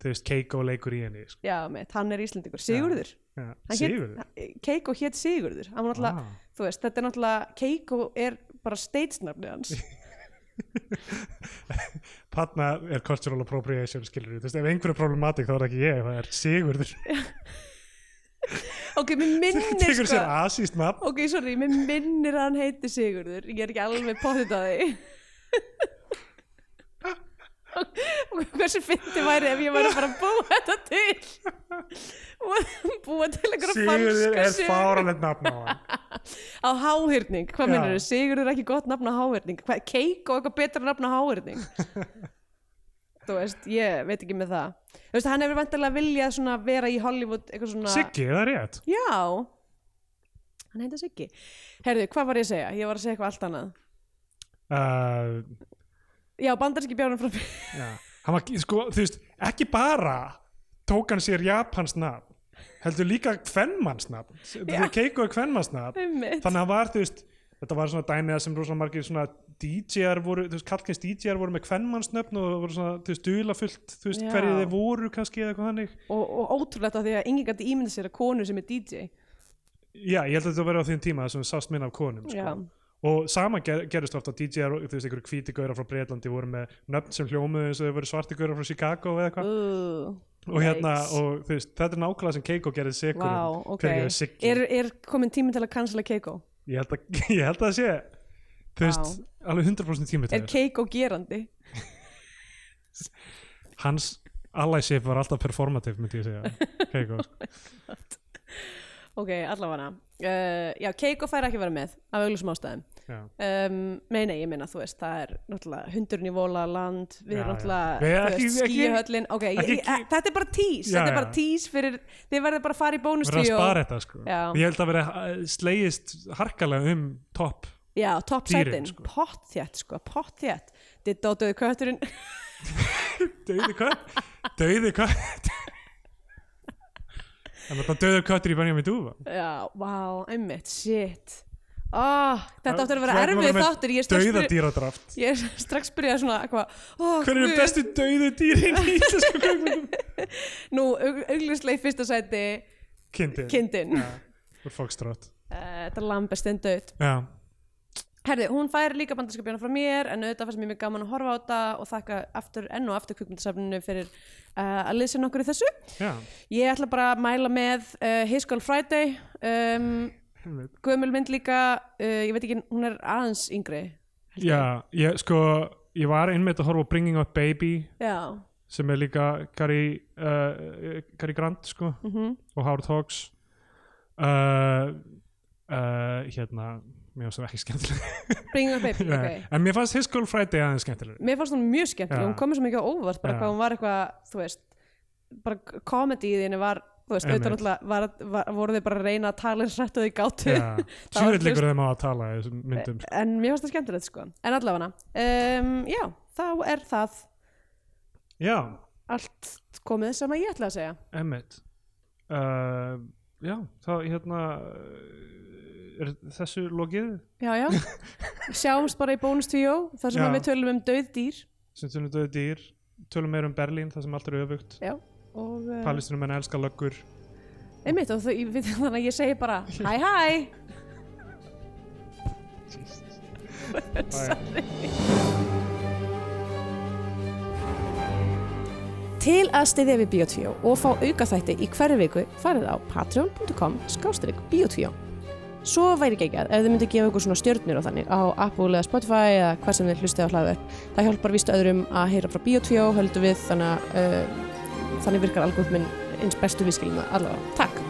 Speaker 1: þú veist, keiko leikur í henni sko.
Speaker 2: já, mitt, hann er Íslendingur, Sigurður
Speaker 1: Já,
Speaker 2: Hann hét-
Speaker 1: Sigurður
Speaker 2: Keiko hétt Sigurður hann var náttúrulega,
Speaker 1: Ah. [laughs]
Speaker 2: þú veist, þetta er náttúrulega Keiko er bara stage-nafni
Speaker 1: [laughs]
Speaker 2: hans
Speaker 1: Þarna er cultural appropriation skilur þú veist, ef einhverju problematik þá er það ekki ég það er Sigurður,
Speaker 2: [laughs] ok, mér
Speaker 1: [laughs]
Speaker 2: minnir
Speaker 1: tekur
Speaker 2: sko
Speaker 1: sér asíst nafn
Speaker 2: ok, sorry, mér minnir að hann heiti Sigurður ég er ekki alveg potið að
Speaker 1: [laughs]
Speaker 2: því Og hversu fyndi væri ef ég væri bara að búa þetta
Speaker 1: [laughs]
Speaker 2: til Og búa til einhverja
Speaker 1: Sigurður
Speaker 2: falska
Speaker 1: er fáranlegt nafn á hann
Speaker 2: [laughs] á háhyrning,
Speaker 1: Já.
Speaker 2: hvað minnur Sigurður er ekki gott nafn á háhyrning hvað, Keiko er eitthvað betra nafn á
Speaker 1: [laughs]
Speaker 2: háhyrning þú veist, ég veit ekki með það þú veist, hann hefur vantarlega viljað svona vera í Hollywood eitthvað svona
Speaker 1: Siggi, það er rétt
Speaker 2: já, hann heita Siggi herðu, hvað var ég að segja? ég var að segja eitthvað allt annað
Speaker 1: uh,
Speaker 2: já, bandarski bjárnum frá [laughs]
Speaker 1: já. hann var, sko, þú veist, ekki bara tók hann sér Japans nafn heldur líka kvennmanns nafn því að Keiko er kvennmanns nafn
Speaker 2: Einmitt.
Speaker 1: þannig að hann var, þú veist Þetta var svona dæmiða sem rosalega margir svona DJ-ar voru, þú veist, kallkins DJ-ar voru með kvennmannsnöfn og voru svona, þú veist, duðlafullt, þú veist,
Speaker 2: Já.
Speaker 1: hverju þeir voru kannski eða eitthvað hannig.
Speaker 2: og, og ótrúlegt af því að enginn gæti ímynda sér að konu sem er DJ
Speaker 1: Já, ég held að þetta verið á þeim tíma sem sást minn af konum
Speaker 2: Já.
Speaker 1: sko. og sama ger, gerist ofta DJ-ar og þú veist, einhverju hvíti gaurar frá Breitlandi voru með nöfn sem hljómuðu eins og þau voru svarti gaurar frá Chicago eða eitthvað
Speaker 2: uh,
Speaker 1: og hérna,
Speaker 2: yikes.
Speaker 1: og þú veist, þetta er nákvæmlega sem Keiko gerði sikurum
Speaker 2: Vá, ok.
Speaker 1: fyrir ég Siggi
Speaker 2: er, er komin tími til að cancela Keiko?
Speaker 1: ég, held að, [laughs] ég held að það sé þú veist, alveg 100% tími til
Speaker 2: Er Keiko gerandi?
Speaker 1: þess. hans allyship var alltaf performative myndi ég
Speaker 2: [laughs]
Speaker 1: segja Keiko, sko.
Speaker 2: Ok, allavega uh, Já, Keiko fær ekki að vera með af augljósum ástæðum
Speaker 1: já.
Speaker 2: um, Nei, nei, ég meina, þú veist, það er náttúrulega hundurinn í vola land við
Speaker 1: Já,
Speaker 2: erum
Speaker 1: já. Við-
Speaker 2: náttúrulega þú veist,
Speaker 1: ekki- ekki-
Speaker 2: skíuhöllin Ok, ég,
Speaker 1: ekki-
Speaker 2: ég, þetta er bara tís
Speaker 1: Já,
Speaker 2: þetta er
Speaker 1: já.
Speaker 2: bara tís fyrir, þið verður bara að fara í
Speaker 1: verður að
Speaker 2: bónustvíó
Speaker 1: spara þetta sko.
Speaker 2: Já.
Speaker 1: ég held að vera eh, slegist harkalega um topp
Speaker 2: Já, topp
Speaker 1: Dýrin,
Speaker 2: sætin,
Speaker 1: sko.
Speaker 2: pottþjætt sko, pottþjætt Ditt á döðu kötturinn [laughs]
Speaker 1: Dauði kött Dauði kött [laughs] En þetta döður köttur í Benjamin Dúfa
Speaker 2: Já, vá, einmitt, shit oh, Þetta áttur að vera erfið þáttur Ég er strax
Speaker 1: Dauða
Speaker 2: byrjuð-
Speaker 1: dýradraft
Speaker 2: Ég er [laughs] strax byrjað svona eitthvað oh,
Speaker 1: Hver eru bestu dauðu dýrin í íslensku
Speaker 2: [laughs]
Speaker 1: kveikmyndum?
Speaker 2: Nú, aug- augljóslega í fyrsta sæti
Speaker 1: Kindin
Speaker 2: kindin uh,
Speaker 1: Úr Foxtrot
Speaker 2: Eh, Þetta er lambest en döð
Speaker 1: Já,
Speaker 2: Herði, hún fær líka bandarskapjana frá mér en auðvitað fannst mér mjög gaman að horfa á þetta og þakka aftur enn og aftur kvikmyndasafninu fyrir uh, að liðsinn okkur í þessu
Speaker 1: já
Speaker 2: Ég ætla bara að mæla með uh, His Girl Friday um,
Speaker 1: einmitt.
Speaker 2: Gömul mynd líka uh, ég veit ekki, hún er aðeins yngri
Speaker 1: Já, ég sko Ég var einmitt að horfa á Bringing Up Baby
Speaker 2: Já,
Speaker 1: sem er líka Gary, uh, Gary Grant sko
Speaker 2: mhm
Speaker 1: og Howard Hawks uh, uh, Hérna Mér finnst það ekki skemmtileg
Speaker 2: Bringing Up
Speaker 1: [laughs]
Speaker 2: Baby, [laughs] ok
Speaker 1: En mér fannst His Girl Friday aðeins skemmtileg
Speaker 2: [laughs] Mér fannst hún mjög skemmtileg,
Speaker 1: Já.
Speaker 2: hún komið svo mikið á óvart bara
Speaker 1: Já.
Speaker 2: hvað hún var eitthvað, þú veist bara komedi í þínu var þú veist, auðvitað
Speaker 1: Einmitt.
Speaker 2: náttúrulega var, var, voru þið bara að reyna að tala eins rætt og þið gátu Það var Eh,
Speaker 1: Sjöfell liggur þeim á að tala í þessum myndum sko.
Speaker 2: en mér fannst það skemmtilegt sko en allavega, um, já, þá er það
Speaker 1: Já,
Speaker 2: eh. allt komið sem að ég ætla að segja
Speaker 1: emmitt uh, já, það hérna er þessu lokið
Speaker 2: já, já [laughs] sjáumst bara í bónustvíó þar sem
Speaker 1: Já.
Speaker 2: að við tölum um döð dýr
Speaker 1: sem tölum döðu dýr, tölum meira um Berlín það sem allt er öfugt,
Speaker 2: já, og uh,
Speaker 1: palestinum en elska löggur
Speaker 2: einmitt og það, við, [laughs] þannig að ég segi bara hæ hæ
Speaker 1: Jesus
Speaker 2: Til að stiðja við Bíotvíó og fá aukaþætti í hverju viku farið á patreon.com skástrík Bíotvíó. Svo væri geggjað ef þið myndi gefa ykkur svona stjörnir á þannig á Apple eða Spotify eða hvað sem þið hlustið á hlaður. Það hjálpar vístu öðrum að heyra frá eh, Bíotvíó, höldum við, þannig, að, uh, þannig virkar algúrminn eins bestu við skiljum það allavega. Takk!